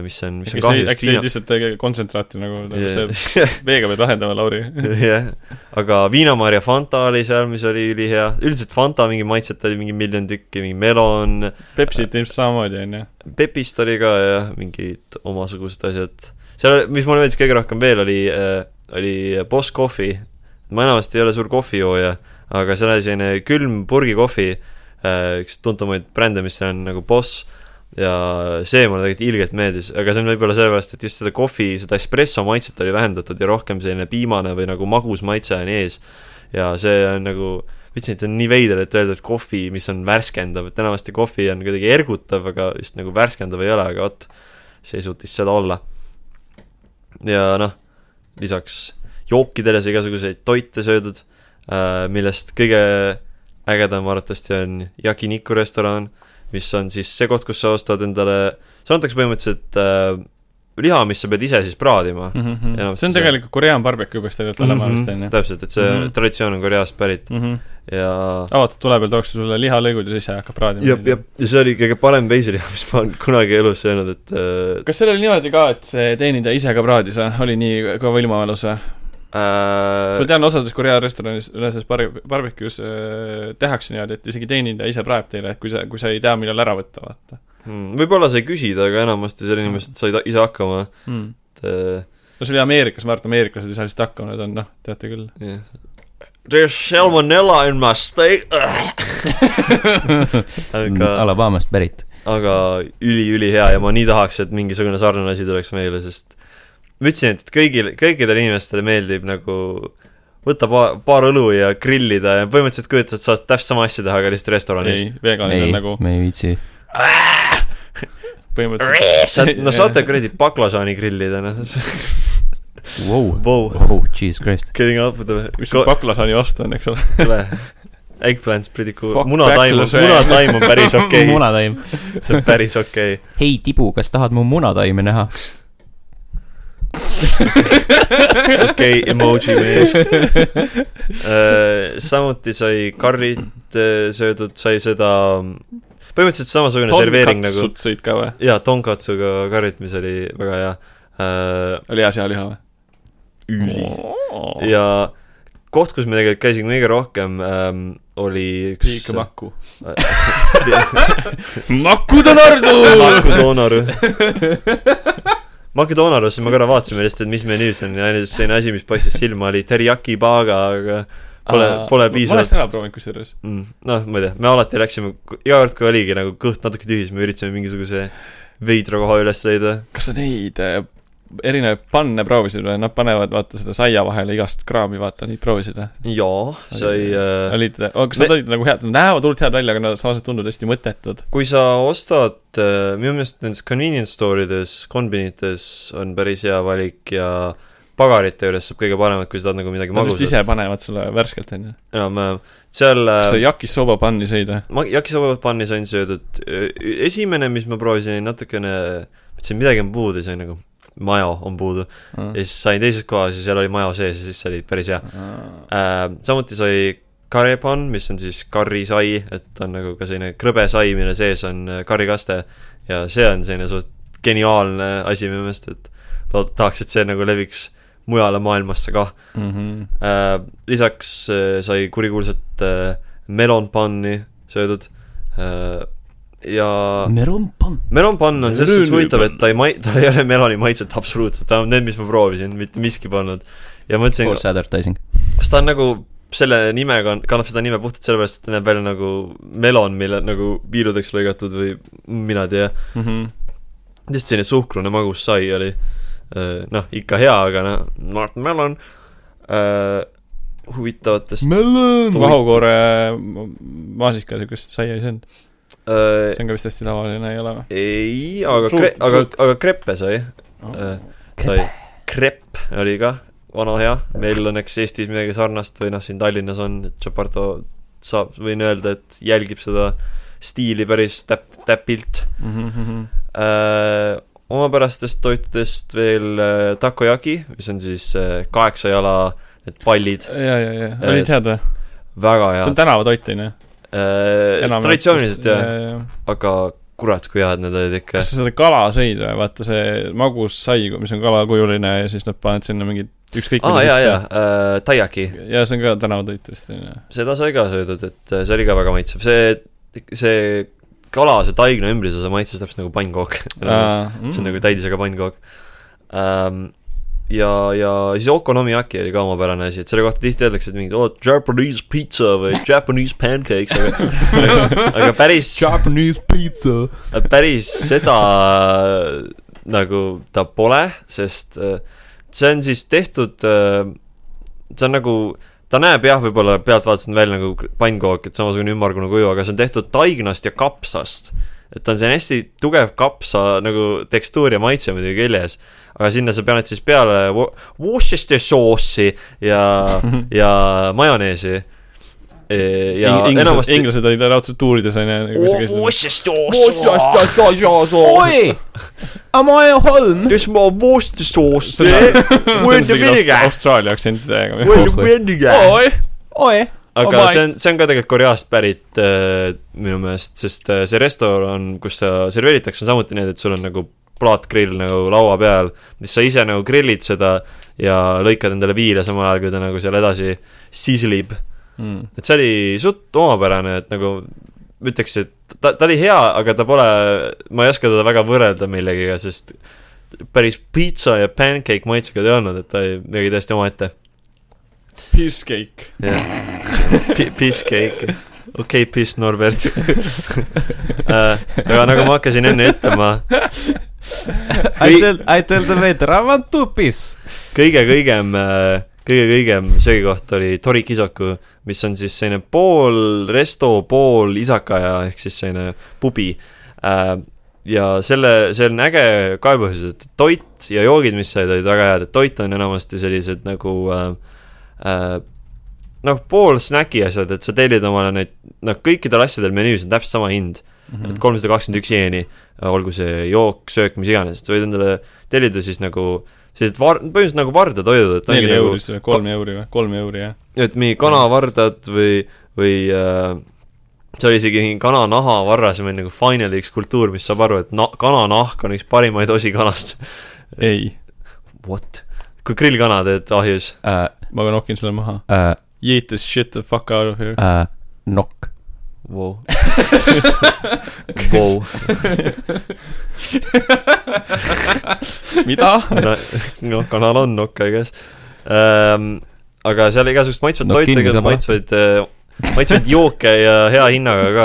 Speaker 1: mis on , Ah. mis
Speaker 2: äkki
Speaker 1: on
Speaker 2: see ,
Speaker 1: kahju .
Speaker 2: äkki see oli lihtsalt äh, kontsentraati nagu yeah. ,
Speaker 1: see
Speaker 2: see veega pead lahendama , Lauri .
Speaker 1: jah , aga viinamarja Fanta oli seal , mis oli ülihea , üldiselt Fanta mingi maitset oli mingi miljon tükki , mingi melon ,
Speaker 2: Pepsit ilmselt samamoodi , onju .
Speaker 1: Pepist oli ka ja mingid omasugused asjad . seal , mis mulle meeldis kõige rohkem veel oli , oli Boss Coffee . ma enamasti ei ole suur kohvijooja , aga seal oli selline külm purgikohvi , üks tuntumaid brände , mis seal on nagu Boss ja see mulle tegelikult ilgelt meeldis , aga see on võib-olla sellepärast , et just seda kohvi , seda espresso maitset oli vähendatud ja rohkem selline piimane või nagu magus maitse on ees . ja see on nagu , ma ütlesin , et see on nii veider , et öelda , et kohvi , mis on värskendav , et enamasti kohvi on kuidagi ergutav , aga just nagu värskendav ei ole , aga vot , see suutis seda olla . ja noh , lisaks jookidele sai igasuguseid toite söödud , millest kõige ägedam arvatavasti on Yakiniku restoran , mis on siis see koht , kus sa ostad endale , see antakse põhimõtteliselt äh, liha , mis sa pead ise siis praadima mm . Enam
Speaker 2: Mhm.
Speaker 1: Mhm.
Speaker 2: see on
Speaker 1: siis-
Speaker 2: tegelikult Korea on barbeque peaks tegelikult olema vist , on ju .
Speaker 1: täpselt , et see mm
Speaker 2: Mhm.
Speaker 1: -hmm. traditsioon on Koreast pärit ja
Speaker 2: avatud tule peal tookse sulle lihalõigud ja sisse hakkab praadima .
Speaker 1: jep , jep , ja see oli kõige parem veiseliha , mis ma olen kunagi elus söönud , et äh,
Speaker 2: kas seal oli niimoodi ka , et see teenindaja ise ka praadis või , oli nii kõva ilmavalus või ? ma
Speaker 1: äh,
Speaker 2: tean , osades Korea restoranis , ühes bar- , barbecues äh, tehakse niimoodi , et isegi teenindaja ise praeb teile , et kui sa , kui sa ei tea , millal ära võtta , vaata
Speaker 1: mm, võib-olla sai küsida , aga enamasti seal inimesed said ise hakkama ,
Speaker 2: mm. .
Speaker 1: et äh,
Speaker 2: no see oli Ameerikas , ma arvan , et ameeriklased ei saa lihtsalt hakkama , need on noh , teate küll .
Speaker 1: jah . There's salmonella in my steak aga ,
Speaker 3: Alabamast pärit .
Speaker 1: aga üliülihea ja ma nii tahaks , et mingisugune sarnane asi tuleks meile , sest ma ütlesin , et kõigil , kõikidele inimestele meeldib nagu võtta paar , paar õlu ja grillida ja põhimõtteliselt kujutad , sa saad täpselt sama asja teha , aga lihtsalt restoranis .
Speaker 2: ei , veganid
Speaker 3: ei
Speaker 2: on , nagu
Speaker 3: me ei viitsi .
Speaker 2: põhimõtteliselt
Speaker 1: saad , no saate kuradi baklažaani grillida , noh .
Speaker 3: Wow.
Speaker 1: Wow ,
Speaker 3: Oh , jesus christ .
Speaker 1: getting up with the
Speaker 2: mis see baklasani vastu on , eks ole .
Speaker 1: kole . Eggplant's pretty cool ,
Speaker 2: Fuck
Speaker 1: munataim on ,
Speaker 2: baklažaan.
Speaker 1: munataim on päris okei okay. ,
Speaker 3: munataim .
Speaker 1: see on päris okei okay. .
Speaker 3: hei , Tibu , kas tahad mu munataime näha ?
Speaker 1: okei okay, , emoji mees . samuti sai karrit äh, söödud , sai seda , põhimõtteliselt samasugune serveering nagu ,
Speaker 2: sõid ka või ?
Speaker 1: jaa , tonkatsuga karrit , mis oli väga hea äh, .
Speaker 2: oli hea sealiha või ?
Speaker 1: üli . ja koht , kus me tegelikult käisime kõige rohkem ähm, , oli üks
Speaker 2: piika maku .
Speaker 1: Makedoonaru . Makedoonarusse me korra vaatasime lihtsalt , et mis menüüs on ja ainus selline asi , mis paistis silma , oli teriyaki paaga , aga pole , pole
Speaker 2: ma
Speaker 1: piisavalt
Speaker 2: oleks ära proovinud kusjuures .
Speaker 1: mm, . noh , ma ei tea , me alati läksime , iga kord , kui oligi nagu kõht natuke tühi , siis me üritasime mingisuguse veidra koha üles leida .
Speaker 2: kas sa neid äh, erinevaid panne proovisid või ? Nad panevad , vaata seda saia vahele igast kraami , vaata neid proovisid või ?
Speaker 1: jaa , sai äh, ,
Speaker 2: olid , kas nad
Speaker 1: me-
Speaker 2: olid nagu head , nad näevad hullult head välja , aga nad samas tunduvad hästi mõttetud .
Speaker 1: kui sa ostad äh, , minu meelest nendes convenience store ides , kombinites on päris hea valik ja pagarite juures saab kõige paremat , kui sa tahad nagu midagi
Speaker 2: Nad vist
Speaker 1: magusat
Speaker 2: ise panevad sulle värskelt , onju .
Speaker 1: Äh. enam-vähem , seal
Speaker 2: kas sa
Speaker 1: äh,
Speaker 2: jakis soobapanni sõid või ?
Speaker 1: ma- jakisobavat panni sain söödud , esimene , mis ma proovisin , oli natukene , mõtlesin midagi on puudu , siis oli nagu majo on puudu
Speaker 2: Mm.
Speaker 1: ja siis sain teises kohas ja seal oli majo sees ja siis see oli päris hea . Äh, samuti sai karepan , mis on siis karrisai , et ta on nagu ka selline krõbe sai , mille sees on äh, karrikaste ja see on selline suht geniaalne asi minu meelest , et lood- , tahaks , et see nagu leviks mujale maailmasse ka
Speaker 2: Mhm.
Speaker 1: äh, . lisaks äh, sai kurikuulsat äh, melonpanni söödud äh, ja
Speaker 3: meronpan .
Speaker 1: melonpann on selles suhtes
Speaker 2: Meloni
Speaker 1: huvitav , et ta ei mai- , tal ei ole meloni maitset absoluutselt , ta on need , mis ma proovisin , mitte miski polnud . ja mõtlesin ,
Speaker 3: False advertising .
Speaker 1: kas ta on nagu selle nimega on , kannab seda nime puhtalt sellepärast , et ta näeb välja nagu melon , mille nagu piiludeks lõigatud või mina ei tea ,
Speaker 2: Mhm.
Speaker 1: lihtsalt selline suhkrune magus sai oli . noh , ikka hea , aga noh , not melon . huvitavatest ,
Speaker 4: Melon .
Speaker 2: vahukoore äh, maasika siukest saia ei söönud ,
Speaker 1: äh,
Speaker 2: see on ka vist hästi tavaline , ei ole või ?
Speaker 1: ei , aga
Speaker 2: Fruit- ,
Speaker 1: aga
Speaker 2: fruit. ,
Speaker 1: aga kreppe sai , Äh. sai , krepp oli ka vana hea , meil õnneks Eestis midagi sarnast või noh , siin Tallinnas on , et Chaparto saab , võin öelda , et jälgib seda stiili päris täp- , täpilt
Speaker 2: Mhm,
Speaker 1: äh, omapärastest toitudest veel äh, takoyaki , mis on siis äh, kaheksa jala , need pallid ,
Speaker 2: ja , ja ,
Speaker 1: Äh,
Speaker 2: ja , olid head või ?
Speaker 1: väga
Speaker 2: see on
Speaker 1: head .
Speaker 2: tänavatoit , onju .
Speaker 1: Äh, traditsiooniliselt jah ,
Speaker 2: jah .
Speaker 1: aga kurat , kui head need olid ikka
Speaker 2: kas . sa seda kala sõid või , vaata see magus sai , mis on kalakujuline ja siis nad panevad sinna mingid ükskõik
Speaker 1: aa
Speaker 2: mida
Speaker 1: jaa , Äh,
Speaker 2: sisse .
Speaker 1: jaa , taiaki ,
Speaker 2: ja see on ka tänavatoit vist , onju .
Speaker 1: seda sai ka söödud , et äh, see oli ka väga maitsev , see , see kala , see taigna ümbrusosa maitses täpselt nagu pannkook . see
Speaker 2: mm.
Speaker 1: on nagu täidisega pannkook ähm, . ja , ja siis okonomiyaki oli ka omapärane asi , et selle kohta tihti öeldakse , et mingid oo , Japanese pizza või Japanese pancakes , aga , aga, aga päris ,
Speaker 4: Japanese pizza .
Speaker 1: Äh, päris seda nagu ta pole , sest äh, see on siis tehtud , see on nagu ta näeb jah , võib-olla pealtvaatasin välja nagu pannkook , et samasugune ümmargune kuju , aga see on tehtud taignast ja kapsast . et ta on selline hästi tugev kapsa nagu tekstuur ja maitse muidugi küljes . aga sinna sa paned siis peale wo- Worcestershire soosi ja , ja majoneesi . ja
Speaker 2: Ing- inglased ,
Speaker 1: enamasti .
Speaker 2: inglased olid raudselt tuurides nagu onju .
Speaker 3: oi , am I home ?
Speaker 1: This my Worcestershire . Where's the vinegar ?
Speaker 2: Austraalia aktsentidega .
Speaker 1: Where's the vinegar ?
Speaker 3: oi , oi .
Speaker 1: aga
Speaker 3: Oma-
Speaker 1: see on , see on ka tegelikult Koreast pärit äh, minu meelest , sest äh, see restoran , kus sa serveeritakse , on samuti nii , et sul on nagu plaatgrill nagu laua peal , mis sa ise nagu grillid seda ja lõikad endale viile samal ajal , kui ta nagu seal edasi sislib .
Speaker 2: Mm.
Speaker 1: et see oli suht omapärane , et nagu ma ütleks , et ta , ta oli hea , aga ta pole , ma ei oska teda väga võrrelda millegagi , sest päris piitsa ja pancake maitsega ta ei olnud , et ta oli midagi täiesti omaette .
Speaker 2: Peacecake .
Speaker 1: Piss cake , okei , piss Norbert . aga nagu ma hakkasin enne ütlema ,
Speaker 3: I tell , I tell the waiter I want to piss .
Speaker 1: kõige kõigem , kõige kõigem söögikoht oli Tori Kisoku , mis on siis selline pool resto , pool isakaja ehk siis selline pubi . ja selle , see on äge ka põhjus , et toit ja joogid , mis said , olid väga head , et toit on enamasti sellised nagu äh, äh, noh , pool snäki asjad , et sa tellid omale neid , noh , kõikidel asjadel menüüs on täpselt sama hind .
Speaker 2: Mhm.
Speaker 1: et kolmsada kakskümmend üks jeeni , olgu see jook , söök , mis iganes , et sa võid endale tellida siis nagu sellised var- , põhimõtteliselt nagu vardatoidud , et ongi
Speaker 2: neli
Speaker 1: nagu ,
Speaker 2: euri , kolm euri või , kolm euri jah .
Speaker 1: et mingi kanavardad või , või äh, see oli isegi mingi kananahavarras , meil nagu finally üks kultuur , mis saab aru , et na- , kananahk on üks parimaid osi kanast .
Speaker 2: ei ,
Speaker 1: What ? kui grillkana teed ahjus ,
Speaker 3: Uh,
Speaker 2: ma nokin selle maha .
Speaker 3: uh,
Speaker 2: Yeet this shit the fuck out of here .
Speaker 3: uh, nokk .
Speaker 1: wow. wow.
Speaker 2: mida ?
Speaker 1: no, noh , kanal on nokk , I guess um, . aga seal igasugust maitsvat
Speaker 3: No
Speaker 1: no, toitu
Speaker 3: kinni
Speaker 1: ja
Speaker 3: saab
Speaker 1: maitsvaid , maitsvaid jooke ja hea hinnaga ka .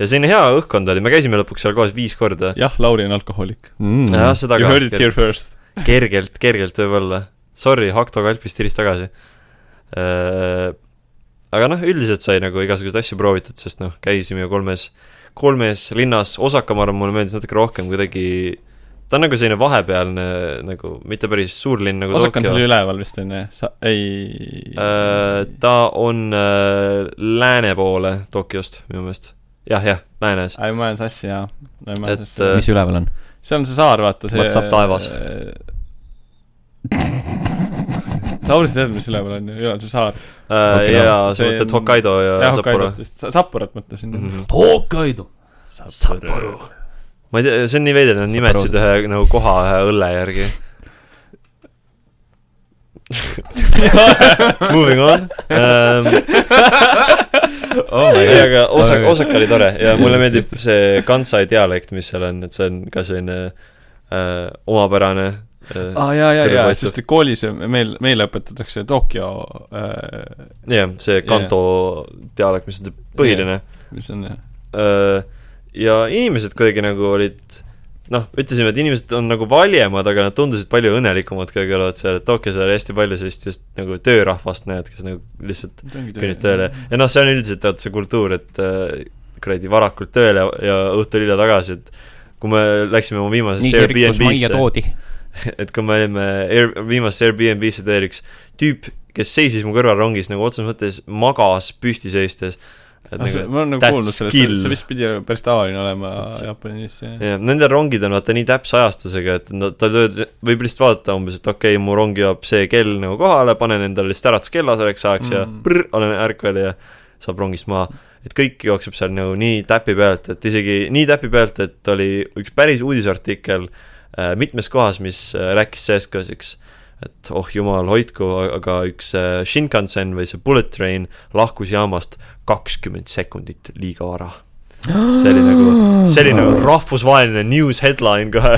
Speaker 1: ja selline hea õhkkond oli , me käisime lõpuks seal koos viis korda .
Speaker 2: jah , Lauri on alkohoolik .
Speaker 3: Mm.
Speaker 1: jah , seda
Speaker 2: You
Speaker 1: ka
Speaker 2: heard it here first .
Speaker 1: kergelt , kergelt võib-olla . Sorry , Hakto kalpis tiris tagasi uh, . aga noh , üldiselt sai nagu igasuguseid asju proovitud , sest noh , käisime ju kolmes , kolmes linnas , Osaka , ma arvan , mulle meeldis natuke rohkem kuidagi ta on nagu selline vahepealne nagu mitte päris suur linn nagu
Speaker 2: Osaka on
Speaker 1: Tokyo.
Speaker 2: seal üleval vist onju , sa , ei .
Speaker 1: Äh, ta on äh, lääne poole Tokyost minu meelest . jah , jah , läänes .
Speaker 2: ma ei mäleta asja jah , ma ei mäleta
Speaker 1: Et,
Speaker 2: asja .
Speaker 1: äh,
Speaker 3: mis üleval on ?
Speaker 2: see on see saar , vaata see .
Speaker 1: WhatsApp taevas. .
Speaker 2: Lauri , sa tead , mis üleval on ju , üleval see saar .
Speaker 1: Äh,
Speaker 3: Okinawa.
Speaker 1: ja sa
Speaker 2: See
Speaker 1: mõtled
Speaker 2: on-
Speaker 1: Hokkaido ja
Speaker 2: jah ,
Speaker 1: Äh, Sapporo . Mhm.
Speaker 2: Hokkaido't vist , Sapporat mõtlesin mm . -hmm.
Speaker 3: Hokkaido .
Speaker 1: ma ei tea , see on nii veider , nad nimetasid ühe nagu koha ühe õlle järgi . Moving on um, . ei , aga Osaka , Osaka oli tore ja mulle meeldib see Kansai dialekt , mis seal on , et see on ka selline äh, omapärane äh, .
Speaker 2: aa Ah, jaa , jaa , jaa ,
Speaker 1: Terve
Speaker 2: sest koolis meil , meile õpetatakse Tokyo äh, ,
Speaker 1: jah , see kanto dialekt , mis on see põhiline .
Speaker 2: mis on ,
Speaker 1: Öö, Äh, ja inimesed kuidagi nagu olid noh , ütlesime , et inimesed on nagu valjemad , aga nad tundusid palju õnnelikumad kuidagi olevat seal , et Tokyos oli hästi palju sellist just nagu töörahvast näed , kes nagu lihtsalt kõnnib tööle ja noh , see on üldiselt vaata see kultuur , et äh, kuradi varakult tööle ja õhtul hilja tagasi , et kui me läksime oma
Speaker 3: nii
Speaker 1: viimasesse
Speaker 3: kirkus majja
Speaker 1: Airbnb-sse ,
Speaker 3: toodi .
Speaker 1: et kui me olime Air, viimasesse Airbnb-sse , tuli üks tüüp , kes seisis mu kõrval rongis nagu otseses mõttes magas püsti seistes .
Speaker 3: Ah,
Speaker 2: ma olen nagu
Speaker 1: that's
Speaker 2: kuulnud sellest ,
Speaker 1: skill.
Speaker 2: see see vist pidi päris tavaline olema
Speaker 1: See-
Speaker 2: Jaapanis , jah .
Speaker 1: jah , nendel rongid on vaata nii täpse ajastusega , et nad , ta lööd- võib lihtsalt vaadata umbes , et okei okay, , mu rong jõuab see kell nagu kohale , panen endale lihtsalt äratuskella selleks ajaks mm. ja
Speaker 2: Mm.
Speaker 1: prr, olen ärkvel ja saab rongist maha . et kõik jookseb seal nagu nii täpi pealt , et isegi nii täpi pealt , et oli üks päris uudisartikkel äh, mitmes kohas , mis äh, rääkis sellest ka üks et oh jumal , hoidku , aga üks äh, Shinkansen või see bullet train lahkus jaamast kakskümmend sekundit liiga vara . see oli nagu , see oli nagu rahvusvaheline news headline kohe .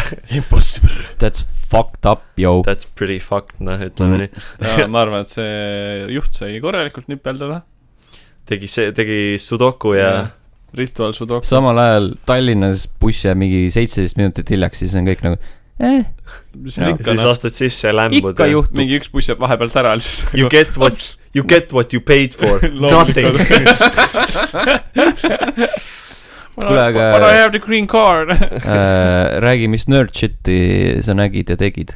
Speaker 3: That's fucked up , yo .
Speaker 1: That's pretty fucked , noh , ütleme
Speaker 3: Mm.
Speaker 1: mm. nii .
Speaker 2: ma arvan , et see juht sai korralikult nipeldada ,
Speaker 1: tegi see , tegi sudoku ja
Speaker 2: Jah. rituaal sudoku .
Speaker 3: samal ajal Tallinnas buss jääb mingi seitseteist minutit hiljaks , siis on kõik nagu eh, ,
Speaker 2: mis on
Speaker 1: ja
Speaker 2: ikka
Speaker 1: siis ,
Speaker 2: noh ,
Speaker 1: lastud sisse ja lämbud .
Speaker 3: ikka juhtub .
Speaker 2: mingi üks buss jääb vahepealt ära lihtsalt .
Speaker 1: You get what , you get what you paid for , nothing .
Speaker 3: Kuule, aga-
Speaker 2: But I have the green card .
Speaker 3: äh, räägi , mis nerd shit'i sa nägid ja tegid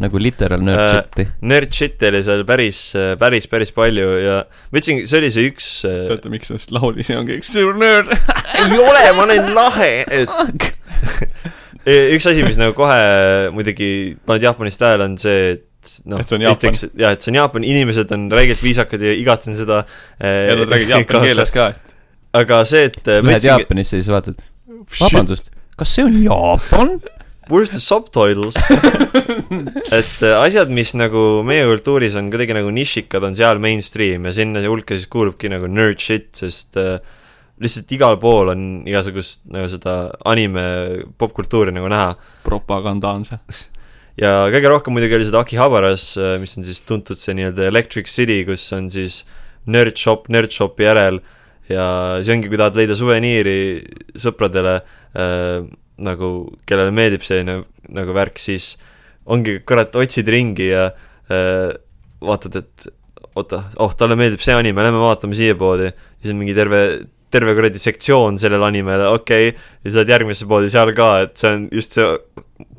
Speaker 3: nagu literaal nerd
Speaker 1: Äh,
Speaker 3: shit'i .
Speaker 1: nerd shit oli seal päris , päris , päris palju ja ma ütlesin , see oli see üks äh,
Speaker 2: teate , miks ma siis laulin , see ongi üks suur nörd .
Speaker 1: ei ole , ma olen lahe , et üks asi , mis nagu kohe muidugi paned Jaapanist tähele , on see , et noh ,
Speaker 2: Et see on Jaapan.
Speaker 1: jah , et see on Jaapan , inimesed on räigelt viisakad ja igatsen seda eh,
Speaker 2: ja nad räägivad jaapani keeles ka , et
Speaker 1: aga see , et eh, ma
Speaker 3: Lähed
Speaker 1: ütlesingi ,
Speaker 3: Jaapanisse ja siis vaatad , vabandust , kas see on Jaapan ?
Speaker 1: where's the subtitles ? et eh, asjad , mis nagu meie kultuuris on kuidagi nagu nišikad , on seal mainstream ja sinna hulka siis kuulubki nagu nerd shit , sest eh, lihtsalt igal pool on igasugust nagu seda anime popkultuuri nagu näha .
Speaker 2: propaganda on see .
Speaker 1: ja kõige rohkem muidugi oli seda Akihabaras , mis on siis tuntud see nii-öelda Electric City , kus on siis nerd shop nerd shopi järel ja see ongi , kui tahad leida suveniiri sõpradele äh, nagu , kellele meeldib selline nagu värk , siis ongi , kurat , otsid ringi ja äh, vaatad , et oota , oh , talle meeldib see anime , lähme vaatame siia poodi , siis on mingi terve terve kuradi sektsioon sellele animele , okei okay. , ja siis lähed järgmisse poodi seal ka , et see on just see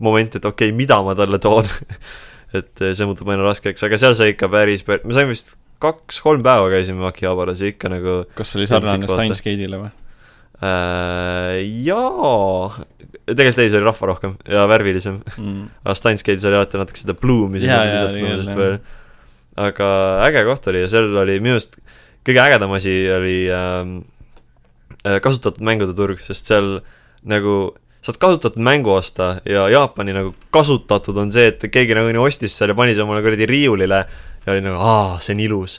Speaker 1: moment , et okei okay, , mida ma talle toon . et eh, see muutub aina raskeks , aga seal sai ikka päris , me saime vist kaks-kolm päeva käisime Akihabaras ja ikka nagu
Speaker 2: kas oli
Speaker 1: Jaa,
Speaker 2: sarnane
Speaker 1: vaata.
Speaker 2: Steins Gate'ile või ?
Speaker 1: äh, jaa , tegelikult ei , see oli rahva rohkem ja värvilisem , aga Steins Gate seal alati natuke seda bloom'i sinna
Speaker 2: Jaa, jaa,
Speaker 1: lisati
Speaker 2: tegelikult,
Speaker 1: sellest
Speaker 2: jah.
Speaker 1: veel . aga äge koht oli ja seal oli minu arust kõige ägedam asi oli ähm, äh, kasutatud mängude turg , sest seal nagu saad kasutatud mängu osta ja Jaapani nagu kasutatud on see , et keegi nagu nii ostis selle , pani see omale kuradi riiulile ja oli nagu aa , see on ilus .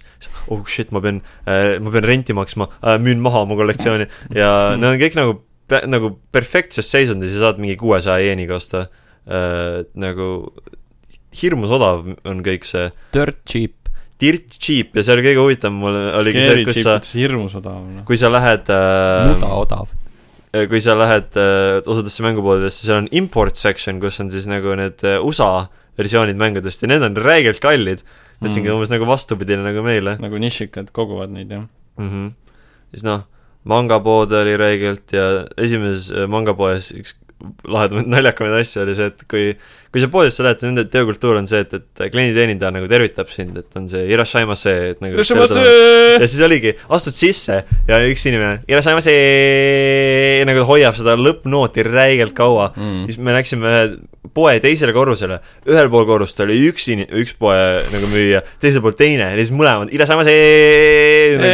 Speaker 1: oh shit , ma pean äh, , ma pean renti maksma äh, , müün maha oma kollektsiooni ja need on kõik nagu , nagu perfektses seisundis ja saad mingi kuuesaja jeeniga osta äh, . nagu hirmus odav on kõik see ,
Speaker 3: Dirt cheap .
Speaker 1: dirt cheap ja see oli kõige huvitavam mul oligi see ,
Speaker 2: Scary
Speaker 1: kus
Speaker 2: Cheap
Speaker 1: sa ,
Speaker 2: ütles hirmus odav , noh .
Speaker 1: kui sa lähed
Speaker 3: muda
Speaker 1: äh, ,
Speaker 3: odav .
Speaker 1: kui sa lähed äh, osadesse mängupoodidesse , seal on import section , kus on siis nagu need äh, USA versioonid mängudest ja need on räigelt kallid . et see ongi umbes nagu vastupidine nagu meile
Speaker 2: nagu nišikad koguvad neid jah .
Speaker 1: mm . -hmm. siis noh , mangapood oli räigelt ja esimeses äh, mangapoes üks lahedamaid , naljakamaid asju oli see , et kui , kui sa poodisse lähed , siis nende töökultuur on see , et , et klienditeenindaja nagu tervitab sind , et on see irashaimase , et nagu
Speaker 2: äh,
Speaker 1: ja siis oligi , astud sisse ja üks inimene , irashaimase nagu hoiab seda lõppnooti räigelt kaua
Speaker 2: Mhm.
Speaker 3: Mm.
Speaker 1: siis me läksime ühe poe teisele korrusele , ühel pool korrust oli üks in- , üks poe nagu müüja , teisel pool teine ja siis mõlemad , Ile Samas Nagu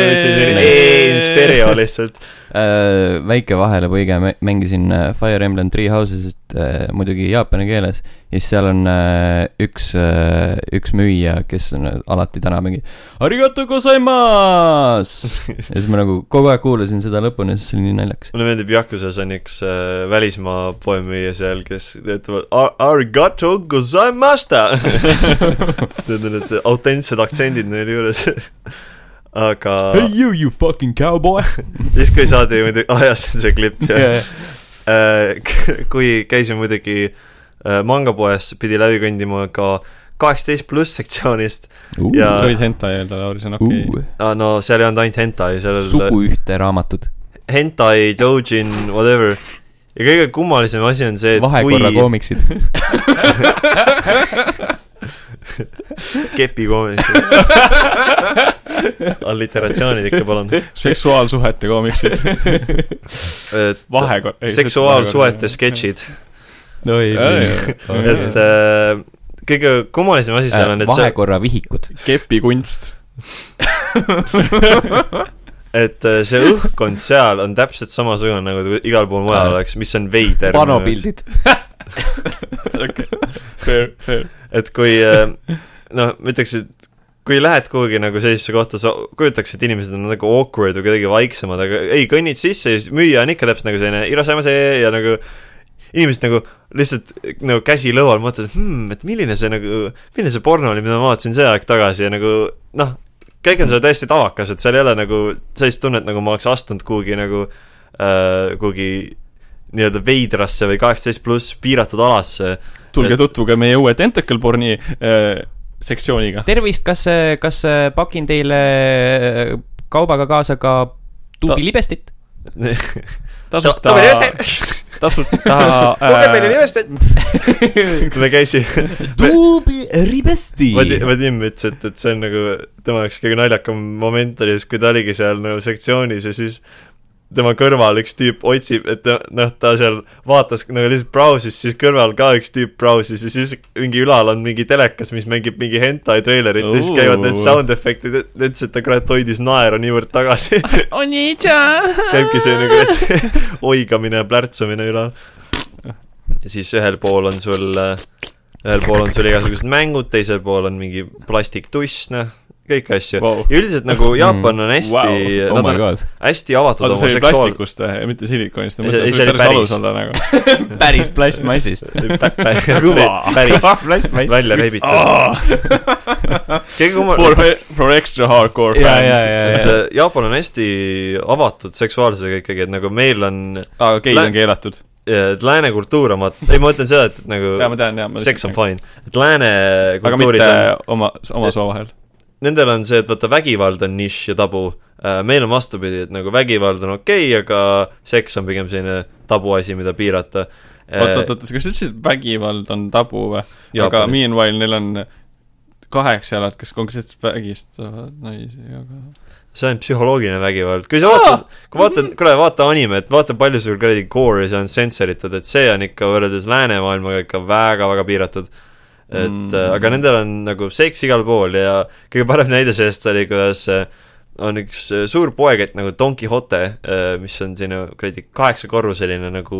Speaker 1: stereo lihtsalt .
Speaker 3: Äh, väike vahelepõige , mängisin äh, Fire Emblem Three Houses'it äh, muidugi jaapani keeles ja siis seal on äh, üks äh, , üks müüja , kes on äh, alati täna mingi Arigato gozaimas ja siis ma nagu kogu aeg kuulasin seda lõpuni , siis see oli nii naljakas .
Speaker 1: mulle meeldib Yakuusas on üks äh, välismaa poemüüja seal , kes ütleb "Ar- arigato gozaimasta . Need on need autentsed aktsendid neil juures . aga
Speaker 3: Hey you , you fucking cowboy
Speaker 1: siis , kui saadi muidugi , ah jah , see on see klipp jah
Speaker 3: yeah. .
Speaker 1: Äh, kui käisin muidugi äh, mangapoes , pidi läbi kõndima ka kaheksateist pluss sektsioonist .
Speaker 3: Uh,
Speaker 1: Ja-
Speaker 2: sa võid hentai öelda , Lauri , see on okei
Speaker 3: uh,
Speaker 2: okay. .
Speaker 1: no seal ei olnud ainult hentai , seal oli
Speaker 3: suguühte raamatud ,
Speaker 1: hentai , doujin , whatever . ja kõige kummalisem asi on see , et
Speaker 3: vahekorra
Speaker 1: kui
Speaker 3: koomiksid .
Speaker 1: kepikoomik . alliteratsioonid ikka , palun .
Speaker 2: seksuaalsuhete koomiksid . vahekord .
Speaker 1: Äh, seksuaalsuhete . sketšid ,
Speaker 3: no ei
Speaker 1: et äh, kõige kummalisem asi seal on , et see ,
Speaker 3: Äh, vahekorra vihikud .
Speaker 2: kepikunst .
Speaker 1: et äh, see õhkkond seal on täpselt samasugune nagu igal pool mujal oleks , mis on veider .
Speaker 3: panopildid .
Speaker 2: okei , fair , fair .
Speaker 1: et kui äh, noh , ma ütleks , et kui lähed kuhugi nagu sellisesse kohta , sa kujutaks , et inimesed on nagu awkward või kuidagi vaiksemad , aga ei , kõnnid sisse ja siis müüja on ikka täpselt nagu selline irasaimas ja nagu inimesed nagu lihtsalt nagu käsi lõual mõtlevad , et hmm, et milline see nagu , milline see porno oli , mida ma vaatasin see aeg tagasi ja nagu noh , kõik on seal täiesti tavakas , et seal ei ole nagu sellist tunnet , nagu ma oleks astunud kuhugi nagu äh, kuhugi nii-öelda veidrasse või kaheksateist pluss piiratud alasse
Speaker 2: tulge
Speaker 1: Et-
Speaker 2: tutvuge meie uue Tentacle porni äh, sektsiooniga .
Speaker 3: tervist , kas , kas äh, pakin teile äh, kaubaga kaasa ka
Speaker 2: tuubilibestit?
Speaker 3: tuubilibestit ?
Speaker 1: tasuta .
Speaker 2: tasuta äh,
Speaker 1: lugege meile nimest ette . me käisime ,
Speaker 3: Tuubi Ribesti .
Speaker 1: Vadim , Vadim ütles , et , et see on nagu tema jaoks kõige naljakam moment oli , siis kui ta oligi seal nagu sektsioonis ja siis tema kõrval üks tüüp otsib , et ta- noh , ta seal vaatas nagu lihtsalt brausis , siis kõrval ka üks tüüp brausis ja siis mingi ülal on mingi telekas , mis mängib mingi hentai treilerit ja siis käivad need
Speaker 2: Oo.
Speaker 1: sound efektid , ütles , et ta kurat hoidis naeru niivõrd tagasi . käibki see nagu , et oigamine ja plärtsumine ülal . ja siis ühel pool on sul , ühel pool on sul igasugused mängud , teisel pool on mingi plastiktuss , noh , kõiki asju .
Speaker 2: Vau.
Speaker 1: ja üldiselt nagu Jaapan on hästi
Speaker 2: Wow. ,
Speaker 3: oh
Speaker 1: nad
Speaker 3: my
Speaker 1: on
Speaker 3: god ,
Speaker 1: hästi avatud
Speaker 2: oota ,
Speaker 1: oma
Speaker 2: see oli
Speaker 1: seksuaal- .
Speaker 2: plastikust või , mitte silikonist , ma
Speaker 1: Ei,
Speaker 2: mõtlen ,
Speaker 1: ei,
Speaker 2: see
Speaker 1: see
Speaker 2: oli
Speaker 1: oli
Speaker 2: päris
Speaker 1: päris.
Speaker 2: alus olla nagu .
Speaker 3: päris plastmassist .
Speaker 1: päris ,
Speaker 3: plastmass .
Speaker 1: välja rebitud . kõige
Speaker 2: Ah, For
Speaker 1: kummaline ,,
Speaker 2: for extra hardcore
Speaker 3: ja , ja ,
Speaker 2: fans .
Speaker 3: ja ,
Speaker 1: et äh,
Speaker 3: ja .
Speaker 1: Jaapan on hästi avatud seksuaalsusega ikkagi , et nagu meil on ,
Speaker 2: aga geid
Speaker 1: Lä-
Speaker 2: on keelatud .
Speaker 1: et lääne kultuur on , ei ma mõtlen seda , et , et nagu
Speaker 2: jaa , ma tean , jaa .
Speaker 1: seks on fine , et lääne
Speaker 2: aga
Speaker 1: kultuuris
Speaker 2: mitte
Speaker 1: on
Speaker 2: oma , oma soo vahel .
Speaker 1: nendel on see , et vaata vägivald on nišš ja tabu . meil on vastupidi , et nagu vägivald on okei okay, , aga seks on pigem selline tabuasi , mida piirata .
Speaker 2: oot , oot , oot , kas sa ütlesid , et vägivald on tabu või ? aga
Speaker 1: Äh, Jaapanis.
Speaker 2: meanwhile neil on kaheksa jalat , kes konkreetselt vägistavad naisi , aga
Speaker 1: see on psühholoogiline vägivald , kui sa vaatad , kui vaatad , kuule , vaata animet , vaata palju sul kuradi gore'i see on sensoritud , et see on ikka võrreldes läänemaailmaga ikka väga-väga piiratud . et
Speaker 2: Mm.
Speaker 1: mm. aga nendel on nagu seks igal pool ja kõige parem näide sellest oli , kuidas äh, on üks äh, suur poekett nagu Don Quixote , mis on selline kuradi kaheksakorruseline nagu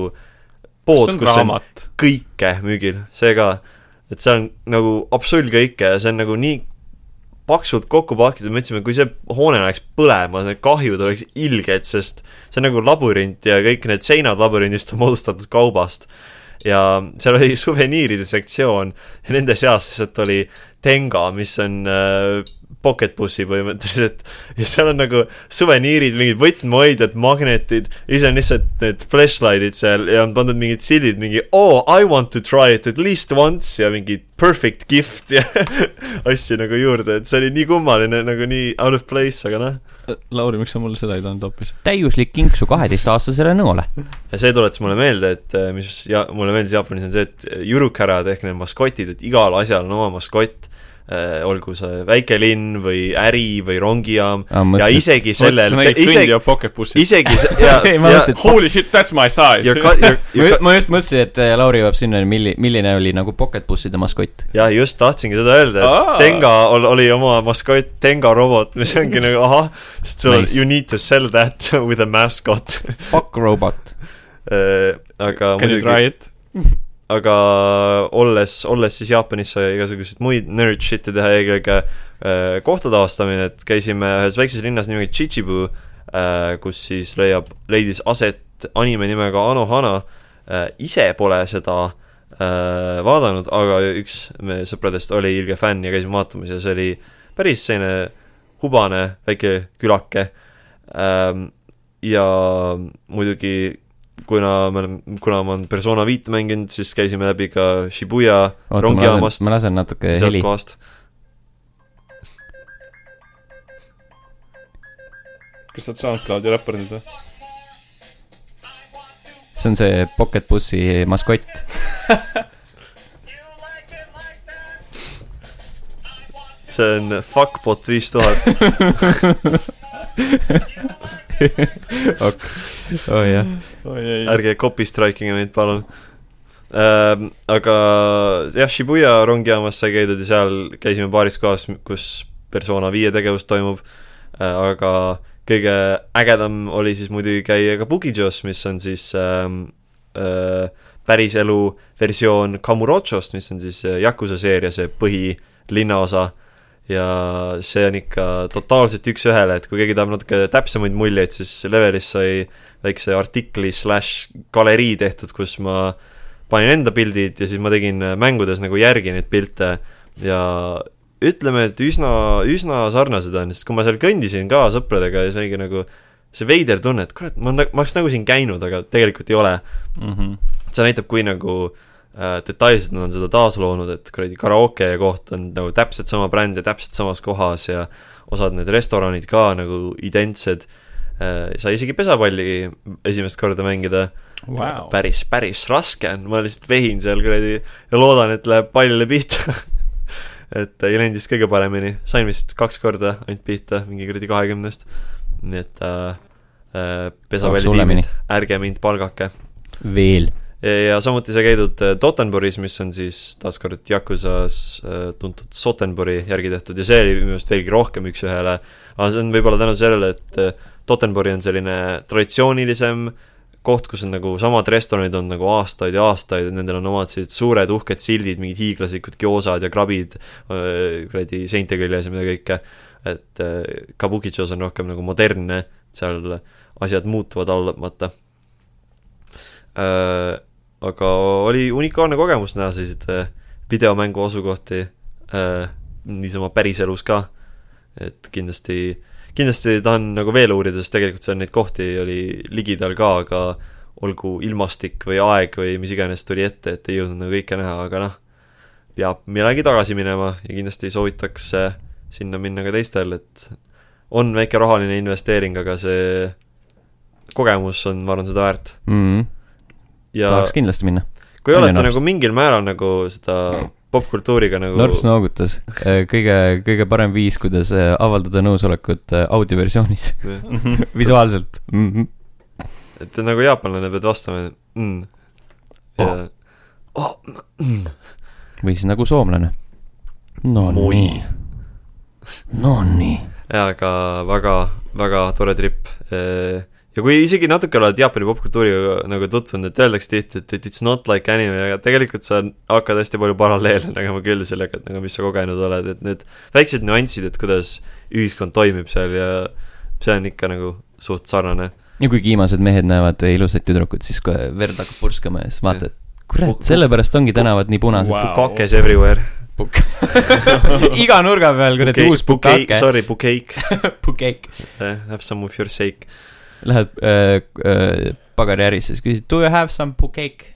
Speaker 1: pood ,
Speaker 2: see on
Speaker 1: kus on
Speaker 2: raamat .
Speaker 1: kõike müügil , see ka . et see on nagu absoluut kõike ja see on nagu nii paksult kokku pakitud , me ütlesime , kui see hoone läheks põlema , need kahjud oleks ilged , sest see on nagu labürint ja kõik need seinad labürindist on moodustatud kaubast . ja seal oli suveniiride sektsioon ja nende seas lihtsalt oli tenga , mis on äh, pocketbussi põhimõtteliselt ja seal on nagu suveniirid , mingid võtmehoidjad , magnetid , siis on lihtsalt need flashlight'id seal ja on pandud mingid sildid , mingi oh I want to try it at least once ja mingi perfect gift ja asju nagu juurde , et see oli nii kummaline , nagu nii out of place , aga noh .
Speaker 2: Lauri , miks sa mulle seda ei toonud hoopis ?
Speaker 3: täiuslik kinksu kaheteistaastasele nõole .
Speaker 1: ja see tuletas mulle meelde , et eh, mis ja mulle meeldis Jaapanis on see , et äh, jurukärad ehk need maskotid , et igal asjal on oma maskott . olgu see väike linn või äri või rongijaam ja isegi sellel , isegi ,
Speaker 2: isegi pocket bussi .
Speaker 1: isegi see ja ,
Speaker 3: Ei, ma
Speaker 1: ja
Speaker 3: mõtlesin, ,
Speaker 2: Holy shit , that's my size
Speaker 1: ja . ka- , ja ,
Speaker 3: ma
Speaker 1: ja
Speaker 3: ju- ma just mõtlesin , et äh, Lauri jõuab sinna , milli- , milline oli nagu pocketbusside maskott .
Speaker 1: ja just tahtsingi seda öelda , et
Speaker 2: Aa.
Speaker 1: Aa. Tenga ol, oli oma maskott Tenga robot , mis ongi nagu ahah , sest sul
Speaker 3: Nice.
Speaker 1: nice. you need to sell that with a mascot .
Speaker 3: Fuck robot .
Speaker 1: aga
Speaker 2: Can you try
Speaker 1: muidugi ,
Speaker 2: it ?
Speaker 1: aga olles , olles siis Jaapanis sai igasuguseid muid nerd shit'e teha , eelkõige äh, kohtade avastamine , et käisime ühes väikses linnas nimega Chichibu , kus siis leiab , leidis aset anime nimega Anohana . ise pole seda äh, vaadanud , aga üks meie sõpradest oli ilge fänn ja käisime vaatamas ja see oli päris selline hubane väike külake . ja muidugi kuna me oleme , kuna ma olen persona viit mänginud , siis käisime läbi ka Shibuya
Speaker 3: oota , ma
Speaker 1: Rongijaamast.
Speaker 3: lasen , ma lasen natuke
Speaker 1: sealt
Speaker 3: heli .
Speaker 1: kohast .
Speaker 2: kas sa oled SoundCloudi räppar nüüd või ?
Speaker 3: see on see pocketbussi maskott .
Speaker 1: see on Fuckbot viis tuhat .
Speaker 3: oh jah .
Speaker 2: oi ei .
Speaker 1: ärge copy striking'e meid , palun . aga jah , Shibuya rongijaamas sai käidud ja seal käisime paaris kohas , kus persona viie tegevus toimub . aga kõige ägedam oli siis muidugi käia ka Bugijos , mis on siis ähm, äh, päriselu versioon Kamurochost , mis on siis äh, Yakuza seeria see põhilinnaosa ja see on ikka totaalselt üks-ühele , et kui keegi tahab natuke täpsemaid muljeid , siis levelis sai väikse artikli slaš galerii tehtud , kus ma panin enda pildid ja siis ma tegin mängudes nagu järgi neid pilte ja ütleme , et üsna , üsna sarnased on , sest kui ma seal kõndisin ka sõpradega ja see oligi nagu see veider tunne , et kurat , ma , ma oleks nagu siin käinud , aga tegelikult ei ole .
Speaker 3: Mhm.
Speaker 1: see näitab , kui nagu äh, detailselt nad on seda taasloonud , et kuradi karaoke koht on nagu täpselt sama bränd ja täpselt samas kohas ja osad need restoranid Äh, ka nagu identsed . sai isegi pesapalli esimest korda mängida
Speaker 2: wow. .
Speaker 1: päris , päris raske on , ma lihtsalt vehin seal kuradi ja loodan , et läheb pallile pihta . et ei läinud vist kõige paremini , sain vist kaks korda ainult pihta , mingi kuradi kahekümnest . nii et äh, äh,
Speaker 3: hullemini.
Speaker 1: pesavälitiimid , ärge mind palgake .
Speaker 3: veel .
Speaker 1: ja samuti sai käidud äh, Tottenburis , mis on siis taaskord Yakuusas äh, tuntud Sotenburi järgi tehtud ja see oli minu meelest veelgi rohkem üks-ühele . aga see on võib-olla tänu sellele , et äh, Tottenburi on selline traditsioonilisem koht , kus on nagu samad restoranid on nagu aastaid ja aastaid , nendel on omad sellised suured uhked sildid , mingid hiiglaslikud gyoosad ja krabid äh, kuradi seinte küljes ja mida kõike . et äh, Kabukichos on rohkem nagu modernne , seal asjad muutuvad allamata äh, . aga oli unikaalne kogemus näha selliseid äh, videomängu asukohti äh, niisama päriselus ka . et kindlasti , kindlasti tahan nagu veel uurida , sest tegelikult seal neid kohti oli ligidal ka , aga olgu ilmastik või aeg või mis iganes tuli ette , et ei jõudnud nagu kõike näha , aga noh , peab millalgi tagasi minema ja kindlasti soovitaks äh, sinna minna ka teistel , et on väike rahaline investeering , aga see kogemus on , ma arvan , seda väärt ja
Speaker 3: Mhm. tahaks kindlasti minna .
Speaker 1: kui
Speaker 3: Oli
Speaker 1: olete
Speaker 3: narps.
Speaker 1: nagu mingil määral nagu seda popkultuuriga nagu
Speaker 3: Narps noogutas . kõige , kõige parem viis , kuidas äh, avaldada nõusolekut äh, audioversioonis ,
Speaker 2: Mhm.
Speaker 3: visuaalselt mm . -hmm.
Speaker 1: et nagu jaapanlane pead vastama mm. ja oh.
Speaker 3: või siis nagu soomlane . no
Speaker 1: Moi.
Speaker 3: nii . no nii .
Speaker 1: jaa , aga väga , väga tore trip . ja kui isegi natuke oled Jaapani popkultuuriga nagu tutvunud , et öeldakse tihti , et it's not like anime , aga tegelikult sa hakkad hästi palju paralleele nägema küll sellega , et nagu mis sa kogenud oled , et need väiksed nüansid , et kuidas ühiskond toimib seal ja see on ikka nagu suht sarnane .
Speaker 3: ja kui kiimased mehed näevad ilusat tüdrukut , siis kohe verd hakkab purskama ja siis vaatad , kurat
Speaker 1: Pu- ,
Speaker 3: sellepärast ongi tänavad nii punased
Speaker 2: Wow.
Speaker 3: wow. .
Speaker 1: Pukakes everywhere .
Speaker 3: iga nurga peal kuradi uus pukake ,
Speaker 1: Sorry , bukeik .
Speaker 3: pukeik .
Speaker 1: Eh, have some of your sake .
Speaker 3: Lähed äh, äh, pagariärisse , siis küsid do you have some pukeik ?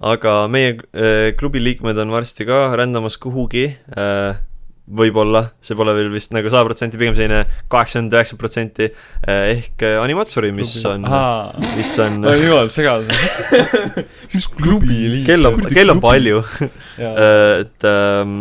Speaker 1: aga meie äh, klubi liikmed on varsti ka rändamas kuhugi äh, . võib-olla , see pole veel vist nagu sada protsenti , pigem selline kaheksakümmend üheksa protsenti ehk äh, Animatsuri , mis on ,
Speaker 2: aa ,
Speaker 1: mis on
Speaker 2: no jumal segadus . mis klubi liik- ?
Speaker 1: kell on , kell on palju ,
Speaker 2: jaa ,
Speaker 1: et ähm,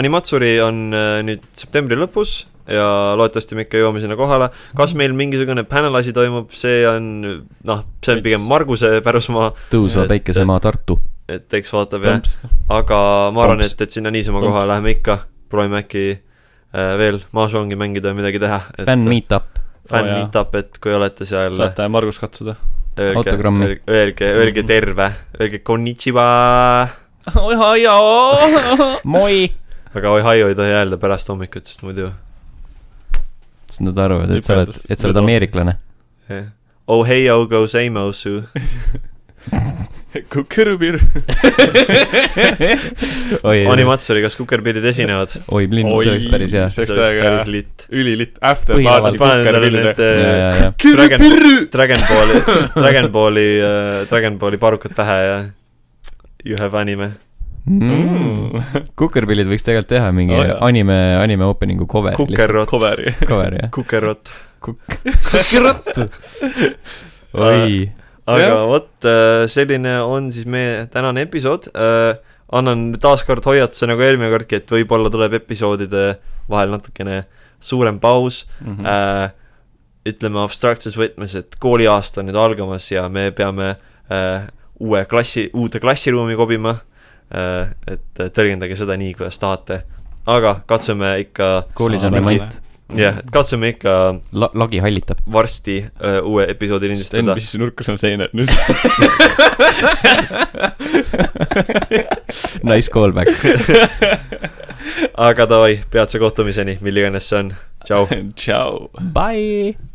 Speaker 1: Animatsuri on äh, nüüd septembri lõpus ja loodetavasti me ikka jõuame sinna kohale .
Speaker 2: Mhm.
Speaker 1: kas meil mingisugune panel asi toimub , see on noh , see on pigem Marguse pärusmaa ,
Speaker 3: tõusva
Speaker 1: Et-
Speaker 3: päikesemaa Tartu .
Speaker 1: et eks vaatab jah .
Speaker 2: tõmps .
Speaker 1: aga ma arvan ,
Speaker 2: Tomps.
Speaker 1: et , et sinna niisama koha
Speaker 2: Tomps.
Speaker 1: läheme ikka , proovime äkki äh, veel mahjongi mängida või midagi teha .
Speaker 3: fänn meetup .
Speaker 1: fänn
Speaker 2: Oo, Oh, jaa.
Speaker 1: meetup , et kui olete seal ,
Speaker 2: saate Margus katsuda .
Speaker 1: öelge ,
Speaker 3: autogrammi.
Speaker 1: öelge , öelge,
Speaker 2: Mm-hmm.
Speaker 1: öelge terve , öelge konnichiwa ,
Speaker 3: moi .
Speaker 1: aga ohio ei tohi öelda pärast hommikut , sest muidu
Speaker 3: siis nad arvavad , et sa oled , et sa oled
Speaker 2: Nüüd-
Speaker 3: ameeriklane .
Speaker 1: jah. Oh, Ohio goes Amosu ,
Speaker 2: kukerupir .
Speaker 3: oi ,
Speaker 1: Animatsuri , kas kukerpillid esinevad ?
Speaker 3: oi , linn , see oleks päris hea .
Speaker 2: see
Speaker 1: see
Speaker 2: oleks
Speaker 1: oleks
Speaker 2: täiega
Speaker 1: päris
Speaker 2: hea .
Speaker 1: litt .
Speaker 2: ülilitt , after
Speaker 3: Põhilaval
Speaker 2: party
Speaker 1: panen talle
Speaker 2: kukerupillide
Speaker 1: need . äh,
Speaker 3: ja , ja , ja .
Speaker 1: Dragon , Dragon Balli , Dragon Balli , Dragon Balli parukad pähe ja you have anime .
Speaker 3: mm. . kukerpillid võiks tegelikult teha mingi
Speaker 2: Oo,
Speaker 3: oh,
Speaker 2: jaa.
Speaker 3: anime , anime opening'u cover .
Speaker 1: kukerrot ,
Speaker 2: Coveri .
Speaker 3: cover jah .
Speaker 1: kukerrot .
Speaker 3: kukerott . oi ,
Speaker 1: aga
Speaker 2: Jah.
Speaker 1: vot , selline on siis meie tänane episood . annan taaskord hoiatuse nagu eelmine kordki , et võib-olla tuleb episoodide vahel natukene suurem paus
Speaker 3: Mhm.
Speaker 1: mm. . ütleme abstraktses võtmes , et kooliaasta on nüüd algamas ja me peame äh, uue klassi , uude klassiruumi kobima . et tõlgendage seda nii , kuidas tahate . aga katsume ikka ,
Speaker 3: koolis on
Speaker 1: Saame
Speaker 3: remont .
Speaker 1: jah , et katsume ikka
Speaker 3: La- , lagi hallitab .
Speaker 1: varsti äh, uue episoodi
Speaker 2: Sten
Speaker 1: lindistada .
Speaker 2: pissis nurka sinna seina , et nüüd
Speaker 3: Nice callback .
Speaker 1: aga davai , peatse kohtumiseni , mille iganes see on , tšau .
Speaker 2: tšau .
Speaker 3: Bye .